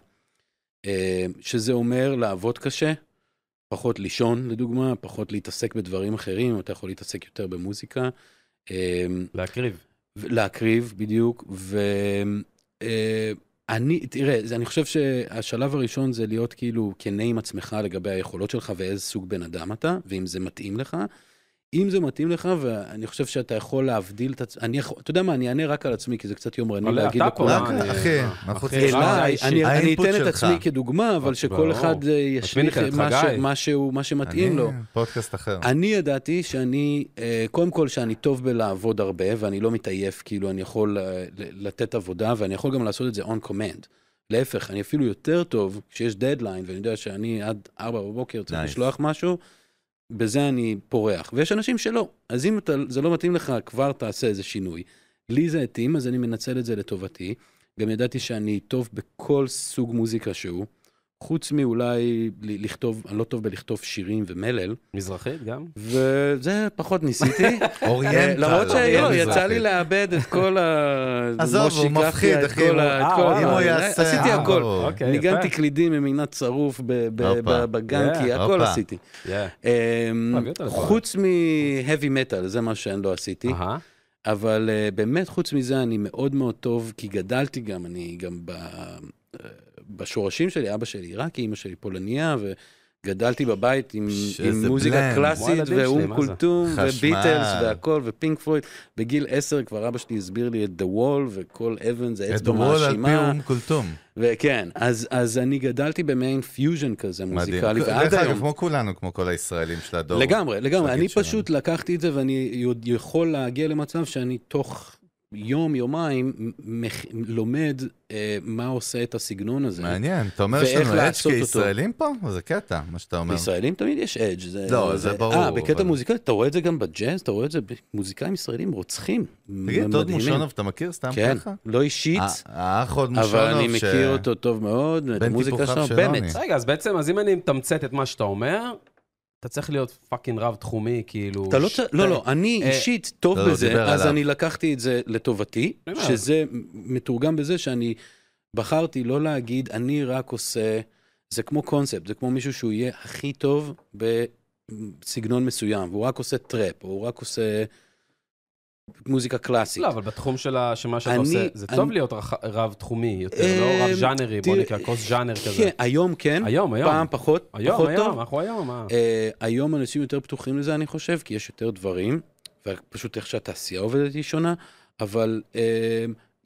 Speaker 3: אה, שזה אומר לעבוד קשה, פחות לישון, לדוגמה, פחות להתעסק בדברים אחרים, אתה יכול להתעסק יותר במוזיקה, אה,
Speaker 1: להקריב.
Speaker 3: להקריב בדיוק, ו... אה, אני, תראה, זה- אני חושב שהשלב הראשון זה להיות כאילו כנה עם עצמך לגבי היכולות שלך ואיזה סוג בן אדם אתה, ואם זה מתאים לך. אם זה מתאים לך, ואני חושב שאתה יכול להבדיל את עצמך, אני יכול, אתה יודע מה, אני אענה רק על עצמי, כי זה קצת יומרני
Speaker 1: אבל
Speaker 3: להגיד
Speaker 1: אתה אה, פה,
Speaker 3: לכולם.
Speaker 2: לכולם,
Speaker 1: מה, אני-
Speaker 2: אחי,
Speaker 1: מה,
Speaker 2: אנחנו
Speaker 1: אחי,
Speaker 2: צריכים-
Speaker 1: מה,
Speaker 3: אלא
Speaker 1: זה
Speaker 3: כן, אני-
Speaker 1: האישי?
Speaker 3: אני
Speaker 2: האינפוט
Speaker 3: אתן את
Speaker 2: שלך.
Speaker 3: עצמי כדוגמה, אבל שכל
Speaker 1: ברור.
Speaker 3: אחד אה, ישליך
Speaker 1: את
Speaker 3: מה ש-
Speaker 1: חגי.
Speaker 3: מה שהוא- מה שמתאים לו.
Speaker 2: אני- פודקאסט אחר.
Speaker 3: אני ידעתי שאני, אה, קודם כל שאני טוב בלעבוד הרבה, ואני לא מתעייף, כאילו אני יכול אה, ל- לתת עבודה, ואני יכול גם לעשות את זה on command. להפך, אני אפילו יותר טוב כשיש דדליין, ואני יודע שאני עד 4 בבוקר צריך
Speaker 2: Nice.
Speaker 3: לשלוח משהו, בזה אני פורח. ויש אנשים שלא, אז אם אתה, זה לא מתאים לך, כבר תעשה איזה שינוי. לי זה התאים, אז אני מנצל את זה לטובתי. גם ידעתי שאני טוב בכל סוג מוזיקה שהוא, חוץ מאולי ל- לכתוב, אני לא טוב בלכתוב שירים ומלל.
Speaker 1: מזרחית גם?
Speaker 3: וזה פחות ניסיתי, אה,
Speaker 2: אוריינטל.
Speaker 3: למרות שלא,
Speaker 2: אוריינטל.
Speaker 3: יצא לי לאבד את כל ה...
Speaker 2: לא עזוב,
Speaker 3: מושי
Speaker 2: הוא
Speaker 3: קפיה,
Speaker 2: מפחיד,
Speaker 3: את
Speaker 2: אחי,
Speaker 3: כל
Speaker 2: הוא-
Speaker 3: ה- את
Speaker 1: אה,
Speaker 3: כל ה-
Speaker 1: וואלה,
Speaker 2: אם הוא יעשה...
Speaker 3: עשיתי
Speaker 2: אה,
Speaker 3: הכל,
Speaker 2: ברור.
Speaker 1: אוקיי,
Speaker 3: ניגנתי
Speaker 1: יפה.
Speaker 3: קלידים ממינת שרוף ב- ב-
Speaker 2: הופה. כן,
Speaker 3: ב- בגנקי,
Speaker 1: Yeah,
Speaker 3: הכל
Speaker 2: הופה. אה,
Speaker 3: עשיתי.
Speaker 1: Yeah.
Speaker 3: אמ,
Speaker 1: להביא אותה לפה.
Speaker 3: חוץ מ-heavy metal, זה מה שאני לא עשיתי,
Speaker 1: אהה.
Speaker 3: אבל אה, באמת, חוץ מזה, אני מאוד מאוד טוב, כי גדלתי גם, אני גם ב- אה, בשורשים שלי, אבא שלי עיראקי, אמא שלי פולניה, ו... גדלתי בבית עם,
Speaker 2: שזה
Speaker 3: עם מוזיקה
Speaker 2: blend.
Speaker 1: כמו
Speaker 3: קלאסית
Speaker 1: הילדים שלי,
Speaker 3: ואום
Speaker 1: מה זה?
Speaker 3: כולתום
Speaker 2: חשמל.
Speaker 3: וביטלס והכל ופינק פלויד. בגיל עשר כבר אבא שלי הסביר לי את The Wall וכל אבן זה
Speaker 2: את
Speaker 3: אצבע
Speaker 2: וול על פי
Speaker 3: מאשימה.
Speaker 2: אום כולתום.
Speaker 3: וכן, אז, אז אני גדלתי במעין פיוז'ן כזה
Speaker 2: מדהים.
Speaker 3: מוזיקלי, ועד
Speaker 2: דרך אגב,
Speaker 3: היום.
Speaker 2: כמו כולנו, כמו כל הישראלים של הדור.
Speaker 3: לגמרי, לגמרי.
Speaker 2: להגיד
Speaker 3: אני
Speaker 2: שלנו.
Speaker 3: פשוט לקחתי את זה ואני עוד יכול להגיע למצב שאני תוך יום, יומיים, מ- מח- לומד אה, מה עושה את הסגנון הזה.
Speaker 2: מעניין, אתה אומר
Speaker 3: ואיך
Speaker 2: שיש לנו אדג'
Speaker 3: לעשות אותו.
Speaker 2: כישראלים פה? זה קטע, מה שאתה אומר.
Speaker 3: בישראלים תמיד יש אדג'. זה,
Speaker 2: לא, זה ברור,
Speaker 3: אה, בקטע
Speaker 2: אבל-
Speaker 3: מוזיקלי, אתה רואה את זה גם בג'אז, אתה רואה את זה במוזיקאים ישראלים רוצחים.
Speaker 2: תגיד,
Speaker 3: מ-
Speaker 2: טוד
Speaker 3: מדהימים.
Speaker 2: מושונוב, אתה מכיר סתם
Speaker 3: כן,
Speaker 2: ככה? אה,
Speaker 3: לא אישית,
Speaker 2: האח עוד מושונוב,
Speaker 3: אבל אני מכיר אותו טוב מאוד, את
Speaker 2: בן
Speaker 3: המוזיקה
Speaker 2: טיפוחיו
Speaker 3: שלו,
Speaker 2: של
Speaker 3: באמת.
Speaker 2: רוני.
Speaker 1: רגע, אז בעצם, אז אם אני מתמצת את מה שאתה אומר, אתה צריך להיות פאקינג רב-תחומי, כאילו...
Speaker 3: אתה לא
Speaker 1: ש-
Speaker 3: צריך, לא, לא, אני
Speaker 1: אה,
Speaker 3: אישית טוב
Speaker 2: לא, לא,
Speaker 3: בזה,
Speaker 2: דיבר
Speaker 3: אז
Speaker 2: עליו.
Speaker 3: אני לקחתי את זה לטובתי,
Speaker 1: אין בעיה.
Speaker 3: שזה מתורגם בזה שאני בחרתי לא להגיד, אני רק עושה, זה כמו קונספט, זה כמו מישהו שהוא יהיה הכי טוב בסגנון מסוים, והוא רק עושה טראפ, או הוא רק עושה מוזיקה קלאסית.
Speaker 1: לא, אבל בתחום של ה- של מה שאתה
Speaker 3: אני-
Speaker 1: עושה, זה
Speaker 3: אני-
Speaker 1: טוב להיות רח- רב-תחומי יותר,
Speaker 3: אה,
Speaker 1: לא רב-ז'אנרי, בוא
Speaker 3: תראה,
Speaker 1: נקרא כוס ז'אנר כזה.
Speaker 3: כן, היום כן,
Speaker 1: היום, היום.
Speaker 3: פעם פחות,
Speaker 1: היום,
Speaker 3: פחות טוב.
Speaker 1: היום, אנחנו היום, מה?
Speaker 3: אה, היום אנשים יותר פתוחים לזה, אני חושב, כי יש יותר דברים, ופשוט איך שהתעשייה עובדת היא שונה, אבל אה,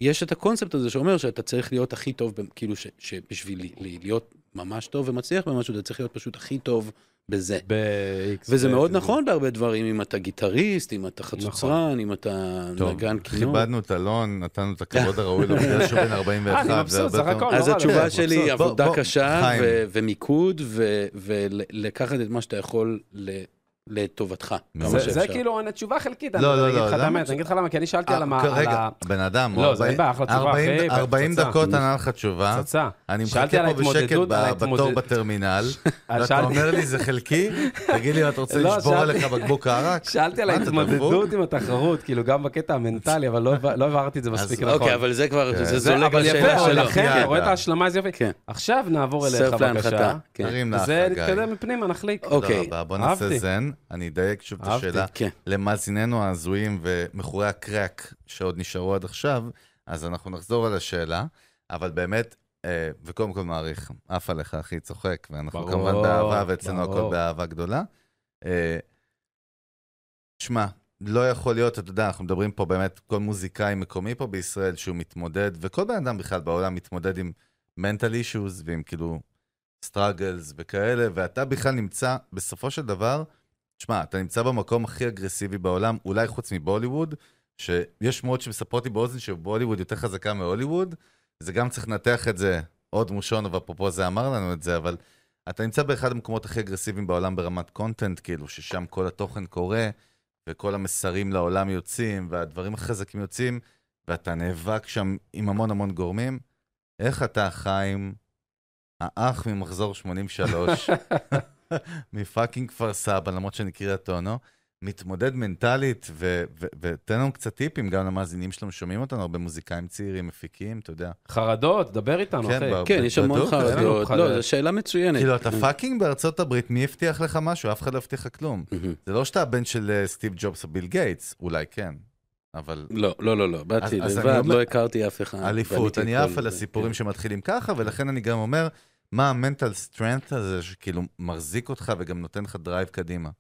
Speaker 3: יש את הקונספט הזה שאומר שאתה צריך להיות הכי טוב, ב- כאילו ש, שבשביל ל- ל- להיות ממש טוב ומצליח במשהו, אתה צריך להיות פשוט הכי טוב בזה.
Speaker 1: ב-X,
Speaker 3: וזה
Speaker 1: ב- אה,
Speaker 3: מאוד נכון בהרבה דברים, אם אתה גיטריסט, אם אתה חצוצרן, אם אתה
Speaker 2: נכון. טוב,
Speaker 3: נגן כינור.
Speaker 2: כיבדנו את אלון, נתנו את הכבוד הראוי לו, בגלל שהוא בן 41.
Speaker 1: אה, אני מבסוט,
Speaker 2: זה הרבה
Speaker 1: סך
Speaker 2: יותר-
Speaker 1: הכל.
Speaker 3: אז
Speaker 1: נורא,
Speaker 3: התשובה
Speaker 1: כן,
Speaker 3: שלי,
Speaker 1: מבסוט.
Speaker 2: בוא,
Speaker 3: עבודה
Speaker 2: בוא,
Speaker 3: קשה
Speaker 2: חיים.
Speaker 3: ו- ומיקוד, ולקחת את מה שאתה יכול ל- לטובתך. כמה
Speaker 1: זה-
Speaker 3: שאפשר.
Speaker 1: זה כאילו אני- תשובה חלקית,
Speaker 2: לא,
Speaker 1: אני
Speaker 2: לא,
Speaker 1: אגיד
Speaker 2: לא,
Speaker 1: לך את
Speaker 2: למה
Speaker 1: האמת,
Speaker 2: תש-
Speaker 1: אני אגיד לך למה, כי אני שאלתי על
Speaker 2: אה,
Speaker 1: המה- על
Speaker 2: רגע,
Speaker 1: ה...
Speaker 2: בן אדם,
Speaker 1: לא,
Speaker 2: הוא
Speaker 1: זה
Speaker 2: 40
Speaker 1: אין בעיה, אחלה תשובה,
Speaker 2: 40
Speaker 1: אחי,
Speaker 2: דקות אה?
Speaker 1: פצצה.
Speaker 2: דקות ענה לך תשובה.
Speaker 1: פצצה.
Speaker 2: אני
Speaker 1: שאלתי על
Speaker 2: מחכה פה בשקט
Speaker 1: ההתמודדות,
Speaker 2: ב-
Speaker 1: על
Speaker 2: בתור
Speaker 1: ההתמודד-
Speaker 2: בטרמינל, ואתה
Speaker 1: שאלתי-
Speaker 2: אומר לי, זה חלקי? תגיד לי, אתה רוצה
Speaker 1: לא,
Speaker 2: לשבור
Speaker 1: שאלתי-
Speaker 2: עליך בקבוק ערק?
Speaker 1: שאלתי על
Speaker 2: מה, אתה דפוק?
Speaker 1: ההתמודדות עם התחרות, כאילו גם בקטע המנטלי, אבל לא הבא- לא הבהרתי את זה מספיק נכון.
Speaker 3: אוקיי, אבל זה כבר, זה
Speaker 1: זה-
Speaker 3: זולג
Speaker 1: אבל יפה,
Speaker 3: לשאלה
Speaker 1: אבל
Speaker 3: שלו.
Speaker 1: לכן, אתה
Speaker 2: לא יאללה.
Speaker 1: רואה את ההשלמה, זה יפה.
Speaker 3: כן.
Speaker 1: עכשיו נעבור אליך,
Speaker 3: סרף להנחתה.
Speaker 1: בבקשה.
Speaker 3: כן.
Speaker 2: תרים לך,
Speaker 1: זה
Speaker 2: גיא.
Speaker 1: נתקדם מפנימה, נחליק.
Speaker 3: אוקיי.
Speaker 2: תודה רבה, בוא נעשה
Speaker 1: אהבתי.
Speaker 2: זן. אני אדייק שוב את
Speaker 1: אהבתי,
Speaker 2: השאלה.
Speaker 3: כן.
Speaker 2: למאזיננו ההזויים ומכורי הקרק שעוד נשארו עד עכשיו, אז אנחנו נחזור על השאלה, אבל באמת, אה, וקודם כל מעריך, עף עליך, אחי, צוחק, ואנחנו
Speaker 1: ברור,
Speaker 2: כמובן באהבה, ואצלנו הכל
Speaker 1: ברור.
Speaker 2: באהבה גדולה. אה, שמע, לא יכול להיות, אתה יודע, אנחנו מדברים פה באמת, כל מוזיקאי מקומי פה בישראל שהוא מתמודד, וכל בן אדם בכלל בעולם מתמודד עם mental issues ועם כאילו struggles וכאלה, ואתה בכלל נמצא, בסופו של דבר, שמע, אתה נמצא במקום הכי אגרסיבי בעולם, אולי חוץ מבוליווד, שיש שמועות שמספרות לי באוזן שבוליווד יותר חזקה מהוליווד, זה גם צריך לנתח את זה, עוד מושונוב, אפרופו זה אמר לנו את זה, אבל אתה נמצא באחד המקומות הכי אגרסיביים בעולם ברמת קונטנט, כאילו, ששם כל התוכן קורה, וכל המסרים לעולם יוצאים, והדברים החזקים יוצאים, ואתה נאבק שם עם המון המון גורמים. איך אתה, חיים, האח ממחזור 83, מפאקינג כפר סבא, למרות שאני קריית אונו, מתמודד מנטלית, ו- ו- ותן לנו קצת טיפים גם למאזינים שלנו, שומעים אותנו, הרבה מוזיקאים צעירים, מפיקים, אתה יודע.
Speaker 1: חרדות, דבר איתנו,
Speaker 2: כן,
Speaker 1: אחי.
Speaker 2: ב-
Speaker 3: כן, יש המון
Speaker 2: בדוק, אין לנו
Speaker 3: חרדות.
Speaker 1: חרדות.
Speaker 3: לא, זו שאלה מצוינת.
Speaker 2: כאילו, אתה פאקינג בארצות הברית, מי הבטיח לך משהו? אף אחד לא הבטיח לך כלום.
Speaker 3: מהמם.
Speaker 2: זה לא שאתה הבן של אה, סטיב ג'ובס או ביל גייטס, אולי כן. אבל
Speaker 3: לא, לא, לא, לא, באתי
Speaker 2: אז אני
Speaker 3: לבד,
Speaker 2: אומר-
Speaker 3: לא הכרתי אף אחד.
Speaker 2: אליפות,
Speaker 3: בניתי
Speaker 2: אני
Speaker 3: את
Speaker 2: עף
Speaker 3: כל
Speaker 2: על
Speaker 3: זה,
Speaker 2: הסיפורים
Speaker 3: כן.
Speaker 2: שמתחילים ככה, ולכן אני גם אומר, מה המנטל סטרנט הזה שכאילו מחזיק אותך וגם נותן לך דרייב קדימה.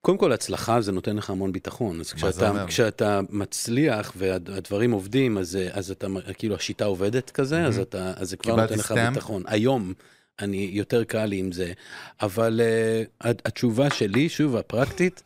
Speaker 3: קודם כל, הצלחה זה נותן לך המון ביטחון. אז
Speaker 2: מה זה אומר?
Speaker 3: כשאתה, כשאתה מצליח והדברים עובדים, אז, אה, אז אתה, מ- כאילו, השיטה עובדת כזה, אז,
Speaker 2: Mhm.
Speaker 3: אתה, אז זה כבר
Speaker 2: קיבלתי
Speaker 3: נותן לך
Speaker 2: סטמפ.
Speaker 3: ביטחון. היום, אני יותר קל לי עם זה, אבל uh, התשובה שלי, שוב, הפרקטית,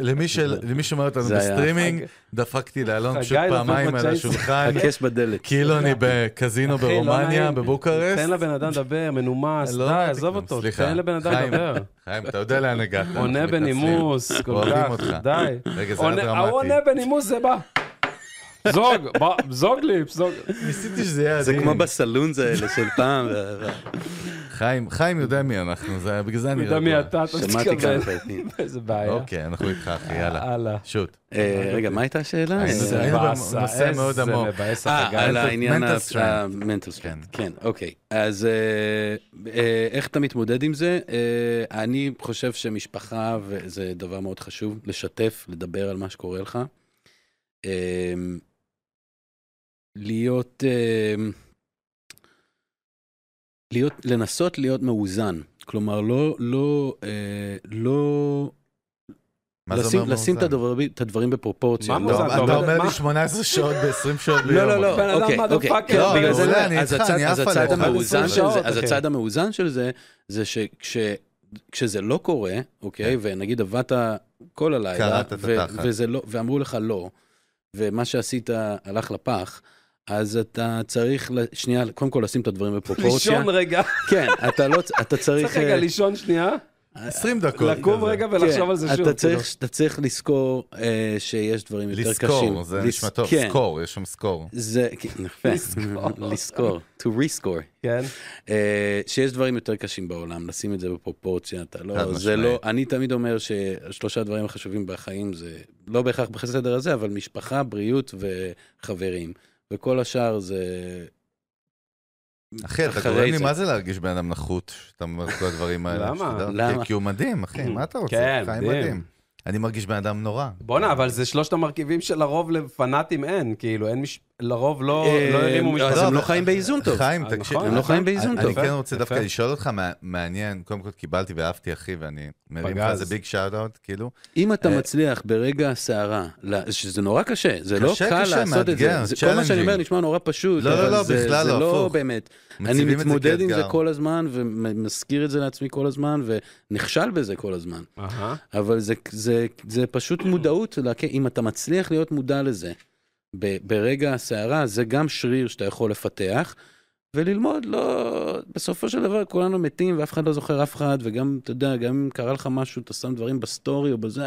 Speaker 2: למי של- למי שומע אותנו
Speaker 3: זה היה-
Speaker 2: בסטרימינג, דפקתי לאלון
Speaker 1: חגי לא
Speaker 2: פשוט
Speaker 1: דפק
Speaker 2: פעמיים על
Speaker 1: בצ'ייס.
Speaker 2: השולחן,
Speaker 3: הקס בדלת.
Speaker 2: כאילו אני בקזינו
Speaker 1: אחי, לא
Speaker 2: ברומניה,
Speaker 1: נעים.
Speaker 2: בבוקרסט.
Speaker 1: תן לבן אדם לדבר, מנומס, די,
Speaker 2: לא אמרתי
Speaker 1: עזוב
Speaker 2: כלום,
Speaker 1: אותו,
Speaker 2: סליחה.
Speaker 1: תן לבן אדם
Speaker 2: חיים.
Speaker 1: לדבר.
Speaker 2: חיים, אתה יודע לאן הגעת.
Speaker 1: עונה
Speaker 2: אנחנו
Speaker 1: בנימוס, כל
Speaker 2: אוהבים
Speaker 1: כך,
Speaker 2: אותך.
Speaker 1: די.
Speaker 2: מתנצלים. רגע, זה היה
Speaker 1: עונה- ההוא
Speaker 2: דרמטי.
Speaker 1: עונה בנימוס זה בא. זוג, בוא, זוג לי, זוג.
Speaker 2: ניסיתי שזה יהיה
Speaker 3: זה
Speaker 2: עדין.
Speaker 3: כמו בסלונס האלה של פעם, ו- ו-
Speaker 2: חיים, חיים יודע מי אנחנו, זה- בגלל זה אני
Speaker 1: יודע מי אתה, אתה
Speaker 3: שמעתי
Speaker 1: מתכוון.
Speaker 3: כמה פעמים.
Speaker 1: איזה בעיה.
Speaker 2: אוקיי, אנחנו איתך, אחי, יאללה.
Speaker 1: הלאה.
Speaker 2: שוט.
Speaker 3: אה, רגע, מה הייתה השאלה?
Speaker 2: היינו-
Speaker 1: איזה
Speaker 2: היינו
Speaker 1: באסה,
Speaker 2: בנושא מאוד
Speaker 1: איזה
Speaker 2: עמוק.
Speaker 1: מבאס
Speaker 3: אה, על
Speaker 1: החגי.
Speaker 3: העניין
Speaker 2: mental strength.
Speaker 3: המנטל סטרנט, כן, אוקיי. אז אה, אה, איך אתה מתמודד עם זה? אה, אני חושב שמשפחה, וזה דבר מאוד חשוב, לשתף, לדבר על מה שקורה לך. אה, להיות, אה, להיות, לנסות להיות מאוזן. כלומר, לא, לא, אה, לא,
Speaker 2: מה זה
Speaker 3: לשים-
Speaker 2: אומר
Speaker 3: לשים את
Speaker 2: מאוזן?
Speaker 3: הדברים- את הדברים
Speaker 1: מה
Speaker 3: בפרופורציה. לא-
Speaker 2: לא,
Speaker 1: מאוזן?
Speaker 2: אתה
Speaker 1: אתה
Speaker 2: אומר
Speaker 1: אומר-
Speaker 2: לי
Speaker 1: מה?
Speaker 2: 18 שעות ב-20 שעות ביום.
Speaker 3: לא, לא,
Speaker 2: אבל-
Speaker 1: בן
Speaker 3: לא,
Speaker 1: אדם
Speaker 3: אוקיי, אוקיי.
Speaker 1: motherfucker.
Speaker 3: לא,
Speaker 1: בגלל
Speaker 3: אבל
Speaker 1: זה-
Speaker 2: אולי אני
Speaker 3: אז
Speaker 2: איתך,
Speaker 3: הצד-
Speaker 2: אני
Speaker 3: אז
Speaker 2: עף
Speaker 3: הצד
Speaker 2: עליך.
Speaker 3: המאוזן
Speaker 1: עשרים
Speaker 3: של
Speaker 1: שעות,
Speaker 3: זה, אז
Speaker 1: אחי.
Speaker 3: הצד המאוזן של זה, זה שכשזה לא קורה, אוקיי, ונגיד עבדת כל הלילה,
Speaker 2: כן. קרעת את
Speaker 3: ו-
Speaker 2: התחת.
Speaker 3: וזה לא- ואמרו לך לא, ומה שעשית הלך לפח, אז אתה צריך, ל- שנייה, קודם כל לשים את הדברים בפרופורציה.
Speaker 1: לישון רגע,
Speaker 3: כן, אתה לא, צ- אתה צריך...
Speaker 1: צריך רגע
Speaker 3: אה,
Speaker 1: לישון שנייה,
Speaker 2: 20 דקות.
Speaker 1: לקום
Speaker 2: כזה.
Speaker 1: רגע ולחשוב
Speaker 3: כן,
Speaker 1: על זה שוב. כאילו.
Speaker 3: אתה צריך, אתה צריך לזכור אה, שיש דברים יותר קשים.
Speaker 2: לזכור, זה
Speaker 3: לז-
Speaker 2: נשמע טוב,
Speaker 3: כן,
Speaker 2: סקור, יש שם סקור.
Speaker 3: זה, כן, יפה.
Speaker 1: לזכור.
Speaker 3: לזכור, to rescore.
Speaker 1: כן,
Speaker 3: אה, שיש דברים יותר קשים בעולם, לשים את זה בפרופורציה, אתה
Speaker 2: חד
Speaker 3: לא, זה
Speaker 2: משמעית.
Speaker 3: לא, אני תמיד אומר ששלושה הדברים החשובים בחיים זה, לא בהכרח בסדר הזה, אבל משפחה, בריאות וחברים, וכל השאר זה,
Speaker 2: אחי, אתה
Speaker 3: אחרי
Speaker 2: גורם לי
Speaker 3: זה.
Speaker 2: מה זה להרגיש בן אדם נחות, שאתה אומר את כל הדברים האלה.
Speaker 1: למה?
Speaker 2: שתדע.
Speaker 3: למה?
Speaker 2: כי הוא מדהים, אחי, מה אתה רוצה?
Speaker 1: כן,
Speaker 2: חיים
Speaker 1: מדהים.
Speaker 2: מדהים. אני מרגיש בן אדם נורא.
Speaker 1: בואנה, אבל זה שלושת המרכיבים שלרוב לפנאטים אין, כאילו, אין מש... לרוב לא
Speaker 3: אה,
Speaker 1: לא הרימו
Speaker 3: אז
Speaker 1: משפחה.
Speaker 3: הם לא
Speaker 2: אבל-
Speaker 3: חיים באיזון טוב.
Speaker 2: חיים,
Speaker 1: אה,
Speaker 2: תקשיב,
Speaker 1: נכון,
Speaker 3: הם לא
Speaker 1: נכון.
Speaker 3: חיים באיזון
Speaker 1: אני-
Speaker 2: אני
Speaker 3: טוב.
Speaker 1: יפה,
Speaker 2: כן רוצה
Speaker 1: יפה.
Speaker 2: דווקא לשאול אותך, מה- מעניין, קודם כל קיבלתי ואהבתי, אחי, ואני מרים לך
Speaker 1: פגז.
Speaker 2: איזה ביג שאט אאוט, כאילו.
Speaker 3: אם אתה
Speaker 2: אה,
Speaker 3: מצליח ברגע הסערה, ל- שזה נורא קשה, זה לא
Speaker 2: קשה,
Speaker 3: קל
Speaker 2: קשה,
Speaker 3: לעשות את
Speaker 2: מאתגר,
Speaker 3: זה, זה- כל מה שאני אומר
Speaker 2: challenging.
Speaker 3: נשמע נורא פשוט,
Speaker 2: לא, לא,
Speaker 3: אבל
Speaker 2: לא,
Speaker 3: זה-
Speaker 2: בכלל
Speaker 3: זה
Speaker 2: לא,
Speaker 3: לא
Speaker 2: הפוך.
Speaker 3: באמת. אני
Speaker 2: מציבים את זה
Speaker 3: מתמודד עם זה
Speaker 2: כאתגר.
Speaker 3: כל הזמן, ומזכיר את זה לעצמי כל הזמן, ונכשל בזה כל הזמן.
Speaker 1: אהה.
Speaker 3: אבל זה, זה, זה פשוט מודעות, לה- אם אתה מצליח להיות מודע לזה ב, ברגע הסערה, זה גם שריר שאתה יכול לפתח, וללמוד, לא, בסופו של דבר כולנו מתים ואף אחד לא זוכר אף אחד, וגם, אתה יודע, גם אם קרה לך משהו, אתה שם דברים בסטורי או בזה,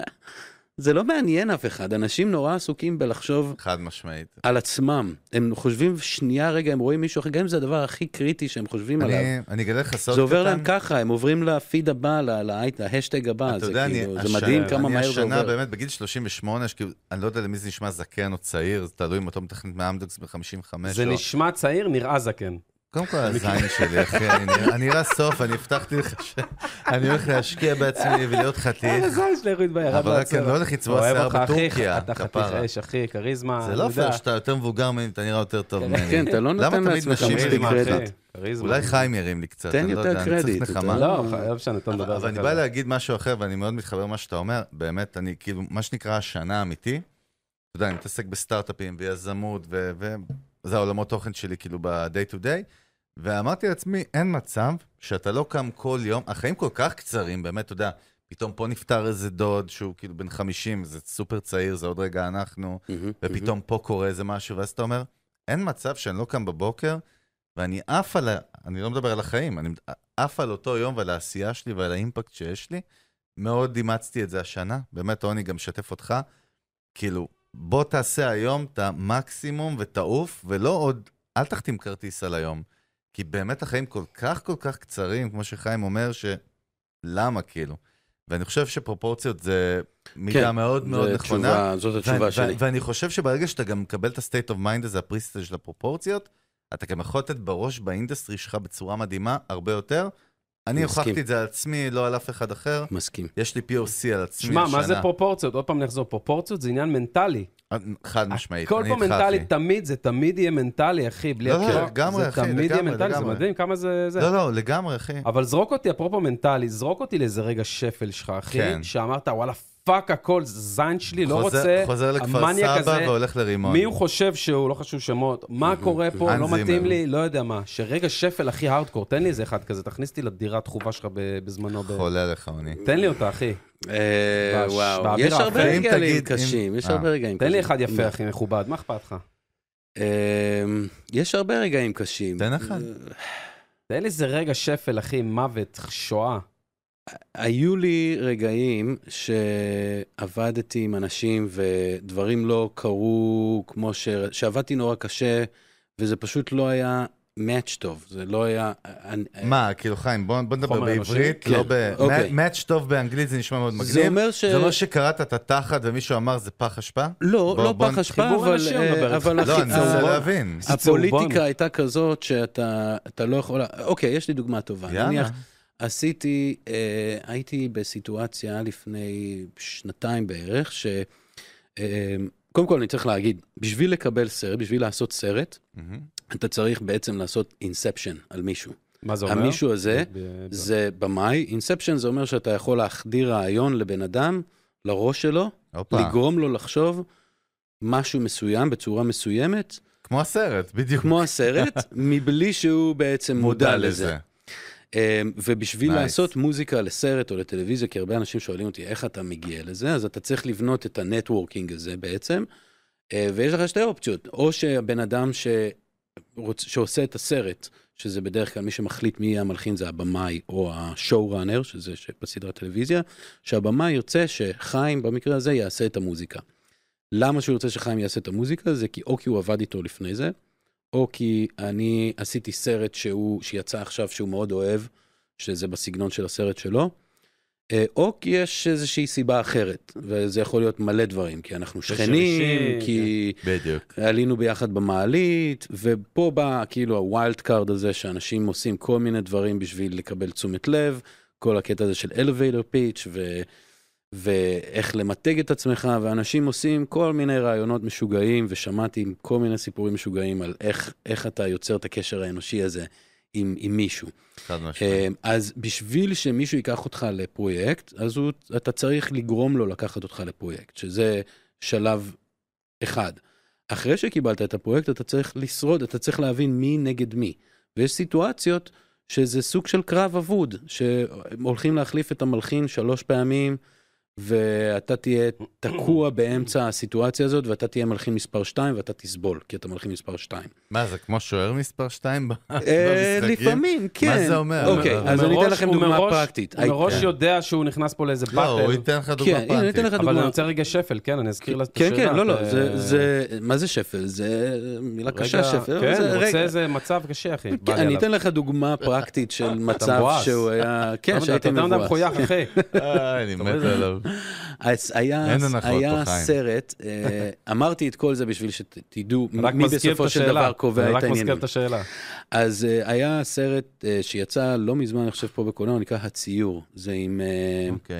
Speaker 3: זה לא מעניין אף אחד, אנשים נורא עסוקים בלחשוב
Speaker 2: חד משמעית.
Speaker 3: על עצמם, הם חושבים שנייה רגע, הם רואים מישהו אחר, גם אם זה הדבר הכי קריטי שהם חושבים עליו.
Speaker 2: אני אני אגלה לך סוד קטן.
Speaker 3: זה עובר להם ככה, הם עוברים לפיד הבא, ל- ל- להשטג הבא,
Speaker 2: אתה
Speaker 3: זה
Speaker 2: יודע, אני
Speaker 3: כאילו,
Speaker 2: השנה-
Speaker 3: זה מדהים כמה מהר זה
Speaker 2: אני השנה
Speaker 3: עובר.
Speaker 2: באמת בגיל 38, שכאילו, אני לא יודע למי זה נשמע זקן או צעיר, זה תלוי אם אתה מתכנת מאמדוקס ב-55.
Speaker 1: זה נשמע צעיר, נראה זקן.
Speaker 2: קודם כל הזין שלי, אחי, אני נראה- אני נראה סוף, אני הבטחתי לך שאני הולך להשקיע בעצמי ולהיות
Speaker 1: אה,
Speaker 2: חתיך.
Speaker 1: זה יש לי רואים בירד
Speaker 2: אבל רק אני לא הולך לצבוע שיער בטורקיה,
Speaker 1: אתה חתיך
Speaker 2: כפרה.
Speaker 1: אש, אחי, כריזמה.
Speaker 2: זה לא
Speaker 1: אני יודע.
Speaker 2: פייר שאתה יותר מבוגר ממני, אתה נראה יותר טוב ממני.
Speaker 3: כן, אתה לא
Speaker 2: למה
Speaker 3: נותן
Speaker 2: תמיד
Speaker 3: לעצמך
Speaker 2: נשים
Speaker 3: מספיק
Speaker 2: שלי
Speaker 1: כריזמה, אחי,
Speaker 3: קרדיט.
Speaker 1: כריזמה.
Speaker 2: אולי חיים ירים לי קצת,
Speaker 3: תן
Speaker 2: אני לא
Speaker 3: יותר
Speaker 2: יודע, אני
Speaker 3: קרדיט,
Speaker 2: צריך
Speaker 3: אתה
Speaker 2: נחמה.
Speaker 3: יודע.
Speaker 1: לא, חייב שנתן לדבר.
Speaker 2: אבל אני בא להגיד משהו אחר, ואני מאוד מתחבר למה שאתה אומר, באמת, אני כאילו, מה שנקרא השנה אמיתי, אתה יודע, אני מתעסק בסטארט-אפים ויזמות, ו- וזה העולמות תוכן שלי כאילו ב-day to day, ואמרתי לעצמי, אין מצב שאתה לא קם כל יום, החיים כל כך קצרים, באמת, אתה יודע, פתאום פה נפטר איזה דוד שהוא כאילו בן 50, זה סופר צעיר, זה עוד רגע אנחנו,
Speaker 3: מהמם,
Speaker 2: ופתאום פה קורה איזה משהו, ואז אתה אומר, אין מצב שאני לא קם בבוקר, ואני עף על ה... אני לא מדבר על החיים, אני עף על אותו יום ועל העשייה שלי ועל האימפקט שיש לי. מאוד אימצתי את זה השנה, באמת, רוני, גם משתף אותך. כאילו, בוא תעשה היום את המקסימום ותעוף, ולא עוד, אל תחתים כרטיס על היום. כי באמת החיים כל כך כל כך קצרים, כמו שחיים אומר, שלמה כאילו? ואני חושב שפרופורציות זה מידה
Speaker 3: כן,
Speaker 2: מאוד מאוד
Speaker 3: זו
Speaker 2: נכונה.
Speaker 3: תשובה- זאת התשובה
Speaker 2: ואני-
Speaker 3: שלי.
Speaker 2: ו- ואני חושב שברגע שאתה גם מקבל את ה-state of mind הזה, הפריסטל של הפרופורציות, אתה גם יכול לתת בראש באינדסטרי שלך בצורה מדהימה הרבה יותר, אני
Speaker 3: מסכים.
Speaker 2: הוכחתי את זה על עצמי, לא על אף אחד אחר.
Speaker 3: מסכים.
Speaker 2: יש לי POC על עצמי
Speaker 1: שמע, מה
Speaker 2: לשנה.
Speaker 1: זה פרופורציות? עוד פעם נחזור, פרופורציות זה עניין מנטלי.
Speaker 2: אה, חד משמעית,
Speaker 1: הכל
Speaker 2: אני
Speaker 1: פה
Speaker 2: איתך,
Speaker 1: מנטלי,
Speaker 2: אחי.
Speaker 1: תמיד, זה תמיד יהיה מנטלי, אחי, בלי
Speaker 2: לא,
Speaker 1: הכר.
Speaker 2: לא, לגמרי, אחי,
Speaker 1: זה תמיד יהיה
Speaker 2: לגמרי,
Speaker 1: מנטלי, זה
Speaker 2: לגמרי.
Speaker 1: מדהים, כמה זה... זה.
Speaker 2: לא, לא, לגמרי, אחי.
Speaker 1: אבל זרוק אותי, אפרופו מנטלי, זרוק אותי לאיזה רגע שפל שלך, אחי,
Speaker 2: כן.
Speaker 1: שאמרת, וואלה, פאק הכל, זין שלי, לא
Speaker 2: חוזר-
Speaker 1: רוצה,
Speaker 2: חוזר לכפר
Speaker 1: המניאק
Speaker 2: סבא
Speaker 1: הזה,
Speaker 2: והולך לרימון.
Speaker 1: מי הוא חושב שהוא, לא חשוב שמות, מה קורה פה,
Speaker 2: האן
Speaker 1: לא
Speaker 2: זימר.
Speaker 1: מתאים לי, לא יודע מה. שרגע שפל הכי הארדקור, תן לי איזה אחד כזה, תכניס אותי לדירת חובה שלך ב- בזמנו. ב-
Speaker 2: חולה עליך, עוני.
Speaker 1: תן לי אותה, אחי.
Speaker 3: אה,
Speaker 1: בש-
Speaker 3: וואו,
Speaker 1: באוויר
Speaker 3: יש הרבה
Speaker 1: האפל.
Speaker 2: אם
Speaker 3: רגעים
Speaker 2: תגיד-
Speaker 3: קשים,
Speaker 2: אם-
Speaker 3: יש
Speaker 2: אה.
Speaker 3: הרבה רגעים
Speaker 1: תן
Speaker 3: קשים.
Speaker 1: לי אחד יפה, אחי, מכובד, מה אכפת לך?
Speaker 3: אה, יש הרבה רגעים קשים. אה,
Speaker 2: תן אחד.
Speaker 1: תן לי איזה רגע שפל, אחי, מוות, שואה.
Speaker 3: היו לי רגעים שעבדתי עם אנשים ודברים לא קרו כמו ש... שעבדתי נורא קשה, וזה פשוט לא היה מאץ' טוב, זה לא היה... אני-
Speaker 2: מה, כאילו חיים, בוא בוא נדבר
Speaker 1: חומר אנושי?
Speaker 2: בעברית,
Speaker 3: כן.
Speaker 2: לא ב...
Speaker 3: אוקיי.
Speaker 2: מאץ' טוב באנגלית זה נשמע מאוד
Speaker 3: זה
Speaker 2: מגניב.
Speaker 3: אומר ש...
Speaker 2: זה אומר שקראת את התחת ומישהו אמר זה פח אשפה?
Speaker 3: לא,
Speaker 2: בוא-
Speaker 3: לא
Speaker 2: בוא-
Speaker 3: פח אשפה,
Speaker 1: חיבור
Speaker 3: אבל...
Speaker 1: אנשים,
Speaker 3: אה,
Speaker 1: מדבר איתך.
Speaker 3: אבל
Speaker 2: לא,
Speaker 3: הכי-
Speaker 2: אני
Speaker 1: אה,
Speaker 2: מנסה
Speaker 1: בוא-
Speaker 2: להבין.
Speaker 1: זה צהובון.
Speaker 3: הפוליטיקה הייתה כזאת שאתה אתה לא יכול... אוקיי, יש לי דוגמה טובה.
Speaker 2: יאללה.
Speaker 3: נניח, עשיתי, אה, הייתי בסיטואציה לפני שנתיים בערך, ש... אה, קודם כל, אני צריך להגיד, בשביל לקבל סרט, בשביל לעשות סרט,
Speaker 2: מהמם.
Speaker 3: אתה צריך בעצם לעשות אינספשן על מישהו.
Speaker 1: מה זה אומר?
Speaker 3: המישהו הזה
Speaker 1: ב- ב-
Speaker 3: זה במאי, אינספשן זה אומר שאתה יכול להחדיר רעיון לבן אדם, לראש שלו,
Speaker 2: הופה.
Speaker 3: לגרום לו לחשוב משהו מסוים בצורה מסוימת,
Speaker 2: כמו הסרט, בדיוק.
Speaker 3: כמו הסרט, מבלי שהוא בעצם מודע לזה. אמ, ובשביל
Speaker 2: Nice.
Speaker 3: nice. לעשות מוזיקה לסרט או לטלוויזיה, כי הרבה אנשים שואלים אותי איך אתה מגיע לזה, אז אתה צריך לבנות את הנטוורקינג הזה בעצם, אה, ויש לך שתי אופציות, או שהבן אדם ש... רוצ... שעושה את הסרט, שזה בדרך כלל מי שמחליט מי יהיה המלחין זה הבמאי או השואו-ראנר, שזה ש... בסדרת טלוויזיה, שהבמאי ירצה שחיים במקרה הזה יעשה את המוזיקה. למה שהוא ירצה שחיים יעשה את המוזיקה? זה כי או כי הוא עבד איתו לפני זה, או כי אני עשיתי סרט שהוא, שיצא עכשיו שהוא מאוד אוהב, שזה בסגנון של הסרט שלו, אה, או כי יש איזושהי סיבה אחרת, וזה יכול להיות מלא דברים, כי אנחנו
Speaker 1: קשר
Speaker 3: שכנים,
Speaker 1: אישי,
Speaker 3: כי...
Speaker 2: בדיוק.
Speaker 3: עלינו ביחד במעלית, ופה בא כאילו הווילד קארד הזה שאנשים עושים כל מיני דברים בשביל לקבל תשומת לב, כל הקטע הזה של elevator pitch ו... ואיך למתג את עצמך, ואנשים עושים כל מיני רעיונות משוגעים, ושמעתי כל מיני סיפורים משוגעים על איך, איך אתה יוצר את הקשר האנושי הזה עם, עם מישהו.
Speaker 2: חד משמעית.
Speaker 3: אמ, אז בשביל שמישהו ייקח אותך לפרויקט, אז הוא, אתה צריך לגרום לו לקחת אותך לפרויקט, שזה שלב אחד. אחרי שקיבלת את הפרויקט, אתה צריך לשרוד, אתה צריך להבין מי נגד מי. ויש סיטואציות שזה סוג של קרב אבוד, שהולכים להחליף את המלחין שלוש פעמים, ואתה תהיה תקוע באמצע הסיטואציה הזאת, ואתה תהיה מלחין מספר 2, ואתה תסבול, כי אתה מלחין מספר 2.
Speaker 2: מה, זה כמו שוער מספר 2?
Speaker 3: אה, לפעמים, כן.
Speaker 2: לא זה אומר? אה,
Speaker 3: אוקיי,
Speaker 2: הוא
Speaker 3: אז אני
Speaker 1: מראש-
Speaker 3: אתן לכם
Speaker 1: הוא
Speaker 3: דוגמה
Speaker 1: מראש-
Speaker 3: פרקטית.
Speaker 1: הוא מראש
Speaker 3: כן.
Speaker 1: יודע שהוא נכנס פה לאיזה
Speaker 2: לא, הוא
Speaker 1: באטל,
Speaker 2: ייתן לך
Speaker 3: כן,
Speaker 2: דוגמה
Speaker 3: הנה, אני אתן
Speaker 2: פרנטית.
Speaker 3: לך
Speaker 1: אבל אני
Speaker 3: דוגמה.
Speaker 1: רוצה רגע שפל, כן, אני אזכיר לה את
Speaker 3: כן,
Speaker 1: השאלה.
Speaker 3: כן, לא, לא,
Speaker 1: אה,
Speaker 3: זה, זה, מה זה שפל? זה מילה
Speaker 1: רגע-
Speaker 3: קשה, שפל. אבל
Speaker 1: כן,
Speaker 3: זה,
Speaker 1: הוא רוצה
Speaker 3: רגע.
Speaker 1: איזה מצב קשה, אחי.
Speaker 3: כן, אני אתן לך דוגמה פרקטית של מצב
Speaker 1: מבואס.
Speaker 3: שהוא היה, כן, שהייתי
Speaker 1: אתה אדם
Speaker 3: מבואס.
Speaker 1: מחוייך, אחי.
Speaker 2: אה, אני מת עליו.
Speaker 3: אז היה,
Speaker 2: אין הנחות
Speaker 3: היה
Speaker 2: פה, חיים.
Speaker 3: סרט, אה, אמרתי את כל זה בשביל שתדעו
Speaker 1: רק
Speaker 3: מי
Speaker 1: מזכיר את
Speaker 3: בסופו של
Speaker 1: השאלה.
Speaker 3: דבר קובע את
Speaker 1: רק מזכיר
Speaker 3: העניינים.
Speaker 1: את השאלה.
Speaker 3: אז אה, היה סרט אה, שיצא לא מזמן, אני חושב, פה בקולנוע, נקרא הציור. זה עם... אה,
Speaker 2: אוקיי.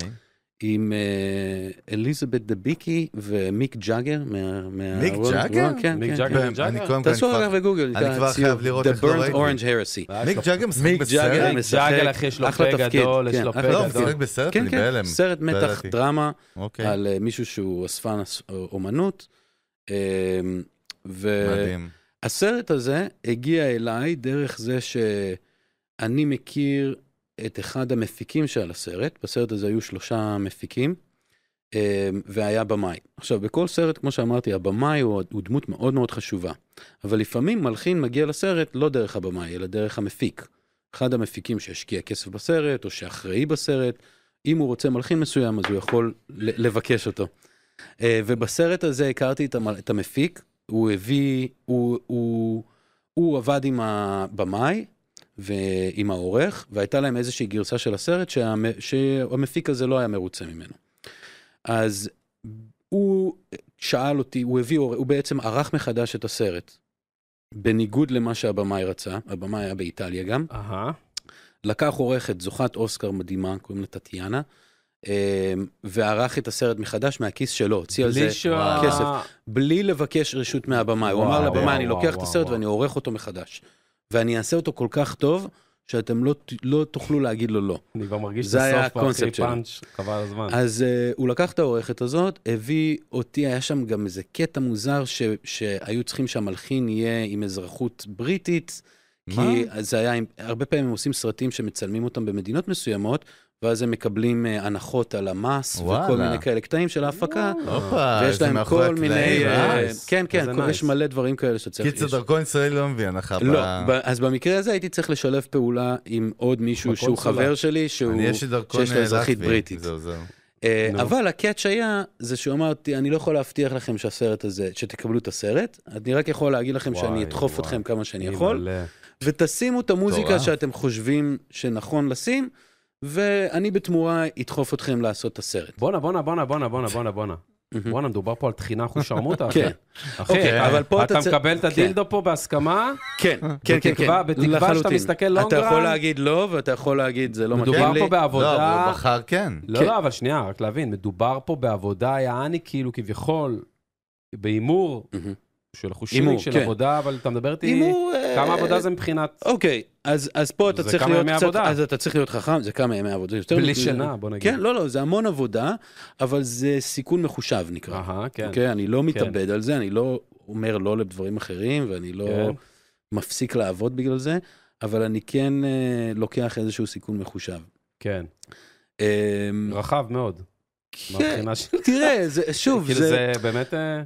Speaker 3: עם אה, אליזבת דביקי ומיק ג'אגר. מה- מה-
Speaker 2: מיק
Speaker 3: רון-
Speaker 2: ג'אגר?
Speaker 3: רון- כן,
Speaker 1: מיק
Speaker 3: כן,
Speaker 1: ג'אגר.
Speaker 3: כן.
Speaker 1: ג'אגר?
Speaker 2: אני קודם כל...
Speaker 3: תעשו
Speaker 2: כבר-
Speaker 3: אחר כך בגוגל.
Speaker 2: אני
Speaker 3: נקרא
Speaker 2: כבר
Speaker 3: הציור,
Speaker 2: חייב לראות איך
Speaker 3: The
Speaker 2: לא
Speaker 3: Burnt
Speaker 2: ראיתי.
Speaker 3: Orange Heresy.
Speaker 2: מיק ג'אגר משחק
Speaker 3: אה, מיק ג'אגר
Speaker 2: בסרט?
Speaker 3: משחק,
Speaker 1: ג'אגל, אחי, יש לו
Speaker 3: אחלה
Speaker 1: פה
Speaker 3: תפקיד,
Speaker 1: גדול, יש
Speaker 3: כן,
Speaker 1: לו
Speaker 3: אחלה
Speaker 1: פה
Speaker 2: לא,
Speaker 1: גדול.
Speaker 2: הוא משחק בסרט?
Speaker 3: כן,
Speaker 2: אני
Speaker 3: כן,
Speaker 2: בהלם.
Speaker 3: סרט
Speaker 2: לא
Speaker 3: מתח
Speaker 2: ידעתי.
Speaker 3: דרמה
Speaker 2: אוקיי,
Speaker 3: על אה, מישהו שהוא אספן אס- אומנות. אה, ו-
Speaker 2: מדהים.
Speaker 3: הסרט הזה הגיע אליי דרך זה שאני מכיר את אחד המפיקים של הסרט, בסרט הזה היו שלושה מפיקים, אה, והיה במאי. עכשיו, בכל סרט, כמו שאמרתי, הבמאי הוא, הוא דמות מאוד מאוד חשובה, אבל לפעמים מלחין מגיע לסרט לא דרך הבמאי, אלא דרך המפיק. אחד המפיקים שהשקיע כסף בסרט, או שאחראי בסרט, אם הוא רוצה מלחין מסוים, אז הוא יכול ל- לבקש אותו. אה, ובסרט הזה הכרתי את, המל... את המפיק, הוא הביא, הוא, הוא, הוא עבד עם הבמאי ועם העורך, והייתה להם איזושהי גרסה של הסרט שהמ... שהמפיק הזה לא היה מרוצה ממנו. אז הוא שאל אותי, הוא הביא, עור- הוא בעצם ערך מחדש את הסרט, בניגוד למה שהבמאי רצה, הבמאי היה באיטליה גם,
Speaker 1: אהה.
Speaker 3: לקח עורכת זוכת אוסקר מדהימה, קוראים לה טטיאנה, אה, וערך את הסרט מחדש מהכיס שלו, הוציא על זה אה,
Speaker 1: בלי שה-
Speaker 3: כסף. בלי לבקש רשות מהבמאי. הוא
Speaker 1: וואו,
Speaker 3: אמר
Speaker 1: וואו,
Speaker 3: לבמאי, אני לוקח
Speaker 1: וואו,
Speaker 3: את הסרט
Speaker 1: וואו.
Speaker 3: ואני עורך אותו מחדש. ואני אעשה אותו כל כך טוב, שאתם לא ת- לא תוכלו להגיד לו לא.
Speaker 1: אני כבר מרגיש
Speaker 3: זה היה
Speaker 1: את הסוף, אחי
Speaker 3: הקונספט שלו.
Speaker 1: פאנץ', חבל על הזמן.
Speaker 3: אז uh, הוא לקח את העורכת הזאת, הביא אותי, היה שם גם איזה קטע מוזר ש, שהיו צריכים שהמלחין יהיה עם אזרחות בריטית.
Speaker 2: מה?
Speaker 3: כי זה היה, עם- הרבה פעמים הם עושים סרטים שמצלמים אותם במדינות מסוימות, ואז הם מקבלים אה, הנחות על המס, וכל
Speaker 2: וואלה.
Speaker 3: מיני כאלה קטעים של ההפקה.
Speaker 1: אה.
Speaker 2: הופה, אה,
Speaker 3: ויש
Speaker 2: זה
Speaker 3: להם
Speaker 2: מאחורי
Speaker 3: כל מיני...
Speaker 2: הקלעים,
Speaker 3: אה,
Speaker 1: nice.
Speaker 3: כן, כן,
Speaker 1: זה
Speaker 3: כל-
Speaker 1: nice.
Speaker 3: יש מלא דברים כאלה שצריך...
Speaker 2: קיצר
Speaker 3: יש-
Speaker 2: דרכון ישראלי לא מביא הנחה.
Speaker 3: לא,
Speaker 2: ב-
Speaker 3: ב- אז במקרה הזה הייתי צריך לשלב פעולה עם עוד מישהו שהוא
Speaker 1: בקונסולה.
Speaker 3: חבר שלי, שהוא...
Speaker 2: אני יש לי דרכון אה, כאילו.
Speaker 3: שיש לו אזרחית
Speaker 2: לטבי,
Speaker 3: בריטית.
Speaker 2: זה עוזר.
Speaker 3: אה,
Speaker 1: נו.
Speaker 3: אבל הקאץ' היה, זה שהוא אמרתי, אני לא יכול להבטיח לכם שהסרט הזה, שתקבלו את הסרט, אני רק יכול להגיד לכם
Speaker 1: וואי,
Speaker 3: שאני אדחוף
Speaker 1: וואי.
Speaker 3: אתכם כמה שאני יכול,
Speaker 1: אימא'לה.
Speaker 3: ותשימו את המוזיקה
Speaker 2: מטורף.
Speaker 3: שאתם חושבים שנכון לשים, ואני בתמורה אדחוף אתכם לעשות את הסרט.
Speaker 1: בואנה, בואנה, בואנה, בואנה, בונה, בונה, בונה. בואנה, מדובר פה על טחינה אחושרמוטה, אחי.
Speaker 3: כן,
Speaker 1: אחי,
Speaker 3: אוקיי, אבל פה
Speaker 1: אתה
Speaker 3: אתה צ-
Speaker 1: מקבל את הדילדו פה בהסכמה,
Speaker 3: כן,
Speaker 1: אה.
Speaker 3: כן, כן, כן,
Speaker 1: בתקווה- בתקווה שאתה
Speaker 3: לחלוטין.
Speaker 1: מסתכל long
Speaker 3: אתה יכול
Speaker 1: run?
Speaker 3: להגיד לא, ואתה יכול להגיד זה לא מתאים
Speaker 1: מדובר
Speaker 3: לי.
Speaker 2: לא,
Speaker 1: פה
Speaker 2: אבל
Speaker 1: בעבודה...
Speaker 2: הוא בחר כן.
Speaker 1: לא,
Speaker 3: כן.
Speaker 1: לא, אבל שנייה, רק להבין, מדובר פה בעבודה, יעני, כאילו, כביכול, בהימור
Speaker 3: מהמם.
Speaker 1: של חושים,
Speaker 3: הימור,
Speaker 1: של
Speaker 3: כן.
Speaker 1: עבודה, אבל אתה מדבר איתי,
Speaker 3: הימור, אה,
Speaker 1: כמה עבודה זה מבחינת...
Speaker 3: אוקיי, אז, אז פה אתה
Speaker 1: זה
Speaker 3: צריך
Speaker 1: כמה
Speaker 3: להיות
Speaker 1: ימי
Speaker 3: קצת,
Speaker 1: עבודה.
Speaker 3: אז אתה צריך להיות חכם, זה כמה ימי עבודה, זה יותר
Speaker 1: בלי
Speaker 3: מ-
Speaker 1: שינה, בוא נגיד.
Speaker 3: כן, לא, לא, זה המון עבודה, אבל זה סיכון מחושב נקרא.
Speaker 1: אהה, כן.
Speaker 3: אוקיי, אני לא מתאבד על זה, אני לא אומר לא לדברים אחרים, ואני לא
Speaker 1: כן.
Speaker 3: מפסיק לעבוד בגלל זה, אבל אני כן אה, לוקח איזשהו סיכון מחושב.
Speaker 1: כן,
Speaker 3: אה,
Speaker 1: רחב מאוד,
Speaker 3: כן,
Speaker 1: מהבחינה של...
Speaker 3: תראה, זה, שוב,
Speaker 1: כאילו,
Speaker 3: זה,
Speaker 1: זה באמת... אה,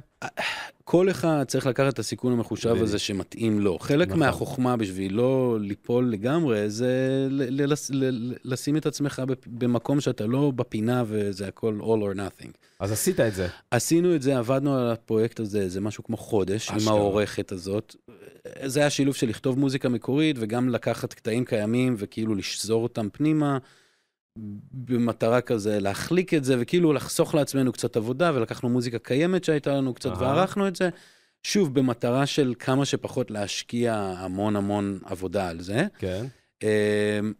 Speaker 3: כל אחד צריך לקחת את הסיכון המחושב
Speaker 1: בדיוק.
Speaker 3: הזה שמתאים לו. חלק
Speaker 1: נכון.
Speaker 3: מהחוכמה בשביל לא ליפול לגמרי, זה ל- ל- לס- ל- ל- לשים את עצמך בפ- במקום שאתה לא בפינה וזה הכל all or nothing.
Speaker 1: אז עשית את זה.
Speaker 3: עשינו את זה, עבדנו על הפרויקט הזה איזה משהו כמו חודש עם
Speaker 1: אשכרה.
Speaker 3: העורכת הזאת. זה היה שילוב של לכתוב מוזיקה מקורית וגם לקחת קטעים קיימים וכאילו לשזור אותם פנימה, במטרה כזה להחליק את זה וכאילו לחסוך לעצמנו קצת עבודה ולקחנו מוזיקה קיימת שהייתה לנו קצת
Speaker 1: אהה.
Speaker 3: וערכנו את זה. שוב, במטרה של כמה שפחות להשקיע המון המון עבודה על זה.
Speaker 1: כן.
Speaker 3: אמ,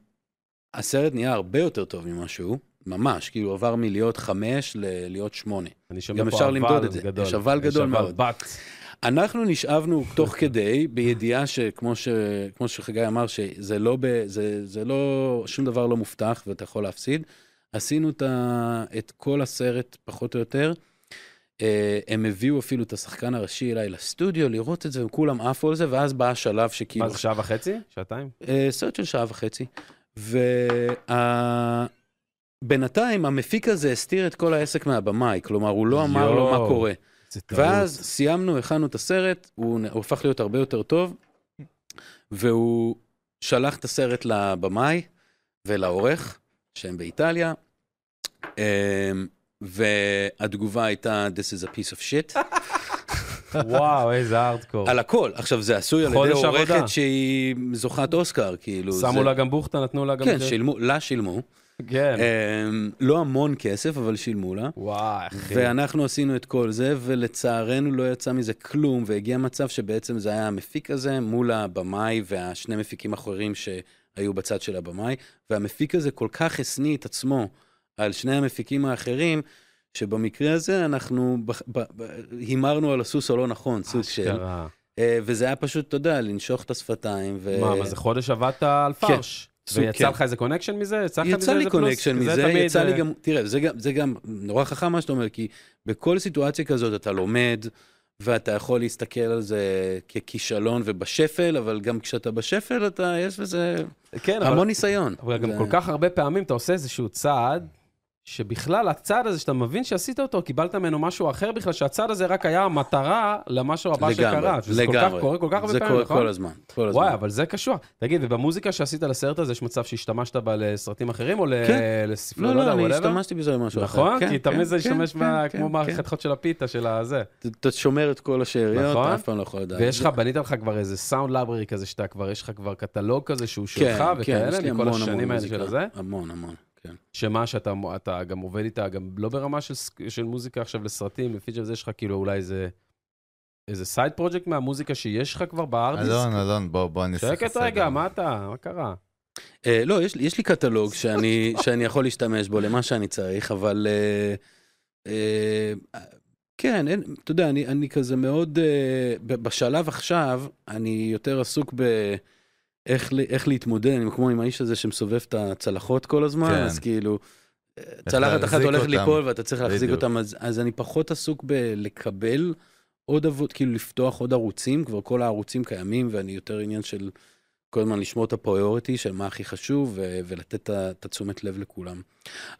Speaker 3: הסרט נהיה הרבה יותר טוב ממה שהוא, ממש, כאילו עבר מלהיות חמש ללהיות שמונה.
Speaker 1: אני שומע
Speaker 3: גם
Speaker 1: פה
Speaker 3: אפשר
Speaker 1: אבל
Speaker 3: למדוד את זה.
Speaker 1: גדול.
Speaker 3: יש אבל גדול מאוד.
Speaker 1: יש אבל בת.
Speaker 3: אנחנו נשאבנו תוך כדי, בידיעה שכמו ש... כמו שחגי אמר, שזה לא, ב... זה... זה לא, שום דבר לא מובטח ואתה יכול להפסיד. עשינו את, ה... את כל הסרט, פחות או יותר. Uh, הם הביאו אפילו את השחקן הראשי אליי לסטודיו לראות את זה, וכולם עפו על זה, ואז בא השלב שכאילו...
Speaker 1: מה זה, שעה וחצי? שעתיים?
Speaker 3: אה, סרט של שעה וחצי. ובינתיים המפיק הזה הסתיר את כל העסק מהבמאי, כלומר הוא לא אמר לו
Speaker 1: יואו.
Speaker 3: מה קורה.
Speaker 1: זה טעות.
Speaker 3: ואז סיימנו, הכנו את הסרט, הוא, נ- הוא הפך להיות הרבה יותר טוב, והוא שלח את הסרט לבמאי ולעורך, שהם באיטליה, אמ, והתגובה הייתה This is a piece of shit,
Speaker 1: אוקיי. וואו, איזה ארדקור.
Speaker 3: על הכל. עכשיו זה עשוי על ידי
Speaker 1: חודש עבודה.
Speaker 3: עורכת שהיא זוכת אוסקר, כאילו.
Speaker 1: שמו
Speaker 3: זה-
Speaker 1: לה גם בוכטה, נתנו לה גם...
Speaker 3: כן,
Speaker 1: את זה.
Speaker 3: שילמו, לה שילמו.
Speaker 1: כן.
Speaker 3: אמ, לא המון כסף, אבל שילמו לה.
Speaker 1: וואי, אחי.
Speaker 3: ואנחנו עשינו את כל זה, ולצערנו לא יצא מזה כלום, והגיע מצב שבעצם זה היה המפיק הזה מול הבמאי והשני מפיקים אחרים שהיו בצד של הבמאי, והמפיק הזה כל כך השניא את עצמו על שני המפיקים האחרים, שבמקרה הזה אנחנו בח- ב- ב- הימרנו על הסוס הלא נכון, סוג של...
Speaker 1: אשכרה.
Speaker 3: אה, וזה היה פשוט, אתה יודע, לנשוך את השפתיים. ו...
Speaker 1: מה, מה זה חודש עבדת על פרש?
Speaker 3: סוג,
Speaker 1: ויצא
Speaker 3: אה, כן.
Speaker 1: לך איזה קונקשן מזה? יצא לך מזה
Speaker 3: יצא לי
Speaker 1: איזה פלוס?
Speaker 3: קונקשן
Speaker 1: כי זה
Speaker 3: מזה,
Speaker 1: תמיד,
Speaker 3: יצא לי
Speaker 1: אה,
Speaker 3: גם, תראה, זה גם, זה גם נורא חכם מה שאתה אומר, כי בכל סיטואציה כזאת אתה לומד, ואתה יכול להסתכל על זה ככישלון ובשפל, אבל גם כשאתה בשפל אתה, יש בזה
Speaker 1: כן, אבל-
Speaker 3: המון ניסיון.
Speaker 1: אבל גם
Speaker 3: זה-
Speaker 1: כל כך הרבה פעמים אתה עושה איזשהו צעד, שבכלל הצעד הזה שאתה מבין שעשית אותו, קיבלת ממנו משהו אחר בכלל, שהצעד הזה רק היה המטרה למשהו הבא
Speaker 3: לגמרי,
Speaker 1: שקרה. שזה כל כך-
Speaker 3: לגמרי.
Speaker 1: קורה כל כך הרבה
Speaker 3: זה
Speaker 1: פעמים,
Speaker 3: קורה
Speaker 1: נכון?
Speaker 3: כל הזמן, כל הזמן.
Speaker 1: וואי, אבל זה קשוח. תגיד, ובמוזיקה שעשית לסרט הזה, יש מצב שהשתמשת בה לסרטים אחרים, או ל-
Speaker 3: כן.
Speaker 1: לספרי,
Speaker 3: לא, לא,
Speaker 1: יודע,
Speaker 3: אני
Speaker 1: whatever?
Speaker 3: השתמשתי בזה במשהו אחר.
Speaker 1: נכון?
Speaker 3: כן,
Speaker 1: כי
Speaker 3: כן,
Speaker 1: תמיד זה
Speaker 3: כן,
Speaker 1: השתמש
Speaker 3: כן,
Speaker 1: בה
Speaker 3: כן,
Speaker 1: כמו
Speaker 3: כן.
Speaker 1: מערכת חודשי של הפיתה של הזה.
Speaker 3: אתה- אתה שומר את כל השאריות,
Speaker 1: נכון.
Speaker 3: אתה אף פעם לא יכול לדעת.
Speaker 1: ויש
Speaker 3: זה-
Speaker 1: לך, בנית לך כבר איזה סאונד ליברary כזה, שאתה כבר, יש לך כבר קטלוג כזה שהוא שלך
Speaker 3: כן, כן, יש לי
Speaker 1: וכאלה,
Speaker 3: המון
Speaker 1: מכל
Speaker 3: המון
Speaker 1: השנים האלה
Speaker 3: מוזיקה.
Speaker 1: של הזה.
Speaker 3: המון, המון, כן.
Speaker 1: שמה שאתה אתה גם עובד איתה, גם לא ברמה של, ס- של מוזיקה עכשיו לסרטים, לפיצ'ר וזה, יש לך כאילו אולי איזה, איזה סייד פרוג'קט מהמוזיקה שיש לך כבר בארדיסק.
Speaker 2: אלון, אלון, בוא, בוא אני אעשה לך
Speaker 1: שקט
Speaker 2: סדר.
Speaker 1: רגע, מה אתה? מה קרה?
Speaker 3: Uh, אה, לא, יש, לי- יש לי קטלוג שאני, שאני יכול להשתמש בו למה שאני צריך, אבל... אה, אה, כן, אין, אתה יודע, אני, אני כזה מאוד... אה, ב- בשלב עכשיו, אני יותר עסוק ב... איך, ל- איך להתמודד, אני כמו עם האיש הזה שמסובב את הצלחות כל הזמן,
Speaker 2: כן.
Speaker 3: כן. אז כאילו, אה, צלחת אחת
Speaker 2: להחזיק
Speaker 3: הולכת
Speaker 2: אותם.
Speaker 3: ליפול ואתה צריך להחזיק
Speaker 2: בדיוק.
Speaker 3: אותם, אז, אז אני פחות עסוק בלקבל עוד עבוד, כאילו לפתוח עוד ערוצים, כבר כל הערוצים קיימים, ואני יותר עניין של כל הזמן לשמור את הפריוריטי של מה הכי חשוב, ו- ולתת את ה- את התשומת לב לכולם.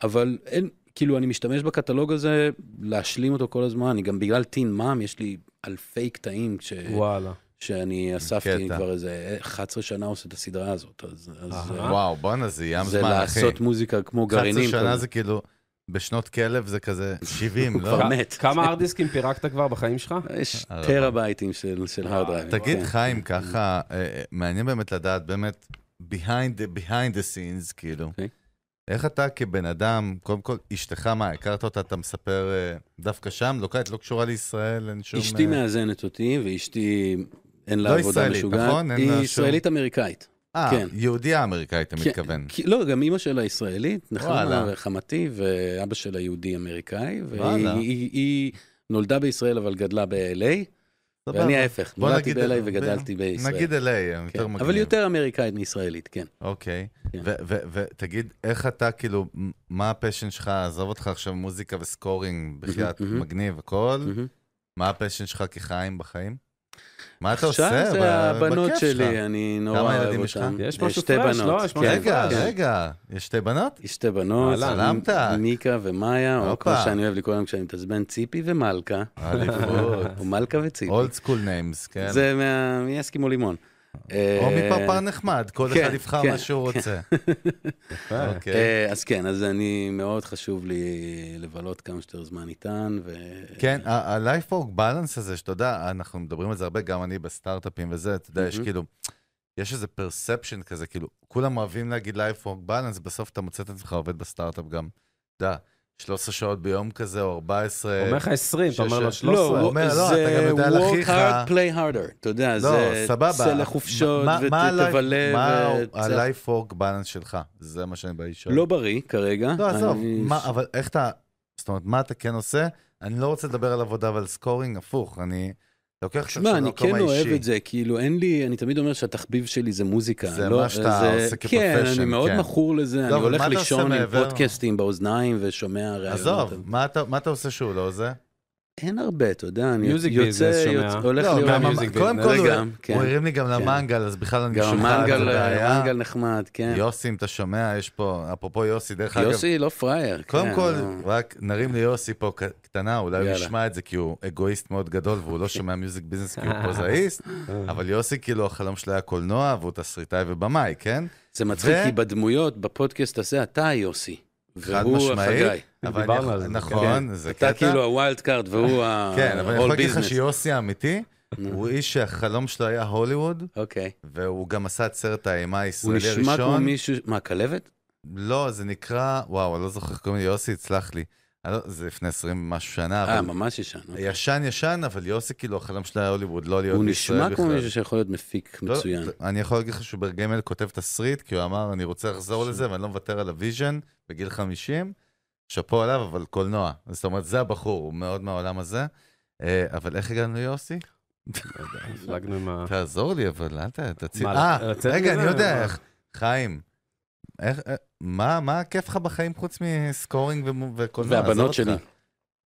Speaker 3: אבל אין, כאילו, אני משתמש בקטלוג הזה, להשלים אותו כל הזמן, אני גם בגלל טין מאם, יש לי אלפי קטעים ש...
Speaker 2: אה,
Speaker 1: וואלה.
Speaker 3: שאני אספתי
Speaker 2: קטע.
Speaker 3: כבר איזה 11 שנה עושה את הסדרה הזאת, אז... אז אה,
Speaker 1: אהה.
Speaker 2: וואו, בואנה, זה ים
Speaker 3: זה
Speaker 2: זמן, אחי.
Speaker 3: לעשות מוזיקה כמו
Speaker 2: 11
Speaker 3: גרעינים.
Speaker 2: שנה
Speaker 3: כזה.
Speaker 2: זה כאילו, בשנות כלב זה כזה 70, לא?
Speaker 3: כבר
Speaker 1: כ-
Speaker 3: מת.
Speaker 1: כמה הארדיסקים פירקת כבר בחיים שלך?
Speaker 3: יש
Speaker 2: אה,
Speaker 3: טראבייטים של, של הארד דרייב.
Speaker 2: תגיד,
Speaker 3: כן.
Speaker 2: חיים, ככה, אה, אה, מעניין באמת לדעת, באמת, behind the, behind the scenes, כאילו.
Speaker 3: אוקיי.
Speaker 2: איך אתה כבן אדם, קודם כל, אשתך, מה, הכרת אותה, אתה מספר אה, דווקא שם, לא קייט, לא קשורה לישראל, אין שום...
Speaker 3: אשתי
Speaker 2: אה,
Speaker 3: מאזנת אותי, ואשתי אין לה
Speaker 2: לא
Speaker 3: עבודה
Speaker 2: ישראלית,
Speaker 3: משוגעת.
Speaker 2: נכון? אין לה
Speaker 3: היא
Speaker 2: שום-
Speaker 3: ישראלית-אמריקאית.
Speaker 2: אה,
Speaker 3: כן.
Speaker 2: יהודייה אמריקאית, אתה
Speaker 3: כן,
Speaker 2: מתכוון.
Speaker 3: כי- לא, גם אימא שלה ישראלית, נחמה
Speaker 2: וואלה.
Speaker 3: וחמתי, ואבא שלה יהודי-אמריקאי, והיא
Speaker 2: וואלה.
Speaker 3: היא- היא נולדה בישראל אבל גדלה ב-LA,
Speaker 2: סבבה.
Speaker 3: ואני ההפך,
Speaker 2: בוא
Speaker 3: נולדתי
Speaker 2: נגיד-
Speaker 3: ב-LA וגדלתי בישראל.
Speaker 2: נגיד LA, הם
Speaker 3: כן,
Speaker 2: יותר מגניב.
Speaker 3: אבל היא יותר אמריקאית מישראלית, כן.
Speaker 2: אוקיי.
Speaker 3: כן.
Speaker 2: ותגיד, איך אתה, כאילו, מ- מה הפשן שלך, עזוב אותך עכשיו מוזיקה וסקורינג, בחייאת
Speaker 3: מהמם.
Speaker 2: מגניב, הכל,
Speaker 3: מהמם.
Speaker 2: מה הפשן שלך כחיים בחיים? מה אתה עושה?
Speaker 3: עכשיו
Speaker 2: ב-
Speaker 3: זה הבנות
Speaker 2: בכיף
Speaker 3: שלי,
Speaker 2: שלך?
Speaker 3: אני נורא
Speaker 2: כמה
Speaker 3: אוהב
Speaker 2: ילדים יש לך?
Speaker 3: אותן.
Speaker 1: יש משהו
Speaker 3: שתי
Speaker 1: פרש,
Speaker 3: בנות,
Speaker 1: לא? יש
Speaker 3: כן,
Speaker 1: משהו
Speaker 2: רגע,
Speaker 1: כן.
Speaker 2: רגע, יש שתי בנות?
Speaker 3: יש שתי בנות,
Speaker 1: אהלן.
Speaker 2: צלמת.
Speaker 3: מיקה ומאיה, או
Speaker 2: הופה.
Speaker 3: כמו שאני אוהב לקרוא להם כשאני מתעצבן, ציפי ומלכה,
Speaker 2: אליפות.
Speaker 3: או מלכה וציפי.
Speaker 2: אולד סקול ניימס, אוקיי, כן.
Speaker 3: זה מה- מאסקימו לימון. אה,
Speaker 2: או מפרפר נחמד, כל
Speaker 3: כן,
Speaker 2: אחד יבחר
Speaker 3: כן,
Speaker 2: מה שהוא רוצה.
Speaker 1: יפה.
Speaker 2: אוקיי.
Speaker 3: אז כן, אז אני, מאוד חשוב לי לבלות כמה שיותר זמן איתן, ו...
Speaker 2: כן, ה-life work balance הזה, שאתה יודע, אנחנו מדברים על זה הרבה, גם אני בסטארט-אפים וזה, אתה יודע, יש
Speaker 3: מהמם.
Speaker 2: כאילו, יש איזה perception כזה, כאילו, כולם אוהבים להגיד life work balance, בסוף אתה מוצא את עצמך עובד בסטארט-אפ גם, אתה יודע, 13 שעות ביום כזה, או 14.
Speaker 1: אומר לך 20, אתה אומר לו
Speaker 2: שש-
Speaker 3: לא,
Speaker 1: 13.
Speaker 2: הוא אומר, לא, אתה גם יודע
Speaker 3: זה
Speaker 2: לאחיך.
Speaker 3: work hard, play harder, אתה יודע,
Speaker 2: לא,
Speaker 3: זה...
Speaker 2: סבבה.
Speaker 3: צא לחופשות
Speaker 2: מה- מה ה-life-
Speaker 3: ותבלה.
Speaker 2: מה
Speaker 3: וצא-
Speaker 2: ה-life work balance שלך? זה מה שאני בא לשאול.
Speaker 3: לא בריא כרגע.
Speaker 2: לא, עזוב,
Speaker 3: אני-
Speaker 2: מה- אבל איך אתה, זאת אומרת, מה אתה כן עושה? אני לא רוצה לדבר על עבודה ועל סקורינג, הפוך, אני לוקח את זה
Speaker 3: שמע, אני
Speaker 2: למקום
Speaker 3: כן אוהב
Speaker 2: האישי.
Speaker 3: את זה, כאילו, אין לי, אני תמיד אומר שהתחביב שלי זה מוזיקה.
Speaker 2: זה
Speaker 3: לא,
Speaker 2: מה שאתה
Speaker 3: זה-
Speaker 2: עושה
Speaker 3: כן,
Speaker 2: כ-profession,
Speaker 3: אני מאוד
Speaker 2: כן.
Speaker 3: מכור לזה, אני
Speaker 2: אבל
Speaker 3: הולך
Speaker 2: מה אתה
Speaker 3: לישון
Speaker 2: עושה
Speaker 3: עם
Speaker 2: מעבר?
Speaker 3: פודקאסטים באוזניים ושומע רעיונות.
Speaker 2: עזוב, מה אתה- מה אתה עושה שהוא לא זה?
Speaker 3: אין הרבה, אתה יודע, אני
Speaker 1: Music
Speaker 3: יוצא,
Speaker 1: business שומע.
Speaker 3: יוצא, הולך
Speaker 2: לא,
Speaker 3: לראות
Speaker 2: גם
Speaker 1: music
Speaker 2: המ- קודם
Speaker 1: business.
Speaker 2: כל
Speaker 3: רגע,
Speaker 2: הוא-
Speaker 3: כן.
Speaker 2: הוא הרים לי גם למנגל, אז בכלל אני
Speaker 3: גם
Speaker 2: שומע את
Speaker 3: המנגל,
Speaker 2: הבעיה.
Speaker 3: המנגל נחמד, כן.
Speaker 2: יוסי, אם אתה שומע, יש פה, אפרופו יוסי, דרך אגב,
Speaker 3: יוסי לא פראייר.
Speaker 2: קודם
Speaker 3: כן,
Speaker 2: כל,
Speaker 3: לא.
Speaker 2: רק נרים ליוסי פה ק- קטנה, אולי הוא
Speaker 3: יאללה.
Speaker 2: ישמע את זה כי הוא אגואיסט מאוד גדול והוא לא שומע מיוזיק ביזנס כי הוא פוזאיסט, אבל יוסי כאילו החלום שלו היה קולנוע והוא תסריטאי ובמאי, כן?
Speaker 3: זה מצחיק,
Speaker 2: ו-
Speaker 3: כי בדמויות, בפודקאסט הזה, אתה יוסי.
Speaker 2: חד
Speaker 3: והוא
Speaker 2: משמעית.
Speaker 3: החגי.
Speaker 2: אבל אני
Speaker 1: דיברנו
Speaker 2: יכול-
Speaker 1: על זה,
Speaker 2: נכון, זה קטע.
Speaker 3: אתה כאילו הווילד קארד והוא ה...
Speaker 2: כן, אבל אני
Speaker 3: all
Speaker 2: יכול להגיד לך
Speaker 3: business.
Speaker 2: שיוסי האמיתי, הוא איש שהחלום שלו היה הוליווד,
Speaker 3: אוקיי.
Speaker 2: והוא גם עשה את סרט האימה
Speaker 3: הוא
Speaker 2: הישראלי הראשון.
Speaker 3: נשמע כמו מישהו... מה, כלבת?
Speaker 2: לא, זה נקרא, וואו, אני לא זוכר איך קוראים לי, יוסי, סלח לי. אני לא- זה לפני 20 ומשהו שנה,
Speaker 3: אה,
Speaker 2: אבל
Speaker 3: ממש ישן. אוקיי.
Speaker 2: ישן ישן, אבל יוסי כאילו החלום שלו היה הוליווד, לא להיות
Speaker 3: הוא
Speaker 2: בישראל
Speaker 3: נשמע כמו
Speaker 2: בכלל.
Speaker 3: מישהו שיכול להיות מפיק
Speaker 2: לא,
Speaker 3: מצוין.
Speaker 2: אני יכול להגיד לך שהוא ברגמל כותב תסריט, כי הוא אמר, אני רוצה לחזור לזה ואני לא מוותר על הוויז'ן בגיל 50, שאפו עליו, אבל קולנוע. זאת אומרת, זה הבחור, הוא מאוד מהעולם הזה. אה, אבל איך הגענו ליוסי?
Speaker 3: לא
Speaker 1: הפלגנו עם ה...
Speaker 2: תעזור לי, אבל אל ת- תציל...
Speaker 1: מה,
Speaker 2: אה,
Speaker 1: לצאת
Speaker 2: רגע, אני
Speaker 1: מזה?
Speaker 2: יודע
Speaker 1: מה?
Speaker 2: איך. חיים, איך... אה, מה, מה כיף לך בחיים חוץ מסקורינג ומו- וקולנוע? עזוב
Speaker 3: והבנות
Speaker 2: אותך.
Speaker 3: שלי.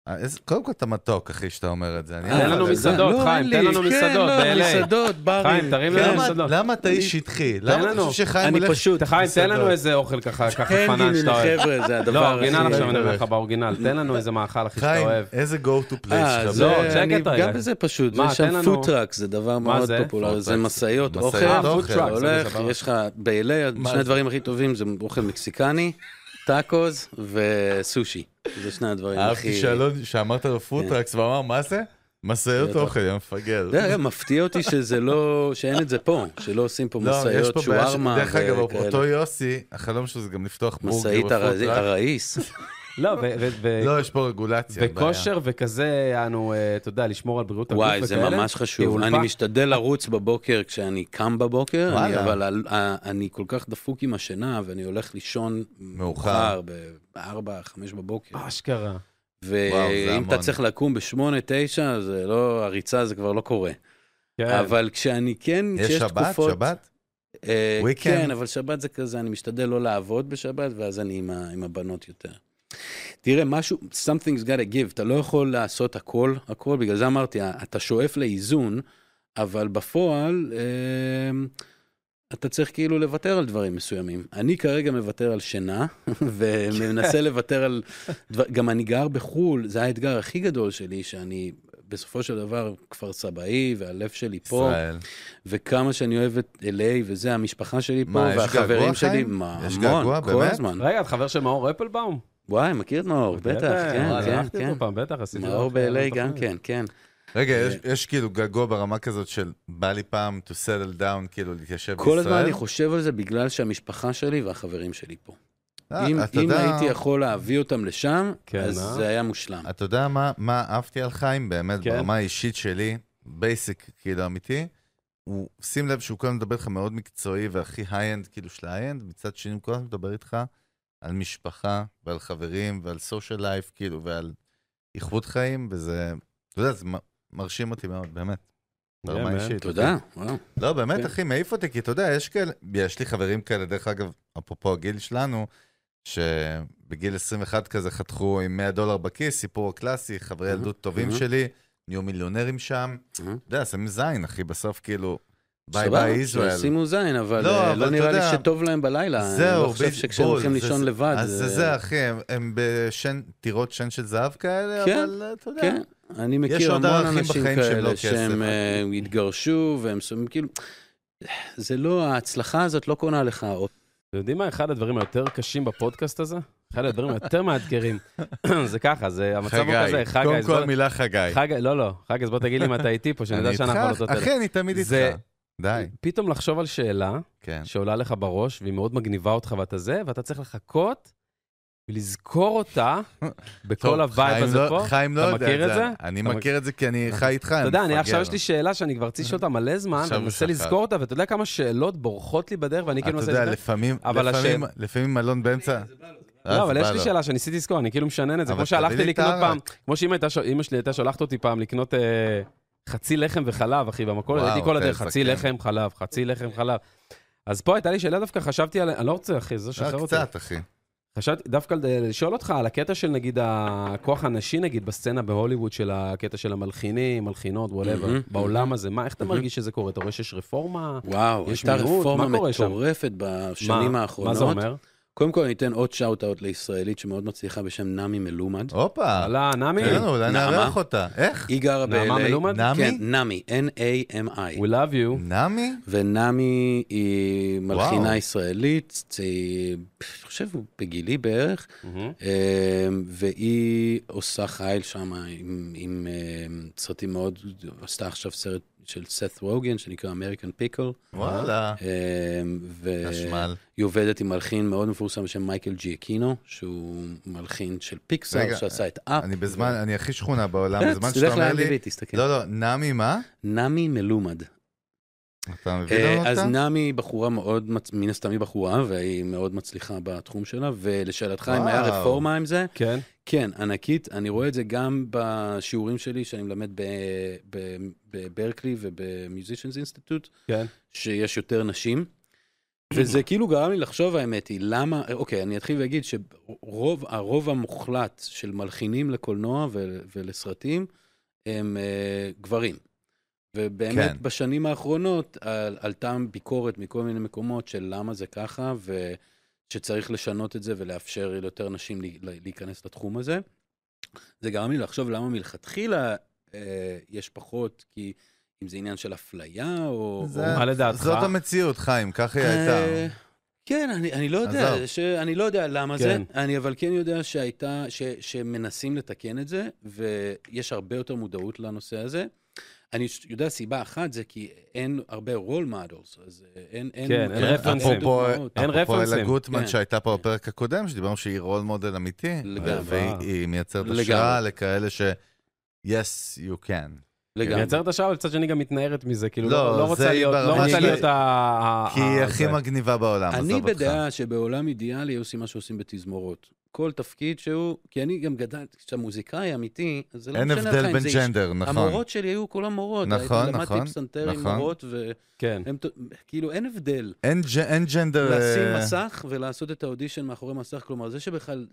Speaker 2: אה, איזה- קודם כל, אתה מתוק, אחי, שאתה אומר את זה. אני-
Speaker 1: תן לנו
Speaker 2: אבל-
Speaker 1: מסעדות,
Speaker 3: לא,
Speaker 1: חיים,
Speaker 3: אין
Speaker 1: תן
Speaker 3: לי.
Speaker 1: לנו
Speaker 3: כן,
Speaker 1: מסעדות,
Speaker 3: לא,
Speaker 1: ב-LA.
Speaker 3: מסעדות, ברים.
Speaker 1: חיים, תרים
Speaker 3: כן.
Speaker 1: לנו
Speaker 2: למה-
Speaker 1: מסעדות.
Speaker 2: למה אתה איש שטחי? למה אתה
Speaker 1: לנו.
Speaker 2: חושב שחיים
Speaker 3: אני
Speaker 2: הולך...
Speaker 3: פשוט...
Speaker 1: חיים, תן לנו
Speaker 2: מסעדות.
Speaker 1: איזה אוכל ככה, ככה
Speaker 3: תן
Speaker 1: פנן
Speaker 3: לי,
Speaker 1: שאתה אוהב.
Speaker 3: חבר'ה, זה
Speaker 1: לא,
Speaker 3: הדבר הכי...
Speaker 1: האורגינל עכשיו אני אומר
Speaker 2: הולך.
Speaker 1: לך באורגינל, תן לנו איזה מאכל אחי שאתה
Speaker 2: חיים,
Speaker 1: אוהב.
Speaker 2: איזה go to place
Speaker 3: אה,
Speaker 2: שלך.
Speaker 1: זה-
Speaker 2: לא,
Speaker 1: לא,
Speaker 3: זה,
Speaker 1: check
Speaker 3: אני
Speaker 1: it out.
Speaker 3: גם בזה פשוט,
Speaker 1: מה,
Speaker 3: יש
Speaker 1: תן
Speaker 3: שם
Speaker 1: לנו-
Speaker 3: פוטראקס, זה דבר
Speaker 1: מה
Speaker 3: מאוד
Speaker 1: זה?
Speaker 3: פופולרי, לא, זה
Speaker 2: food trucks.
Speaker 3: משאיות
Speaker 2: משאיות,
Speaker 3: אוכל,
Speaker 2: אה,
Speaker 1: food trucks,
Speaker 3: אתה הולך,
Speaker 1: סבבה.
Speaker 3: יש לך, ב-LA,
Speaker 2: מה
Speaker 3: שני
Speaker 2: זה?
Speaker 3: הדברים הכי טובים זה אוכל מקסיקני, טאקוז וסושי, זה שני הדברים הכי...
Speaker 2: אהבתי שאלון, שאמרת לו פוטרקס, והוא אמר, מה זה? משאיות
Speaker 3: משאיות
Speaker 2: אוכל, יא מפגר.
Speaker 3: אתה יודע, לא, מפתיע אותי שזה לא, שאין את זה פה, שלא עושים פה
Speaker 2: לא, יש
Speaker 3: משאיות
Speaker 2: פה בעיה ש-
Speaker 3: שווארמה
Speaker 2: דרך אגב,
Speaker 3: וכאלה.
Speaker 2: אותו יוסי, החלום שלו זה גם לפתוח בורגר
Speaker 3: משאית הראיס,
Speaker 2: בפוטרק.
Speaker 1: לא, ו- ו- ו-
Speaker 2: לא, יש פה רגולציה.
Speaker 1: וכושר וכזה, אנו, אה, אתה יודע, לשמור על בריאות הגוף וכאלה. כאילו,
Speaker 3: וואי, זה ממש חשוב.
Speaker 1: כאולפן.
Speaker 3: אני משתדל לרוץ בבוקר כשאני קם בבוקר, אני,
Speaker 2: וואלה.
Speaker 3: אבל על- אה, אני כל כך דפוק עם השינה, ואני הולך לישון מאוחר, ב-4-5 בבוקר.
Speaker 1: אשכרה.
Speaker 2: וואו, זה
Speaker 3: ואם
Speaker 2: המון.
Speaker 3: אתה צריך לקום ב-8-9, זה לא, הריצה זה כבר לא קורה.
Speaker 1: כן.
Speaker 3: אבל כשאני כן,
Speaker 2: בעיה. יש
Speaker 3: כשיש
Speaker 2: שבת?
Speaker 3: תקופות...
Speaker 2: שבת?
Speaker 3: אה,
Speaker 2: Weekend?
Speaker 3: כן, אבל שבת זה כזה, אני משתדל לא לעבוד בשבת, ואז אני עם, ה, עם הבנות יותר. תראה, משהו, something's got to give, אתה לא יכול לעשות הכל, הכל, בגלל זה אמרתי, ה- אתה שואף לאיזון, אבל בפועל, אה, אתה צריך כאילו לוותר על דברים מסוימים. אני כרגע מוותר על שינה,
Speaker 2: כן.
Speaker 3: ומנסה לוותר על... דבר... גם אני גר בחו"ל, זה האתגר הכי גדול שלי, שאני בסופו של דבר כפר סבאי, והלב שלי פה.
Speaker 2: ישראל.
Speaker 3: וכמה שאני אוהב את LA, וזה המשפחה שלי פה,
Speaker 2: מה, יש געגוע,
Speaker 3: והחברים שלי,
Speaker 2: חיים?
Speaker 3: מה,
Speaker 2: יש
Speaker 3: המון,
Speaker 2: געגוע,
Speaker 3: כל
Speaker 2: באמת?
Speaker 3: הזמן.
Speaker 1: רגע, את חבר של מאור אפלבאום?
Speaker 3: וואי, מכיר את מאור, בטח, כן,
Speaker 1: וואי,
Speaker 3: כן,
Speaker 1: אירחתי
Speaker 3: כן.
Speaker 1: אותו פעם, בטח, עשיתי... לו
Speaker 3: מאור
Speaker 1: אחלה
Speaker 3: ב-LA גם
Speaker 1: תוכנית.
Speaker 3: כן, כן.
Speaker 2: רגע, יש- יש כאילו גגוע ברמה כזאת של בא לי פעם to settle down, כאילו להתיישב בישראל?
Speaker 3: כל הזמן אני חושב על זה בגלל שהמשפחה שלי והחברים שלי פה.
Speaker 2: אה,
Speaker 3: אם
Speaker 2: אתה
Speaker 3: אם
Speaker 2: יודע-
Speaker 3: הייתי יכול להביא אותם לשם,
Speaker 1: כן,
Speaker 3: אז
Speaker 1: אה?
Speaker 3: זה היה מושלם.
Speaker 2: אתה יודע מה, מה אהבתי על חיים באמת,
Speaker 1: כן.
Speaker 2: כן. ברמה האישית שלי, בייסיק כאילו אמיתי, הוא, שים לב שהוא כל הזמן מדבר איתך מאוד מקצועי והכי היי-אנד כאילו של ההיי-אנד, מצד שני הוא כל הזמן מדבר איתך על משפחה ועל חברים ועל סושיאל לייף כאילו ועל איכות חיים, וזה, אתה יודע, זה מ- מרשים אותי מאוד, באמת. ברמה
Speaker 1: כן,
Speaker 2: אישית.
Speaker 3: תודה, וואו.
Speaker 2: לא, באמת,
Speaker 3: כן.
Speaker 2: אחי, מעיף אותי, כי אתה יודע, יש כאלה, יש לי חברים כאלה, דרך אגב, אפרופו הגיל שלנו, שבגיל 21 כזה חתכו עם 100 דולר בכיס, סיפור הקלאסי, חברי
Speaker 3: אהה,
Speaker 2: ילדות טובים
Speaker 3: אהה.
Speaker 2: שלי, נהיו מיליונרים שם. אתה
Speaker 3: אהה.
Speaker 2: יודע, שמים זין, אחי, בסוף כאילו, ביי
Speaker 3: סבבה,
Speaker 2: ביי ישראל.
Speaker 3: שימו זין, אבל
Speaker 2: לא,
Speaker 3: אה,
Speaker 2: אבל
Speaker 3: לא
Speaker 2: אתה
Speaker 3: נראה לי
Speaker 2: יודע-
Speaker 3: שטוב להם בלילה.
Speaker 2: זהו,
Speaker 3: אני לא חושב
Speaker 2: בדיוק,
Speaker 3: שכשהם
Speaker 2: בול,
Speaker 3: הולכים
Speaker 2: זה-
Speaker 3: לישון לבד. אה,
Speaker 2: אז זה זה, אחי, הם- הם בשן, טירות שן של זהב כאלה,
Speaker 3: כן,
Speaker 2: אבל אה, אתה יודע.
Speaker 3: כן, אני
Speaker 2: יש
Speaker 3: מכיר
Speaker 2: עוד
Speaker 3: המון
Speaker 2: ערכים
Speaker 3: אנשים
Speaker 2: בחיים שהם לא
Speaker 3: כאלה
Speaker 2: כסף,
Speaker 3: שהם
Speaker 2: אבל-
Speaker 3: אה, התגרשו והם שמים כאילו... זה לא, ההצלחה הזאת לא קונה לך עוד.
Speaker 1: אתם יודעים מה אחד הדברים היותר קשים בפודקאסט הזה? אחד הדברים היותר מאתגרים. זה ככה, זה המצב הוא כזה, חגי,
Speaker 2: קודם
Speaker 1: אז בוא-
Speaker 2: כל מילה חגי.
Speaker 1: חגי, לא, לא, חגי, אז בוא תגיד לי אם אתה איתי פה,
Speaker 2: אני
Speaker 1: שנדע שאנחנו לא על אותו
Speaker 2: איתך,
Speaker 1: טלפון.
Speaker 2: אחי, אני תמיד איתך.
Speaker 1: זה-
Speaker 2: די,
Speaker 1: פתאום לחשוב על שאלה
Speaker 2: כן.
Speaker 1: שעולה לך בראש, והיא מאוד מגניבה אותך ואתה זה, ואתה צריך לחכות ולזכור אותה
Speaker 2: טוב,
Speaker 1: בכל הווייב
Speaker 2: חיים
Speaker 1: הזה
Speaker 2: לא-
Speaker 1: פה.
Speaker 2: חיים לא
Speaker 1: אתה
Speaker 2: יודע
Speaker 1: מכיר את זה?
Speaker 2: אני
Speaker 1: אתה
Speaker 2: מכיר את זה כי אני חי איתך.
Speaker 1: אתה יודע, אני עכשיו יש לי שאלה שאני כבר צריך לשאול אותה מלא זמן,
Speaker 2: עכשיו
Speaker 1: ואני מנסה
Speaker 2: הוא שכח.
Speaker 1: לזכור אותה, ואתה יודע כמה שאלות בורחות לי בדרך, ואני כאילו
Speaker 2: אתה
Speaker 1: מנסה
Speaker 2: יודע,
Speaker 1: לזכור.
Speaker 2: לפעמים,
Speaker 1: אבל
Speaker 2: לפעמים,
Speaker 1: השאלה-
Speaker 2: לפעמים אלון באמצע. אה,
Speaker 1: לא, אבל
Speaker 2: זה
Speaker 1: יש
Speaker 2: בא
Speaker 1: לי
Speaker 2: לו.
Speaker 1: שאלה שניסיתי לזכור, אני כאילו משנן את זה.
Speaker 2: אבל תביא
Speaker 1: כמו שהלכתי
Speaker 2: לי
Speaker 1: לקנות
Speaker 2: את
Speaker 1: פעם, כמו שאמא שלי הייתה שולחת אותי פעם לקנות אה, חצי לחם וחלב, אחי, במכולת,
Speaker 2: וואו, אוקיי,
Speaker 1: הייתי כל
Speaker 2: אתה
Speaker 1: הדרך, חצי
Speaker 2: זקן.
Speaker 1: לחם חלב, חצי לחם חלב. אז פה הייתה לי שאלה דווקא, חשבתי על... אני לא רוצה, אחי, זה שחרר
Speaker 2: אה,
Speaker 1: אותי.
Speaker 2: קצת, אחי.
Speaker 1: חשבתי דווקא אה, לשאול אותך על הקטע של נגיד הכוח הנשי נגיד בסצנה בהוליווד של הקטע של המלחינים, מלחינות, וואטאבר,
Speaker 3: מהמם,
Speaker 1: בעולם
Speaker 3: מהמם.
Speaker 1: הזה, מה, איך אתה
Speaker 3: מהמם.
Speaker 1: מרגיש שזה קורה? אתה רואה שיש רפורמה?
Speaker 3: וואו,
Speaker 1: יש
Speaker 3: הייתה
Speaker 1: מיעוט,
Speaker 3: רפורמה
Speaker 1: מה קורה שם?
Speaker 3: מטורפת בשנים
Speaker 1: מה-
Speaker 3: האחרונות.
Speaker 1: מה זה אומר?
Speaker 3: קודם כל, אני אתן עוד שאוט-אאוט לישראלית שמאוד מצליחה בשם נעמי מלומד.
Speaker 2: הופה,
Speaker 1: הלאה, נעמי.
Speaker 2: תן לנו, אולי
Speaker 3: נעמה?
Speaker 2: נארח אותה. איך?
Speaker 3: היא גרה ב-LA.
Speaker 1: נעמה מלומד?
Speaker 2: נעמי?
Speaker 3: כן, נעמי, N-A-M-I.
Speaker 1: We love you.
Speaker 2: נעמי?
Speaker 3: ונעמי היא מלחינה
Speaker 2: וואו.
Speaker 3: ישראלית, צ- היא, אני חושב, בגילי בערך.
Speaker 1: מהמם.
Speaker 3: אמ, והיא עושה חייל שם עם, עם אמ, סרטים מאוד, עשתה עכשיו סרט של סת' רוגן שנקרא אמריקן פיקל,
Speaker 1: אה.
Speaker 2: וואלה.
Speaker 3: והיא
Speaker 2: חשמל.
Speaker 3: עובדת עם מלחין מאוד מפורסם בשם מייקל ג'יאקינו, שהוא מלחין של פיקסאר
Speaker 2: רגע,
Speaker 3: שעשה את אפ.
Speaker 2: אני בזמן, אני הכי שכונה בעולם,
Speaker 3: אה,
Speaker 2: בזמן שאתה
Speaker 3: תלך
Speaker 2: אומר לי...
Speaker 3: ל-IMDb,
Speaker 1: כן.
Speaker 3: תסתכל.
Speaker 2: לא, לא, נעמי מה?
Speaker 3: נמי מלומד.
Speaker 2: לא אתה מביא לנו
Speaker 3: אה, אז
Speaker 2: אותה?
Speaker 3: נעמי היא בחורה מאוד, מצ- מן הסתם היא בחורה, והיא מאוד מצליחה בתחום שלה, ולשאלתך אם היה
Speaker 2: וואו.
Speaker 3: רפורמה עם זה,
Speaker 1: כן.
Speaker 3: כן, ענקית. אני רואה את זה גם בשיעורים שלי שאני מלמד ב- ב- בברקלי ובמיוזישנס אינסטיטוט,
Speaker 1: כן.
Speaker 3: שיש יותר נשים. וזה כאילו גרם לי לחשוב, האמת היא, למה, אוקיי, אני אתחיל ואגיד שרוב, הרוב המוחלט של מלחינים לקולנוע ו- ולסרטים הם אה, גברים. ובאמת,
Speaker 2: כן.
Speaker 3: כן. בשנים האחרונות על, עלתה ביקורת מכל מיני מקומות של למה זה ככה, ושצריך לשנות את זה ולאפשר ליותר נשים לי- לה- להיכנס לתחום הזה. זה גרם לי לחשוב למה מלכתחילה אה, יש פחות, כי אם זה עניין של אפליה או...
Speaker 2: זה-
Speaker 3: או...
Speaker 1: מה לדעתך?
Speaker 2: זאת המציאות, חיים, ככה היא
Speaker 3: אה,
Speaker 2: הייתה.
Speaker 3: כן, אני, אני לא יודע,
Speaker 2: עזוב.
Speaker 3: ש... אני לא יודע למה
Speaker 1: כן.
Speaker 3: כן. זה, אני אבל כן יודע שהייתה, ש... שמנסים לתקן את זה, ויש הרבה יותר מודעות לנושא הזה. אני ש- יודע סיבה אחת, זה כי אין הרבה רול מודלס, אז אה, אין...
Speaker 1: כן, אין
Speaker 3: הרבה
Speaker 1: רפרנסים.
Speaker 2: אפרופו
Speaker 3: דוגמאות.
Speaker 1: אין
Speaker 2: אפרופו אלה
Speaker 1: רפרנסים.
Speaker 2: גוטמן
Speaker 3: כן.
Speaker 2: שהייתה פה בפרק הקודם, שדיברנו שהיא רול מודל אמיתי.
Speaker 3: לגמרי.
Speaker 1: אה,
Speaker 2: והיא מייצרת
Speaker 3: אה. לגמרי. אה,
Speaker 2: השראה לכאלה ש... yes, you can.
Speaker 1: היא
Speaker 3: לגמרי.
Speaker 1: מייצרת השעה, אבל מצד שני גם מתנערת מזה, כאילו,
Speaker 2: לא,
Speaker 1: לא לא
Speaker 2: זה
Speaker 1: רוצה
Speaker 2: היא
Speaker 1: להיות- לא
Speaker 2: ברמה
Speaker 1: רוצה
Speaker 2: של-
Speaker 1: להיות ה- ה...
Speaker 2: כי היא
Speaker 1: ה-
Speaker 2: הכי
Speaker 1: זה.
Speaker 2: מגניבה בעולם,
Speaker 3: אה, אני
Speaker 2: עזוב אותך.
Speaker 3: בדעה שבעולם אידיאלי עושים מה שעושים בתזמורות. כל תפקיד שהוא, כי אני גם גדלתי, כשאתה מוזיקאי אמיתי, אז זה לא
Speaker 2: אין
Speaker 3: משנה לך
Speaker 2: הבדל
Speaker 3: אם
Speaker 2: בין
Speaker 3: זה איש-
Speaker 2: ג'נדר, נכון.
Speaker 3: המורות שלי היו כולם מורות.
Speaker 2: נכון, נכון,
Speaker 3: למדתי פסנתר עם
Speaker 2: נכון.
Speaker 3: מורות, והם,
Speaker 1: כן.
Speaker 3: ת- כאילו אין הבדל.
Speaker 2: אין ג'- אין ג'נדר... אה,
Speaker 3: לשים מסך ולעשות את האודישן מאחורי מסך, כלומר, זה שבכלל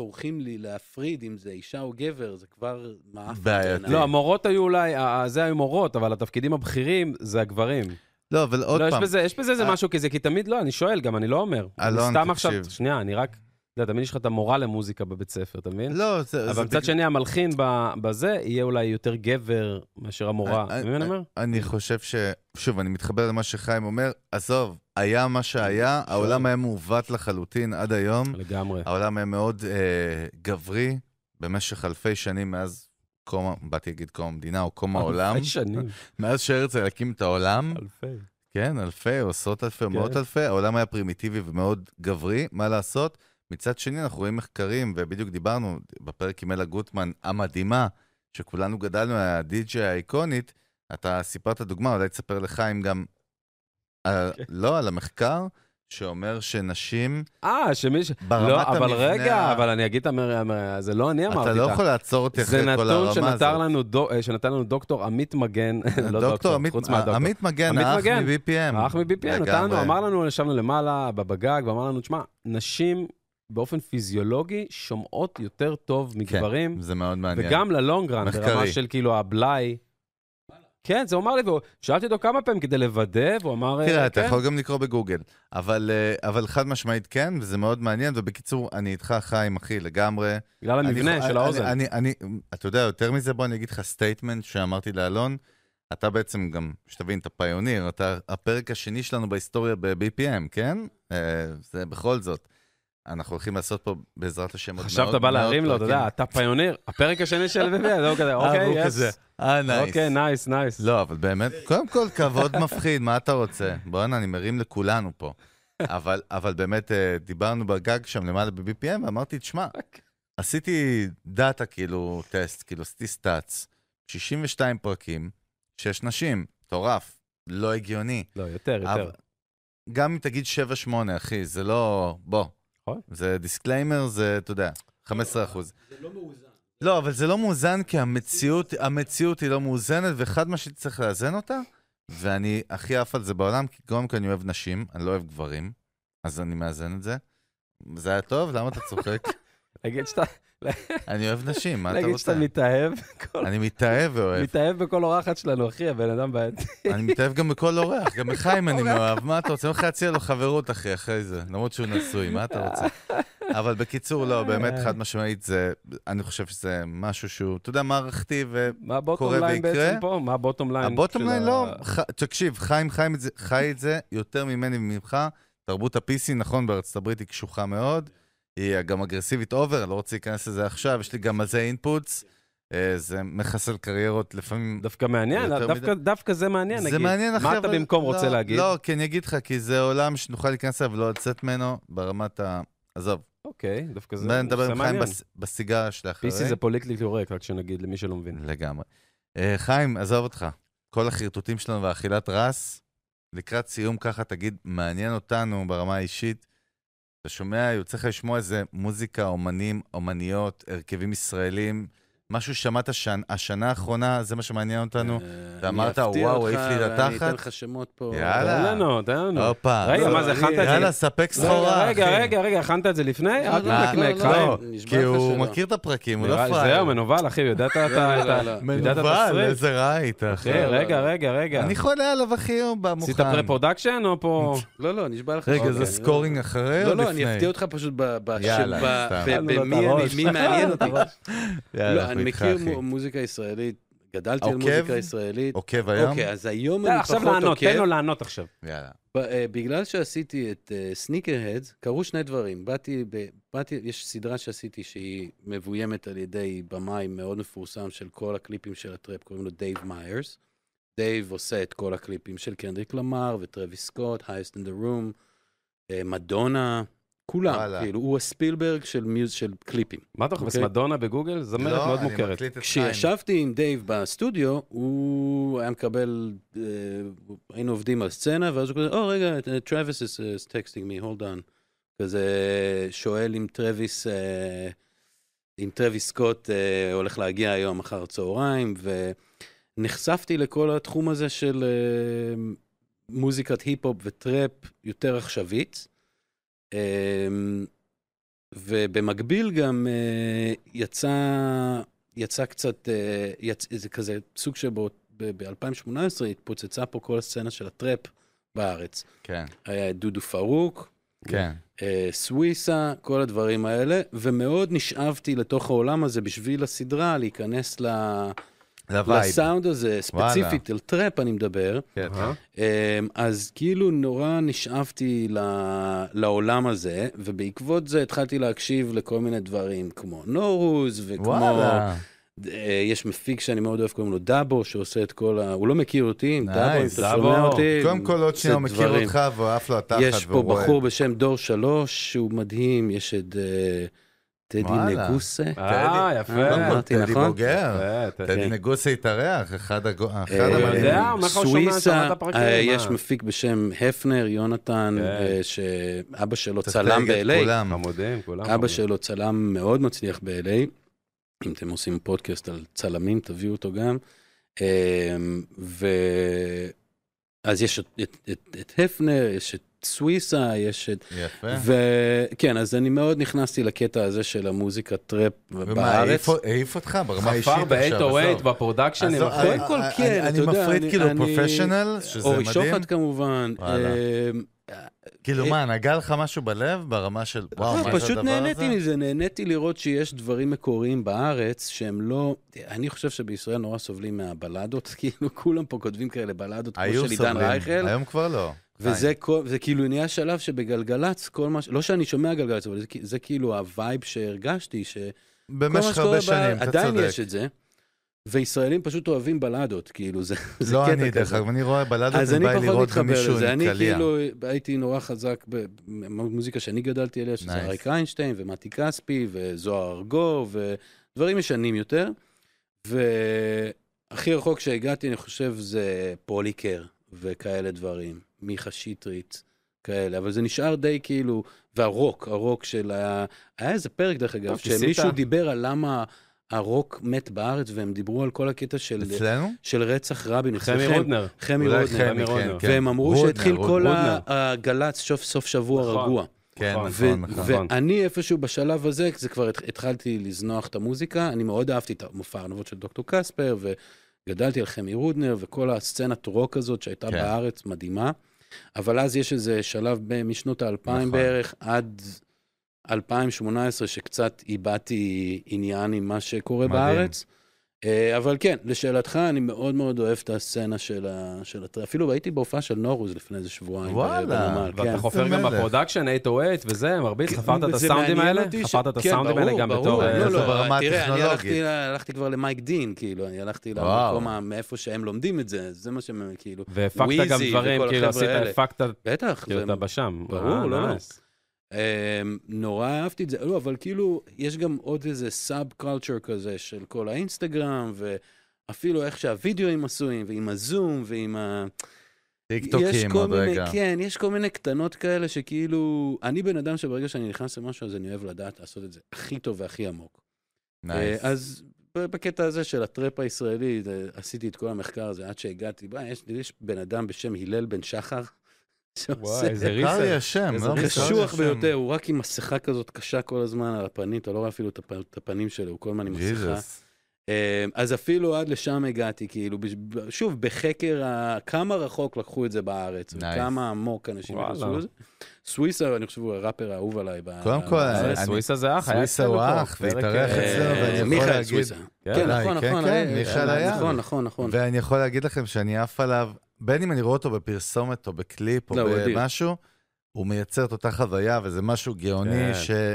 Speaker 3: טורחים לי להפריד אם זה אישה או גבר, זה כבר מעף.
Speaker 2: בעייתי.
Speaker 3: כן.
Speaker 1: לא, המורות היו אולי, ה- ה- זה היו מורות, אבל התפקידים הבכירים זה הגברים.
Speaker 2: לא, אבל עוד
Speaker 1: לא, יש
Speaker 2: פעם,
Speaker 1: בזה- יש בזה איזה
Speaker 2: אה.
Speaker 1: משהו כזה, כי תמיד, לא, אני שואל גם, אני לא אומר. אני
Speaker 2: אלון,
Speaker 1: סתם עכשיו,
Speaker 2: תקשיב.
Speaker 1: שנייה, אני רק, אתה יודע, תמיד יש לך את המורה למוזיקה בבית ספר, אתה
Speaker 3: כן.
Speaker 1: מבין?
Speaker 2: לא, זה... זה
Speaker 1: אבל מצד
Speaker 2: בג-
Speaker 1: שני, המלחין ב- בזה יהיה אולי יותר גבר מאשר המורה.
Speaker 2: אה,
Speaker 1: אתה מבין מה אני אומר?
Speaker 2: אני חושב ש... שוב, אני מתחבר למה שחיים אומר, עזוב, היה מה שהיה, העולם היה מעוות לחלוטין עד היום.
Speaker 1: לגמרי.
Speaker 2: העולם היה מאוד אה, גברי במשך אלפי שנים מאז קום, ה- באתי להגיד קום המדינה או קום העולם,
Speaker 1: אלפי שנים,
Speaker 2: מאז שהרצל הקים את העולם,
Speaker 1: אלפי.
Speaker 2: כן, אלפי או עשרות אלפי או
Speaker 1: כן.
Speaker 2: מאות אלפי, העולם היה פרימיטיבי ומאוד גברי, מה לעשות? מצד שני, אנחנו רואים מחקרים, ובדיוק דיברנו בפרק עם אלה גוטמן המדהימה, שכולנו גדלנו, הדי-ג'יי האיקונית, אתה סיפרת דוגמה, אולי תספר לחיים גם, על,
Speaker 1: כן.
Speaker 2: לא, על המחקר, שאומר שנשים
Speaker 1: אה, שמי ש...
Speaker 2: ברמת
Speaker 1: לא, אבל
Speaker 2: המבנה
Speaker 1: רגע,
Speaker 2: ה-
Speaker 1: אבל אני אגיד, את המר- המר- זה לא אני אמרתי
Speaker 2: אתה לא
Speaker 1: לך.
Speaker 2: יכול לעצור אותי אחרי
Speaker 1: זה
Speaker 2: כל הרמה הזאת.
Speaker 1: נתון שנתן לנו, דו- אה, שנתן לנו דוקטור עמית מגן, לא
Speaker 2: דוקטור
Speaker 1: דוקטור,
Speaker 2: עמית, אה,
Speaker 1: חוץ מהדוקטור.
Speaker 2: עמית מגן,
Speaker 1: עמית
Speaker 2: האח
Speaker 1: מגן.
Speaker 2: מ-BPM.
Speaker 1: האח מ-BPN, נתן לנו, אמר לנו, ישבנו למעלה בבגג, ואמר לנו, תשמע, נשים באופן פיזיולוגי שומעות יותר טוב מגברים,
Speaker 2: כן, זה מאוד מעניין.
Speaker 1: וגם ללונגרן, ברמה
Speaker 2: מחקרי.
Speaker 1: של כאילו הבלאי. כן, זה הוא אמר לי, ושאלתי אותו כמה פעמים כדי לוודא, והוא אמר,
Speaker 2: תראה,
Speaker 1: "אה,
Speaker 2: אתה
Speaker 1: כן,
Speaker 2: יכול גם לקרוא בגוגל, אבל, אה, אבל חד משמעית כן, וזה מאוד מעניין, ובקיצור, אני איתך חיים, אחי, לגמרי.
Speaker 1: בגלל המבנה
Speaker 2: אני-
Speaker 1: של
Speaker 2: אני-
Speaker 1: האוזן.
Speaker 2: אני, אני, אתה יודע, יותר מזה, בוא אני אגיד לך סטייטמנט שאמרתי לאלון, אתה בעצם גם, שתבין, אתה פיוניר, אתה הפרק השני שלנו בהיסטוריה ב-BPM, כן? אה, זה בכל זאת. אנחנו הולכים לעשות פה, בעזרת השם, עוד
Speaker 1: חשבת
Speaker 2: מאות-
Speaker 1: בא
Speaker 2: מאות
Speaker 1: להרים לו, אתה יודע,
Speaker 2: פרקים.
Speaker 1: אתה פיוניר, הפרק השני של VV, זה לא כזה,
Speaker 2: אה,
Speaker 1: אוקיי,
Speaker 2: והוא
Speaker 1: יס.
Speaker 2: כזה, אה, נייס.
Speaker 1: אוקיי, נייס, נייס.
Speaker 2: לא, אבל באמת, קודם כל, כבוד מפחיד, מה אתה רוצה? בואנה, אני מרים לכולנו פה. אבל, אבל באמת, אה, דיברנו בגג שם למעלה ב-BPM, ואמרתי, תשמע, עשיתי דאטה כאילו, טסט, כאילו, עשיתי סטאצ, 62 פרקים, 6 נשים, מטורף, לא הגיוני.
Speaker 1: לא, יותר, יותר.
Speaker 2: אבל- גם אם תגיד 7-8, אחי, זה לא... בוא.
Speaker 1: נכון.
Speaker 2: זה דיסקליימר, זה, אתה יודע, 15 אחוז.
Speaker 3: זה לא מאוזן.
Speaker 2: לא, אבל זה לא מאוזן, כי המציאות, המציאות היא לא מאוזנת, וחד משמעית צריך לאזן אותה, ואני הכי עף על זה בעולם, כי קודם כל אני אוהב נשים, אני לא אוהב גברים, אז אני מאזן את זה. זה היה טוב? למה אתה צוחק?
Speaker 1: להגיד שאתה
Speaker 2: אני אוהב נשים, מה אתה
Speaker 1: להגיד
Speaker 2: רוצה?
Speaker 1: שאתה מתאהב, כל-
Speaker 2: אני מתאהב ואוהב.
Speaker 1: מתאהב בכל אורחת שלנו, אחי, הבן אדם בעייתי.
Speaker 2: אני מתאהב גם בכל אורח, גם בחיים אני מאוהב. מה אתה רוצה? אני הולך להציע לו חברות, אחי, אחרי זה. למרות שהוא נשוי, מה אתה רוצה? אבל בקיצור, לא, באמת, חד משמעית, זה... אני חושב שזה משהו שהוא, אתה יודע, מערכתי, ו...
Speaker 1: מה הבוטום
Speaker 2: קורה
Speaker 1: ליין
Speaker 2: ויקרה?
Speaker 1: בעצם פה? מה הבוטום ליין?
Speaker 2: הבוטום
Speaker 1: של
Speaker 2: ליין
Speaker 1: ה-
Speaker 2: לא, ח... תקשיב, חיים חי את, זה, חי את זה יותר ממני וממך. תרבות ה-PC, נכון, בארצות הברית היא קשוחה מאוד, היא גם אגרסיבית אובר, אני לא רוצה להיכנס לזה עכשיו, יש לי גם על זה אינפוטס, אה, זה מחסל קריירות לפעמים.
Speaker 1: דווקא מעניין,
Speaker 2: יותר
Speaker 1: דווקא-
Speaker 2: מדי.
Speaker 1: דווקא זה מעניין, נגיד.
Speaker 2: זה מעניין אחי,
Speaker 1: מה אתה במקום רוצה
Speaker 2: לא,
Speaker 1: להגיד?
Speaker 2: לא, כי אני אגיד לך, כי זה עולם שנוכל להיכנס אליו ולא לצאת ממנו ברמת ה... עזוב,
Speaker 1: אוקיי, דווקא זה
Speaker 2: בוא נדבר
Speaker 1: זה
Speaker 2: עם אה? חיים
Speaker 1: מעניין.
Speaker 2: בס- בסיגה שלאחרי.
Speaker 1: PC זה פוליטלי קורקט, רק שנגיד למי שלא מבין.
Speaker 2: לגמרי. אה, חיים, עזוב אותך. כל החרטוטים שלנו והאכילת רס, לקראת סיום ככה תגיד, מעניין אותנו ברמה האישית. אתה שומע, יוצא לך לשמוע איזה מוזיקה, אומנים, אומניות, הרכבים ישראלים, משהו ששמעת שנ... השנה האחרונה, זה מה שמעניין אותנו.
Speaker 1: אה,
Speaker 3: אה,
Speaker 2: ואמרת, "וואו, העיף לי את
Speaker 3: ואני אתן
Speaker 2: התחת."
Speaker 3: לך שמות פה.
Speaker 2: יאללה.
Speaker 1: תן לנו, תן לנו.
Speaker 2: הופה.
Speaker 1: רגע,
Speaker 2: לא,
Speaker 1: מה זה,
Speaker 3: אני-
Speaker 1: הכנת את זה?
Speaker 2: יאללה, ספק סחורה, אחי.
Speaker 1: רגע, רגע, רגע, הכנת את זה לפני? אל
Speaker 3: לא,
Speaker 1: תתנקנק,
Speaker 3: לא, לא.
Speaker 1: חיים.
Speaker 2: לא,
Speaker 3: נשבע
Speaker 2: כי
Speaker 3: לך
Speaker 2: הוא
Speaker 3: שלא.
Speaker 2: מכיר את הפרקים, הוא לא
Speaker 1: נראה לי-
Speaker 2: פראייר.
Speaker 1: זהו, מנוול, אחי, ידעת את ה...
Speaker 3: לא,
Speaker 1: את
Speaker 3: לא,
Speaker 1: ה-
Speaker 3: לא.
Speaker 1: יודעת את
Speaker 2: מנוול,
Speaker 1: התסריט?
Speaker 2: איזה רע היית, אחי.
Speaker 1: אחי,
Speaker 3: לא,
Speaker 1: רגע,
Speaker 3: לא.
Speaker 1: רגע, רגע.
Speaker 2: אני חולה עליו, אחי, הוא בא מוכן.
Speaker 1: עשית פרה-פרודקשן או פה...
Speaker 3: לא, לא, נשבע לך.
Speaker 2: רגע,
Speaker 3: אוקיי,
Speaker 2: זה
Speaker 3: לא.
Speaker 2: סקורינג אחרי או
Speaker 3: לא,
Speaker 2: לפני?
Speaker 3: לא, אני אפתיע אותך פשוט ב- בשם,
Speaker 2: יאללה,
Speaker 3: ב-
Speaker 2: סתם.
Speaker 3: ב-
Speaker 1: אכלנו לו את
Speaker 3: במי אני-
Speaker 1: הראש.
Speaker 3: מי מעניין אותי.
Speaker 2: יאללה,
Speaker 3: לא,
Speaker 2: אנחנו
Speaker 3: אני
Speaker 2: איתך,
Speaker 3: מכיר
Speaker 2: אחי.
Speaker 3: מו- מוזיקה ישראלית, גדלתי על
Speaker 2: עוקב?
Speaker 3: מוזיקה ישראלית.
Speaker 2: עוקב היום?
Speaker 3: אוקיי, אז היום
Speaker 1: יאללה,
Speaker 3: אני
Speaker 1: אה, עכשיו
Speaker 3: פחות
Speaker 1: לענות, תן
Speaker 3: עוקב.
Speaker 1: לו לענות עכשיו.
Speaker 2: יאללה.
Speaker 3: ב- אה, בגלל שעשיתי את סניקר הדס, קרו שני דברים. באתי, ב- באתי, יש סדרה שעשיתי שהיא מבוימת על ידי במאי מאוד מפורסם של כל הקליפים של הטראפ, קוראים לו דייב מיירס. דייב עושה את כל הקליפים של קנדריק למר וטרוויס סקוט, הייסט אין דה רום, אה, מדונה, כולם,
Speaker 2: וואלה.
Speaker 3: כאילו, הוא הספילברג של מיוז, של קליפים.
Speaker 1: מה אתה חושב,
Speaker 3: אוקיי.
Speaker 1: מדונה בגוגל? זמרת
Speaker 2: לא,
Speaker 1: מאוד
Speaker 2: אני
Speaker 1: מוכרת.
Speaker 2: מקליט את חיים.
Speaker 3: כשישבתי עם דייב בסטודיו, הוא היה מקבל, אה, היינו עובדים על סצנה, ואז הוא כזה, או רגע, טרוויס is texting me, hold on. כזה שואל אם טרוויס, אה, אם טרוויס סקוט אה, הולך להגיע היום אחר הצהריים, ונחשפתי לכל התחום הזה של אה, מוזיקת היפ-הופ וטראפ יותר עכשווית. אה, ובמקביל גם אה, יצא יצא קצת, אה, יצ... זה כזה סוג שבו ב-2018 התפוצצה פה כל הסצנה של הטראפ בארץ.
Speaker 2: כן,
Speaker 3: היה את דודו פרוק,
Speaker 2: כן.
Speaker 3: אה, סוויסה, כל הדברים האלה, ומאוד נשאבתי לתוך העולם הזה בשביל הסדרה, להיכנס ל...
Speaker 2: זה הווייב.
Speaker 3: לסאונד הזה, ספציפית,
Speaker 2: וואלה.
Speaker 3: על טראפ אני מדבר.
Speaker 2: כן.
Speaker 1: אה?
Speaker 3: אמ, אז כאילו נורא נשאפתי ל- לעולם הזה, ובעקבות זה התחלתי להקשיב לכל מיני דברים, כמו נורוז, וכמו...
Speaker 2: וואלה.
Speaker 3: אה, יש מפיק שאני מאוד אוהב, קוראים לו דאבו, שעושה את כל ה... הוא לא מכיר אותי, אם דאבו, אם
Speaker 2: נייס,
Speaker 3: אתה
Speaker 1: דאבו.
Speaker 3: שומע אותי.
Speaker 2: קודם כל, עוד
Speaker 3: עושה
Speaker 2: שנייה הוא מכיר
Speaker 3: דברים.
Speaker 2: אותך ועף לו התחת
Speaker 3: יש פה
Speaker 2: והוא רואה.
Speaker 3: בחור בשם דור שלוש, שהוא מדהים, יש את אה, טדי
Speaker 2: וואלה.
Speaker 3: נגוסה.
Speaker 1: אה, יפה.
Speaker 3: אה,
Speaker 2: קודם כל,
Speaker 3: אמרתי,
Speaker 2: טדי
Speaker 3: נכון?
Speaker 2: בוגר.
Speaker 1: יפה, אה, אתה-
Speaker 2: טדי נגוסה התארח, אחד הגו- אחד
Speaker 3: אה,
Speaker 1: יודע,
Speaker 2: המדהימים.
Speaker 1: הוא אומר לך, הוא שומע- שמע את
Speaker 3: סוויסה,
Speaker 1: הפרקים,
Speaker 3: אה,
Speaker 1: מה?
Speaker 3: יש מפיק בשם הפנר, יונתן,
Speaker 1: כן.
Speaker 3: אה, שאבא שלו
Speaker 2: צריך לתייג
Speaker 3: צלם
Speaker 2: את
Speaker 3: ב-LA.
Speaker 2: כולם.
Speaker 1: חמודים, כולם.
Speaker 3: אבא
Speaker 1: חמודים.
Speaker 3: שלו צלם מאוד מצליח ב-LA. אם אתם עושים פודקאסט על צלמים, תביאו אותו גם. אמ, ו... אז יש את, את, את, את הפנר, יש את סוויסה, יש את...
Speaker 2: יפה.
Speaker 3: וכן, אז אני מאוד נכנסתי לקטע הזה של המוזיקה טראפ
Speaker 2: ומה,
Speaker 3: בארץ.
Speaker 2: העיף- העיף אותך ברמה האישית
Speaker 1: חפר
Speaker 2: עכשיו,
Speaker 1: ב-808,
Speaker 2: עזוב.
Speaker 1: בפרודקשנים.
Speaker 2: עזוב,
Speaker 1: אחי.
Speaker 3: קודם כל,
Speaker 2: אני-
Speaker 3: כן,
Speaker 2: אני-
Speaker 3: אתה יודע,
Speaker 2: אני מפריד
Speaker 3: אני-
Speaker 2: כאילו
Speaker 3: אני-
Speaker 2: פרופשיונל, שזה
Speaker 3: אורי
Speaker 2: מדהים.
Speaker 3: שוחט כמובן.
Speaker 2: וואלה.
Speaker 3: אמ,
Speaker 2: כאילו
Speaker 3: אה,
Speaker 2: מה, נגע לך משהו בלב ברמה של וואו,
Speaker 3: לא,
Speaker 2: מה זה הדבר הזה?
Speaker 3: פשוט נהניתי מזה, נהניתי לראות שיש דברים מקוריים בארץ שהם לא... אני חושב שבישראל נורא סובלים מהבלדות, כאילו כולם פה כותבים כאלה בלדות, כמו
Speaker 2: היו
Speaker 3: של עידן
Speaker 2: סובלים,
Speaker 3: רייכל,
Speaker 2: היום כבר לא.
Speaker 3: וזה כל- זה כאילו נהיה שלב שבגלגלצ, כל מה ש... לא שאני שומע גלגלצ, אבל זה כ- זה כאילו הווייב שהרגשתי, שכל
Speaker 2: חיים.
Speaker 3: מה
Speaker 2: במשך
Speaker 3: שקורה
Speaker 2: הרבה
Speaker 3: בארץ,
Speaker 2: שנים, אתה
Speaker 3: עדיין
Speaker 2: צודק.
Speaker 3: יש את זה, וישראלים פשוט אוהבים בלדות, כאילו, זה זה קטע כזה.
Speaker 2: לא אני, דרך אגב, אני רואה בלדות,
Speaker 3: אז אני
Speaker 2: אני בא לי
Speaker 3: פחות
Speaker 2: לראות
Speaker 3: מתחבר
Speaker 2: מישהו
Speaker 3: לזה,
Speaker 2: עם
Speaker 3: אני
Speaker 2: קליע.
Speaker 3: כאילו הייתי נורא חזק במוזיקה שאני גדלתי עליה, שזה
Speaker 2: Nice.
Speaker 3: אריק איינשטיין ומתי כספי וזוהר ארגו ודברים ישנים יותר. והכי רחוק שהגעתי, אני חושב, זה פוליקר וכאלה דברים, מיכה שטרית. כאלה, אבל זה נשאר די כאילו, והרוק, הרוק של ה... היה איזה פרק, דרך אגב,
Speaker 1: טוב, כיסית.
Speaker 3: שמישהו דיבר על למה הרוק מת בארץ, והם דיברו על כל הקטע של,
Speaker 2: אצלנו?
Speaker 3: של רצח רבין.
Speaker 1: חמי
Speaker 3: אצלכם.
Speaker 1: רודנר.
Speaker 3: חמי
Speaker 2: אולי
Speaker 3: רודנר.
Speaker 2: חמי,
Speaker 1: רודנר.
Speaker 2: כן, כן.
Speaker 3: והם אמרו
Speaker 2: רודנר,
Speaker 3: שהתחיל
Speaker 2: רוד-
Speaker 3: כל
Speaker 1: רודנר.
Speaker 3: הגל"צ סוף סוף שבוע
Speaker 1: נכון.
Speaker 3: רגוע.
Speaker 2: כן,
Speaker 1: נכון.
Speaker 2: נכון,
Speaker 3: ו-
Speaker 2: נכון.
Speaker 3: ואני איפשהו בשלב הזה, זה כבר הת- התחלתי לזנוח את המוזיקה, אני מאוד אהבתי את מופע הארנבות של דוקטור קספר, וגדלתי על חמי רודנר, וכל הסצנת רוק הזאת שהייתה
Speaker 2: כן.
Speaker 3: בארץ מדהימה. אבל אז יש איזה שלב ב- משנות האלפיים
Speaker 2: נכון.
Speaker 3: בערך עד 2018, שקצת איבדתי עניין עם מה שקורה
Speaker 2: מדהים.
Speaker 3: בארץ. אה, אבל כן, לשאלתך, אני מאוד מאוד אוהב את הסצנה של ה- של הטרף. אפילו הייתי בהופעה של נורוז לפני איזה שבועיים. ב-
Speaker 2: וואלה,
Speaker 3: בנמל, כן.
Speaker 1: ואתה חופר
Speaker 2: איזה
Speaker 1: גם
Speaker 2: מלך.
Speaker 1: בפרודקשן, 808 וזה,
Speaker 2: כן.
Speaker 1: מרביץ, חפרת את
Speaker 3: זה
Speaker 1: הסאונדים
Speaker 3: מעניין
Speaker 1: האלה?
Speaker 3: אותי ש-
Speaker 1: חפרת את
Speaker 3: כן,
Speaker 1: הסאונדים האלה
Speaker 3: ברור,
Speaker 1: גם
Speaker 3: ברור.
Speaker 1: בתור...
Speaker 3: לא,
Speaker 1: אה,
Speaker 3: לא,
Speaker 1: זה
Speaker 2: ברמה
Speaker 3: תראה, אני
Speaker 2: הטכנולוגית.
Speaker 3: הלכתי- אה, הלכתי כבר למייק דין, כאילו, אני הלכתי
Speaker 2: וואו.
Speaker 3: למקום ה- מאיפה שהם לומדים את זה, זה מה שהם, כאילו.
Speaker 1: והפקת גם
Speaker 3: וויזי
Speaker 1: דברים,
Speaker 3: וכל
Speaker 1: כאילו
Speaker 3: החבר'ה
Speaker 1: עשית,
Speaker 3: האלה.
Speaker 1: הפקת,
Speaker 3: בטח,
Speaker 1: כאילו
Speaker 3: זה
Speaker 1: אתה בשם.
Speaker 3: ברור,
Speaker 1: אה,
Speaker 3: לא,
Speaker 1: nice.
Speaker 3: אמ, נורא אהבתי את זה, לא, אבל כאילו, יש גם עוד איזה סאב קולצ'ר כזה של כל האינסטגרם, ואפילו איך שהווידאוים עשויים, ועם הזום, ועם ה... יש
Speaker 2: טיקטוקים
Speaker 3: כל
Speaker 2: עוד
Speaker 3: מיני-
Speaker 2: רגע.
Speaker 3: כן, יש כל מיני קטנות כאלה שכאילו, אני בן אדם שברגע שאני נכנס למשהו, אז אני אוהב לדעת לעשות את זה הכי טוב והכי עמוק.
Speaker 2: נייס.
Speaker 3: אה, אז ב- בקטע הזה של הטראפ הישראלי, זה- עשיתי את כל המחקר הזה עד שהגעתי, בא, יש, יש בן אדם בשם הלל בן שחר,
Speaker 1: וואי,
Speaker 3: שעושה
Speaker 1: איזה
Speaker 2: קרעי
Speaker 1: ריסר.
Speaker 2: השם,
Speaker 1: איזה
Speaker 2: לא
Speaker 1: ריסר.
Speaker 2: קרעי
Speaker 3: קשוח
Speaker 2: השם.
Speaker 3: ביותר, הוא רק עם מסכה כזאת קשה כל הזמן על הפנים, אתה לא רואה אפילו את הפ- את הפנים שלו, הוא כל הזמן עם מסכה.
Speaker 2: ג'יזוס.
Speaker 3: אה, אז אפילו עד לשם הגעתי, כאילו, בש- ב- שוב, בחקר ה- כמה רחוק לקחו את זה בארץ,
Speaker 2: Nice.
Speaker 3: וכמה עמוק אנשים
Speaker 1: וואלה.
Speaker 3: נכנסו לזה. סוויסה, אני חושב, הוא הראפר האהוב עליי. ב-
Speaker 2: קודם
Speaker 3: ב-
Speaker 2: כל,
Speaker 3: זה.
Speaker 2: אני-
Speaker 1: אה, סוויסה זה אח, היה
Speaker 2: סוויסה
Speaker 1: אצלנו
Speaker 2: הוא
Speaker 1: פה,
Speaker 2: אח,
Speaker 1: פרק,
Speaker 2: והתארח
Speaker 1: אה,
Speaker 2: אצלנו, ואני יכול
Speaker 3: מיכאל
Speaker 2: להגיד-
Speaker 3: סוויסה.
Speaker 1: כן,
Speaker 3: כן,
Speaker 2: אולי,
Speaker 3: נכון,
Speaker 2: כן,
Speaker 3: נכון,
Speaker 2: כן,
Speaker 3: אה,
Speaker 2: מיכאל
Speaker 3: אה,
Speaker 2: היה.
Speaker 3: נכון, נכון, נכון.
Speaker 2: ואני יכול להגיד לכם שאני עף עליו בין אם אני רואה אותו בפרסומת או בקליפ או
Speaker 3: לא, הוא אדיר.
Speaker 2: במשהו, הוא מייצר את אותה חוויה, וזה משהו גאוני
Speaker 1: כן.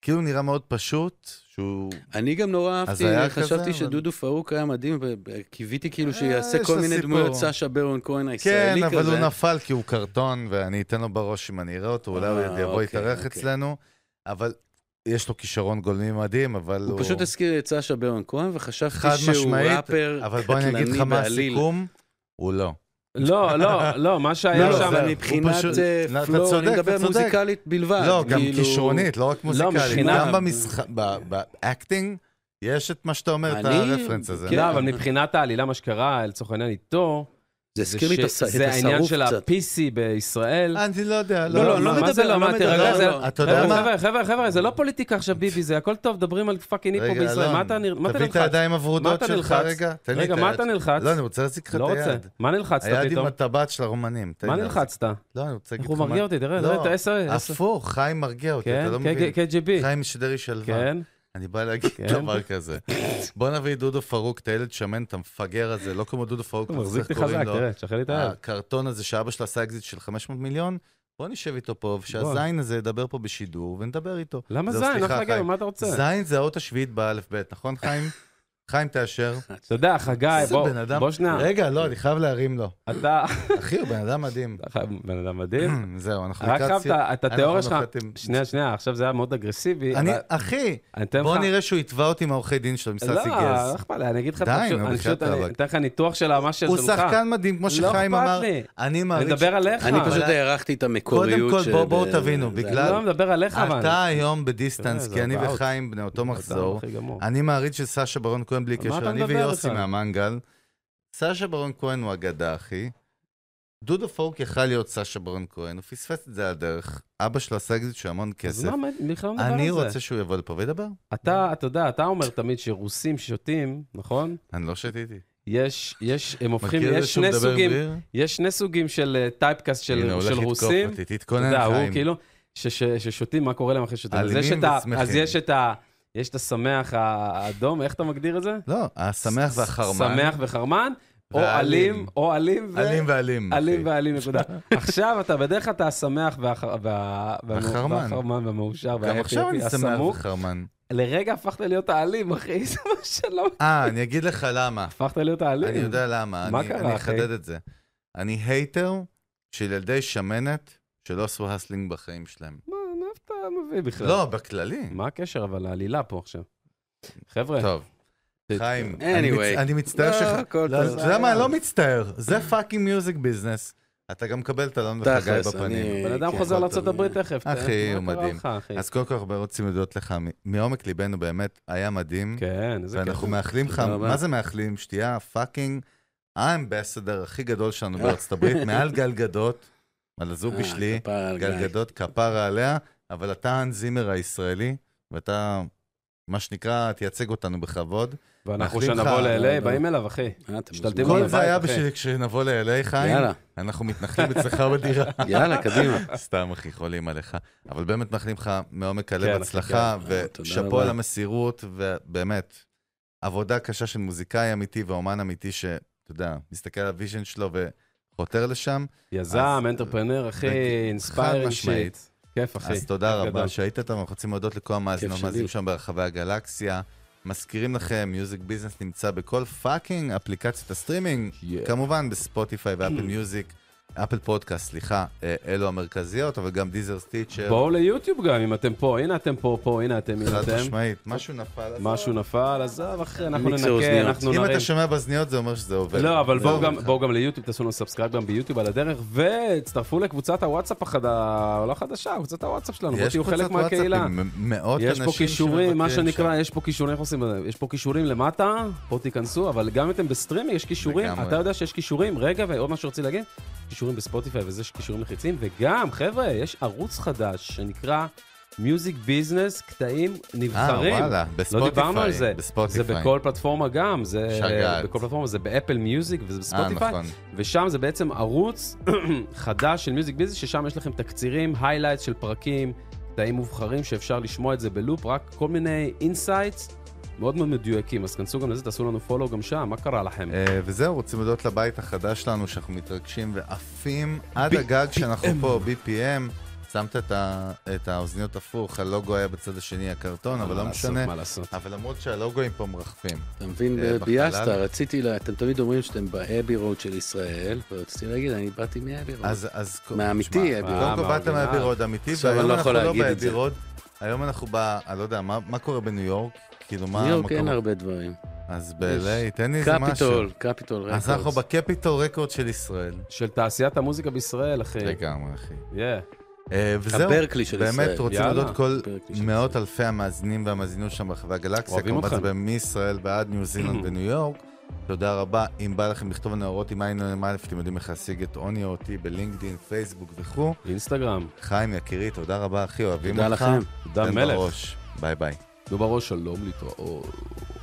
Speaker 2: שכאילו נראה מאוד פשוט, שהוא...
Speaker 3: אני גם נורא
Speaker 2: אז
Speaker 3: אהבתי,
Speaker 2: היה כזה, אבל-
Speaker 3: חשבתי שדודו פרוק היה מדהים, ו- ו- קיוויתי כאילו
Speaker 2: אה,
Speaker 3: שיעשה
Speaker 2: יש
Speaker 3: כל
Speaker 2: לו
Speaker 3: מיני
Speaker 2: סיפור.
Speaker 3: דמויות סאשה ברון כהן
Speaker 2: כן,
Speaker 3: הישראלי
Speaker 2: אבל
Speaker 3: כזה.
Speaker 2: הוא נפל כי הוא קרטון, ואני אתן לו בראש אם אני אראה אותו, אולי הוא
Speaker 3: אה,
Speaker 2: יבוא
Speaker 3: אוקיי,
Speaker 2: יתארח
Speaker 3: אוקיי.
Speaker 2: אצלנו, אבל יש לו כישרון גולמי מדהים, אבל הוא...
Speaker 3: הוא פשוט הזכיר את סאשה ברון כהן, וחשבתי
Speaker 2: חד
Speaker 3: שהוא
Speaker 2: משמעית,
Speaker 3: ראפר
Speaker 2: אבל בוא אני אגיד לך
Speaker 3: קטלני
Speaker 2: מה
Speaker 3: בעליל.
Speaker 2: הסיכום, הוא לא.
Speaker 1: לא, לא, לא, מה שהיה
Speaker 3: לא,
Speaker 2: לא,
Speaker 1: שם...
Speaker 2: זה-
Speaker 3: אבל
Speaker 2: הוא
Speaker 3: מבחינת
Speaker 2: פשוט-
Speaker 3: אה,
Speaker 2: לא, אתה
Speaker 3: פלואו, אני
Speaker 2: צודק,
Speaker 3: מדבר
Speaker 2: אתה צודק.
Speaker 3: מוזיקלית בלבד.
Speaker 2: לא, גם
Speaker 3: כאילו-
Speaker 2: כישרונית, לא רק מוזיקלית.
Speaker 1: מבחינה-
Speaker 2: גם במשחק, באקטינג, יש את מה שאתה אומר, את
Speaker 3: אני-
Speaker 2: הרפרנס הזה.
Speaker 3: כן.
Speaker 1: לא, אבל מבחינת העלילה, מה שקרה, לצורך העניין איתו,
Speaker 3: זה הזכיר לי את
Speaker 1: ש-
Speaker 3: הס- את
Speaker 1: זה העניין
Speaker 3: השרוף
Speaker 1: של
Speaker 3: קצת.
Speaker 1: ה-PC בישראל.
Speaker 2: אני לא יודע.
Speaker 1: לא, לא, לא
Speaker 2: מה זה
Speaker 1: מדבר, לא
Speaker 2: מדבר,
Speaker 1: מדבר.
Speaker 2: לא,
Speaker 1: זה-
Speaker 2: לא. אתה יודע
Speaker 1: חבר'ה,
Speaker 2: מה?
Speaker 1: חבר'ה, חבר'ה, חבר'ה, זה לא פוליטיקה עכשיו, ביבי, זה הכל טוב, מדברים על פאקינג היפו
Speaker 2: רגע,
Speaker 1: בישראל. מה
Speaker 2: אלון,
Speaker 1: אתה נר- מה אתה
Speaker 2: תביא את
Speaker 1: נלחץ?
Speaker 2: הידיים הוורודות
Speaker 1: מה אתה
Speaker 2: שלך
Speaker 1: נלחץ?
Speaker 2: רגע. תן לי
Speaker 1: רגע,
Speaker 2: את
Speaker 1: מה
Speaker 2: היד.
Speaker 1: אתה נלחץ?
Speaker 2: לא, אני רוצה להציג לך את
Speaker 1: לא רוצה.
Speaker 2: היד.
Speaker 1: מה נלחצת
Speaker 2: היד עם
Speaker 1: פתאום?
Speaker 2: הטבעת של הרומנים. תן
Speaker 1: מה
Speaker 2: לי את זה.
Speaker 1: נלחצת?
Speaker 2: לא, אני רוצה
Speaker 1: איך
Speaker 2: להגיד
Speaker 1: הוא
Speaker 2: לך מה...
Speaker 1: מרגיע אותי, תראה,
Speaker 2: לא,
Speaker 1: תראה, את ה-10,
Speaker 2: הפוך, חיים מרגיע אותי,
Speaker 1: כן,
Speaker 2: אתה לא
Speaker 1: K-
Speaker 2: מבין.
Speaker 1: KGB,
Speaker 2: חיים שדרי שלווה.
Speaker 1: כן.
Speaker 2: אני בא להגיד
Speaker 1: כן.
Speaker 2: דבר כזה. בוא נביא את דודו פרוק, את הילד שמן, את המפגר הזה, לא כמו דודו פרוק,
Speaker 1: הוא
Speaker 2: אתה
Speaker 1: מחזיק
Speaker 2: צריך
Speaker 1: אותי
Speaker 2: איך קוראים
Speaker 1: חזק,
Speaker 2: לו.
Speaker 1: תראה, תשחרר לי את היד.
Speaker 2: הקרטון הזה שאבא שלו עשה אקזיט של 500 מיליון, בוא נשב איתו פה,
Speaker 1: בוא.
Speaker 2: ושהזין הזה ידבר פה בשידור ונדבר איתו.
Speaker 1: למה
Speaker 2: זהו,
Speaker 1: זין? לא
Speaker 2: סליחה,
Speaker 1: אנחנו נגיד,
Speaker 2: חיים.
Speaker 1: מה אתה רוצה?
Speaker 2: זין זה האות השביעית באלף-בית, נכון, חיים? חיים תאשר.
Speaker 1: אתה יודע, חגי,
Speaker 2: איזה
Speaker 1: בוא,
Speaker 2: בן אדם.
Speaker 1: בוא שנייה.
Speaker 2: רגע, לא, אני חייב להרים לו.
Speaker 1: אתה
Speaker 2: אחי, הוא בן אדם מדהים.
Speaker 1: אתה בן אדם מדהים.
Speaker 2: זהו, אנחנו
Speaker 1: רק
Speaker 2: לקראת
Speaker 1: חייב
Speaker 2: סיום.
Speaker 1: את- את
Speaker 2: אנחנו
Speaker 1: התיאוריה שלך.
Speaker 2: נוחתים.
Speaker 1: שנייה, שנייה, עכשיו זה היה מאוד אגרסיבי.
Speaker 2: אני,
Speaker 1: אבל
Speaker 2: אחי,
Speaker 1: אני אתן לך...
Speaker 2: בוא נראה שהוא יתבע אותי עם העורכי דין שלו, עם
Speaker 1: לא,
Speaker 2: סאסי גז.
Speaker 1: לא אכפת לי, אני אגיד לך,
Speaker 2: די,
Speaker 1: אני פשוט-
Speaker 2: נו,
Speaker 1: אני
Speaker 2: בחייאת
Speaker 1: פשוט אני
Speaker 2: רבאק.
Speaker 1: אתן לך ניתוח של מה
Speaker 2: הוא
Speaker 1: ששלך.
Speaker 2: שחקן מדהים, כמו שחיים
Speaker 1: לא אכפת
Speaker 2: אמר.
Speaker 1: לי.
Speaker 2: אני
Speaker 1: אני
Speaker 2: מעריץ...
Speaker 1: מדבר עליך. אה,
Speaker 3: אני פשוט
Speaker 2: אבל-
Speaker 3: הערכתי את המקוריות.
Speaker 2: קודם כל,
Speaker 3: ש-
Speaker 2: בוא- בואו
Speaker 3: ב-
Speaker 2: תבינו,
Speaker 3: זה-
Speaker 2: בגלל-
Speaker 1: לא מדבר עליך, אבל.
Speaker 2: אתה היום
Speaker 1: תראה,
Speaker 2: בדיסטנס,
Speaker 1: זה
Speaker 2: כי אני
Speaker 1: about.
Speaker 2: וחיים בני אותו מחזור.
Speaker 1: הכי גמור.
Speaker 2: אני מעריץ של סשה ברון כהן בלי
Speaker 1: נכון. על מה
Speaker 2: קשר,
Speaker 1: אתה
Speaker 2: אני
Speaker 1: מדבר
Speaker 2: ויוסי
Speaker 1: בכלל?
Speaker 2: מהמנגל. סשה ברון כהן הוא אגדה, אחי. דודו פורק יכל להיות סשה ברון כהן, הוא פספס את זה על הדרך. אבא שלו עשה אקזיט של המון
Speaker 1: אז
Speaker 2: כסף.
Speaker 1: מה, בכלל לא מדבר על זה.
Speaker 2: אני רוצה שהוא יבוא לפה וידבר.
Speaker 1: אתה, אתה יודע, אתה אומר תמיד שרוסים שותים, נכון?
Speaker 2: אני לא שתיתי.
Speaker 1: יש, יש, הם הופכים,
Speaker 2: מכיר את זה
Speaker 1: יש
Speaker 2: שהוא
Speaker 1: שני
Speaker 2: מדבר
Speaker 1: סוגים,
Speaker 2: בלי?
Speaker 1: יש שני סוגים של אה, טייפקאסט
Speaker 2: הנה,
Speaker 1: של,
Speaker 2: הולך
Speaker 1: של
Speaker 2: לתקוף
Speaker 1: רוסים.
Speaker 2: אותי,
Speaker 1: אתה
Speaker 2: תתכונן,
Speaker 1: יודע, הוא
Speaker 2: חיים.
Speaker 1: כאילו, ש- ש- ששותים, מה קורה להם אחרי ששותים. אז
Speaker 2: אלימים
Speaker 1: יש את ה-
Speaker 2: ושמחים.
Speaker 1: אז יש את ה... יש את השמח האדום, איך אתה מגדיר את זה?
Speaker 2: לא, השמח והחרמן.
Speaker 1: שמח וחרמן, או
Speaker 2: והאלים.
Speaker 1: אלים, או אלים ו...
Speaker 2: אלים ואלים.
Speaker 1: אלים
Speaker 2: אחי.
Speaker 1: ואלים, נקודה. עכשיו אתה, בדרך כלל אתה השמח והח- וה-
Speaker 2: והחרמן.
Speaker 1: והחרמן והמאושר
Speaker 2: גם
Speaker 1: וההפי,
Speaker 2: עכשיו אני שמח
Speaker 1: הסמוק.
Speaker 2: וחרמן.
Speaker 1: לרגע הפכת להיות האלים, אחי, זה מה שלא...
Speaker 2: אה, אני אגיד לך למה.
Speaker 1: הפכת להיות
Speaker 3: לא,
Speaker 1: האלים.
Speaker 2: אני יודע למה,
Speaker 1: מה
Speaker 2: אני-
Speaker 1: קרה,
Speaker 2: אני
Speaker 1: אחי?
Speaker 2: אחדד את זה. אני הייטר של ילדי שמנת שלא עשו הסלינג בחיים שלהם.
Speaker 1: מה, מאיפה אתה מביא בכלל?
Speaker 2: לא, בכללי.
Speaker 1: מה הקשר אבל לעלילה פה עכשיו? חבר'ה,
Speaker 2: טוב. חיים, אני
Speaker 3: לא. Anyway.
Speaker 2: מצ- אני מצטער
Speaker 3: לא,
Speaker 2: שלך.
Speaker 3: הכל
Speaker 2: לא,
Speaker 3: טוב.
Speaker 2: אתה יודע מה, אני לא מצטער. זה פאקינג מיוזיק ביזנס. אתה גם מקבל את אלון וחגי
Speaker 3: תכלס,
Speaker 2: בפנים.
Speaker 3: אני-
Speaker 1: בן אדם
Speaker 3: כן,
Speaker 1: חוזר
Speaker 2: הכל
Speaker 1: לארה"ב תכף.
Speaker 2: אחי,
Speaker 1: תראה,
Speaker 2: הוא
Speaker 1: מה קרה
Speaker 2: מדהים.
Speaker 1: לך, אחי?
Speaker 2: אז קודם כל הרבה רוצים להודות לך מ- מעומק ליבנו באמת, היה מדהים.
Speaker 1: כן, איזה כיף.
Speaker 2: ואנחנו מאחלים לך,
Speaker 3: תודה רבה.
Speaker 2: מה זה מאחלים? שתהיה פאקינג האמבסדר הכי גדול שלנו בארצות הברית, מעל גל גדות, על הזובי
Speaker 3: אה,
Speaker 2: שלי,
Speaker 3: כפרה על גיא.
Speaker 2: גל גדות, כפרה עליה, אבל אתה האן זימר הישראלי, ואתה, מה שנקרא, תייצג אותנו בכבוד.
Speaker 1: ואנחנו
Speaker 2: מאחלים לך-
Speaker 1: שנבוא ל-LA,
Speaker 3: לא,
Speaker 1: באים
Speaker 3: לא.
Speaker 1: אליו, אחי.
Speaker 3: אה, אתם
Speaker 1: משתלטים
Speaker 3: מוזמנים.
Speaker 2: כל
Speaker 1: לבית,
Speaker 2: זה היה
Speaker 1: אחי.
Speaker 2: בשביל כשנבוא ל-LA, חיים,
Speaker 3: יאללה,
Speaker 2: אנחנו מתנחלים אצלך בדירה.
Speaker 3: יאללה, קדימה.
Speaker 2: סתם, אחי, חולים עליך. אבל באמת מאחלים לך מעומק
Speaker 1: כן,
Speaker 2: הלב
Speaker 1: אחי,
Speaker 2: הצלחה,
Speaker 3: כן. אה, תודה
Speaker 2: ושאפו
Speaker 3: רבה.
Speaker 2: על המסירות, ובאמת, עבודה קשה של מוזיקאי אמיתי ואומן אמיתי, שאתה יודע, מסתכל על הוויז'ן שלו וחותר לשם.
Speaker 1: יזם,
Speaker 2: אז-
Speaker 1: אנטרפרנר, אחי,
Speaker 2: בדיוק, חד
Speaker 1: אינספיירינג שיט.
Speaker 2: משמעית.
Speaker 1: כיף, אחי.
Speaker 2: אז תודה
Speaker 1: כיף גדול.
Speaker 2: רבה שהיית איתנו, אנחנו רוצים להודות לכל המאזינים
Speaker 3: שלי.
Speaker 2: המאזינים שם ברחבי הגלקסיה. מזכירים לכם, מיוזיק ביזנס נמצא בכל פאקינג אפליקציות הסטרימינג,
Speaker 1: Yeah.
Speaker 2: כמובן בספוטיפיי ואפל מיוזיק, אפל פודקאסט, סליחה, אה, אלו המרכזיות, אבל גם דיזר סטיצ'ר.
Speaker 1: בואו ליוטיוב גם, אם אתם פה. הנה אתם פה, פה, הנה אתם, הנה
Speaker 2: כן. חד
Speaker 1: אתם.
Speaker 2: משמעית, משהו נפל. אז
Speaker 1: משהו נפל, עזוב, אחי, אנחנו
Speaker 3: מיקסר
Speaker 1: ננקה,
Speaker 3: אוזניות.
Speaker 1: אנחנו
Speaker 2: אם
Speaker 1: נרים.
Speaker 2: אתה שומע באזניות זה אומר שזה עובד.
Speaker 1: לא, אבל
Speaker 2: זה
Speaker 1: בואו
Speaker 2: אומר
Speaker 1: גם-
Speaker 2: לך.
Speaker 1: בואו גם ליוטיוב, תעשו לנו סאבסקרייב גם ביוטיוב על הדרך, והצטרפו לקבוצת הוואטסאפ החדשה, לא חדשה, קבוצת הוואטסאפ שלנו, בואו
Speaker 2: יש
Speaker 1: תהיו
Speaker 2: קבוצת
Speaker 1: חלק
Speaker 2: וואטסאפ
Speaker 1: מהקהילה.
Speaker 2: עם מ- מאות
Speaker 1: יש
Speaker 2: אנשים
Speaker 1: פה כישורים, מה
Speaker 2: שמבקרים
Speaker 1: שנקרא,
Speaker 2: שם.
Speaker 1: יש פה כישורים, איך עושים את זה? יש פה כישורים למטה, פה תיכנסו, אבל גם אם אתם בסטרימינג, יש כישורים,
Speaker 2: לגמרי.
Speaker 1: אתה יודע שיש כישורים, רגע, ועוד משהו שרציתי להגיד, כישורים בספוטיפיי וזה שכישורים לחיצים, וגם, חבר'ה, יש ערוץ חדש שנקרא מיוזיק ביזנס, קטעים נבחרים.
Speaker 2: אה, וואלה,
Speaker 1: לא
Speaker 2: בספוטיפיי.
Speaker 1: דיברנו על זה, זה
Speaker 2: בספוטיפיי.
Speaker 1: בכל פלטפורמה גם, זה
Speaker 2: שגעת.
Speaker 1: בכל פלטפורמה, זה באפל מיוזיק וזה
Speaker 2: אה,
Speaker 1: בספוטיפיי,
Speaker 2: נכון.
Speaker 1: ושם זה בעצם ערוץ חדש של מיוזיק ביזנס, ששם יש לכם תקצירים, היילייטס של פרקים, קטעים מובחרים שאפשר לשמוע את זה בלופ, רק כל מיני אינסייטס מאוד מאוד מדויקים, אז כנסו גם לזה, תעשו לנו פולו גם שם, מה קרה לכם?
Speaker 2: אה, וזהו, רוצים להודות לבית החדש שלנו, שאנחנו מתרגשים ועפים עד הגג שאנחנו פה, BPM. שמת את ה- את האוזניות הפוך, הלוגו היה בצד השני, הקרטון, אבל
Speaker 1: מה
Speaker 2: לא
Speaker 1: לעשות,
Speaker 2: משנה.
Speaker 1: מה לעשות?
Speaker 2: אבל למרות שהלוגוים פה מרחפים.
Speaker 3: אתה מבין,
Speaker 2: אה,
Speaker 3: ביאסת,
Speaker 2: בחלל.
Speaker 3: רציתי, לה- אתם תמיד אומרים שאתם באבי רוד של ישראל, ורציתי להגיד, אני באתי מאבי רוד.
Speaker 2: אז, אז...
Speaker 3: מהאמיתי,
Speaker 2: תשמע,
Speaker 3: אבי
Speaker 1: רוד.
Speaker 2: קודם כל
Speaker 1: אה,
Speaker 2: באת
Speaker 1: מהאורגינל.
Speaker 2: מהאבי רוד אמיתי,
Speaker 3: עכשיו אני
Speaker 2: והיום
Speaker 3: לא
Speaker 2: אנחנו
Speaker 3: יכול
Speaker 2: לא
Speaker 3: להגיד את
Speaker 2: באבי
Speaker 3: זה.
Speaker 2: רוד. היום אנחנו ב... אני לא יודע, מה מה קורה בניו יורק? כאילו, מה
Speaker 3: ניו יורק
Speaker 2: המקום-
Speaker 3: אין הרבה דברים.
Speaker 2: אז ב-LA, תן לי איזה משהו.
Speaker 3: קפיטול, קפיטול
Speaker 2: אז אנחנו
Speaker 3: רקורדס.
Speaker 2: בקפיטול רקורד של ישראל.
Speaker 1: של תעשיית המוזיקה בישראל,
Speaker 3: כן.
Speaker 1: אחי.
Speaker 2: לגמרי, אחי.
Speaker 1: Yeah.
Speaker 2: אה, וזהו,
Speaker 3: הברקלי של
Speaker 2: באמת
Speaker 3: ישראל.
Speaker 2: רוצים
Speaker 1: יאללה.
Speaker 2: להודות כל
Speaker 3: הברקלי של
Speaker 2: מאות אלפי המאזינים והמאזינות שם ברחבי הגלקסיה,
Speaker 1: אוהבים
Speaker 2: כמובן זה
Speaker 1: אותך.
Speaker 2: ב- מישראל ועד ניו זילנד וניו יורק. תודה רבה. אם בא לכם לכתוב לנו הערות עם עין למעלה, אתם יודעים איך להשיג את עוני או אותי בלינקדאין, פייסבוק וכו'.
Speaker 1: אינסטגרם,
Speaker 2: חיים יקירי, תודה רבה אחי, אוהבים
Speaker 3: תודה
Speaker 2: אותך.
Speaker 3: לכם.
Speaker 1: תודה
Speaker 2: תן
Speaker 1: מלך.
Speaker 2: בראש. ביי ביי.
Speaker 1: דובר ראש שלום להתראות.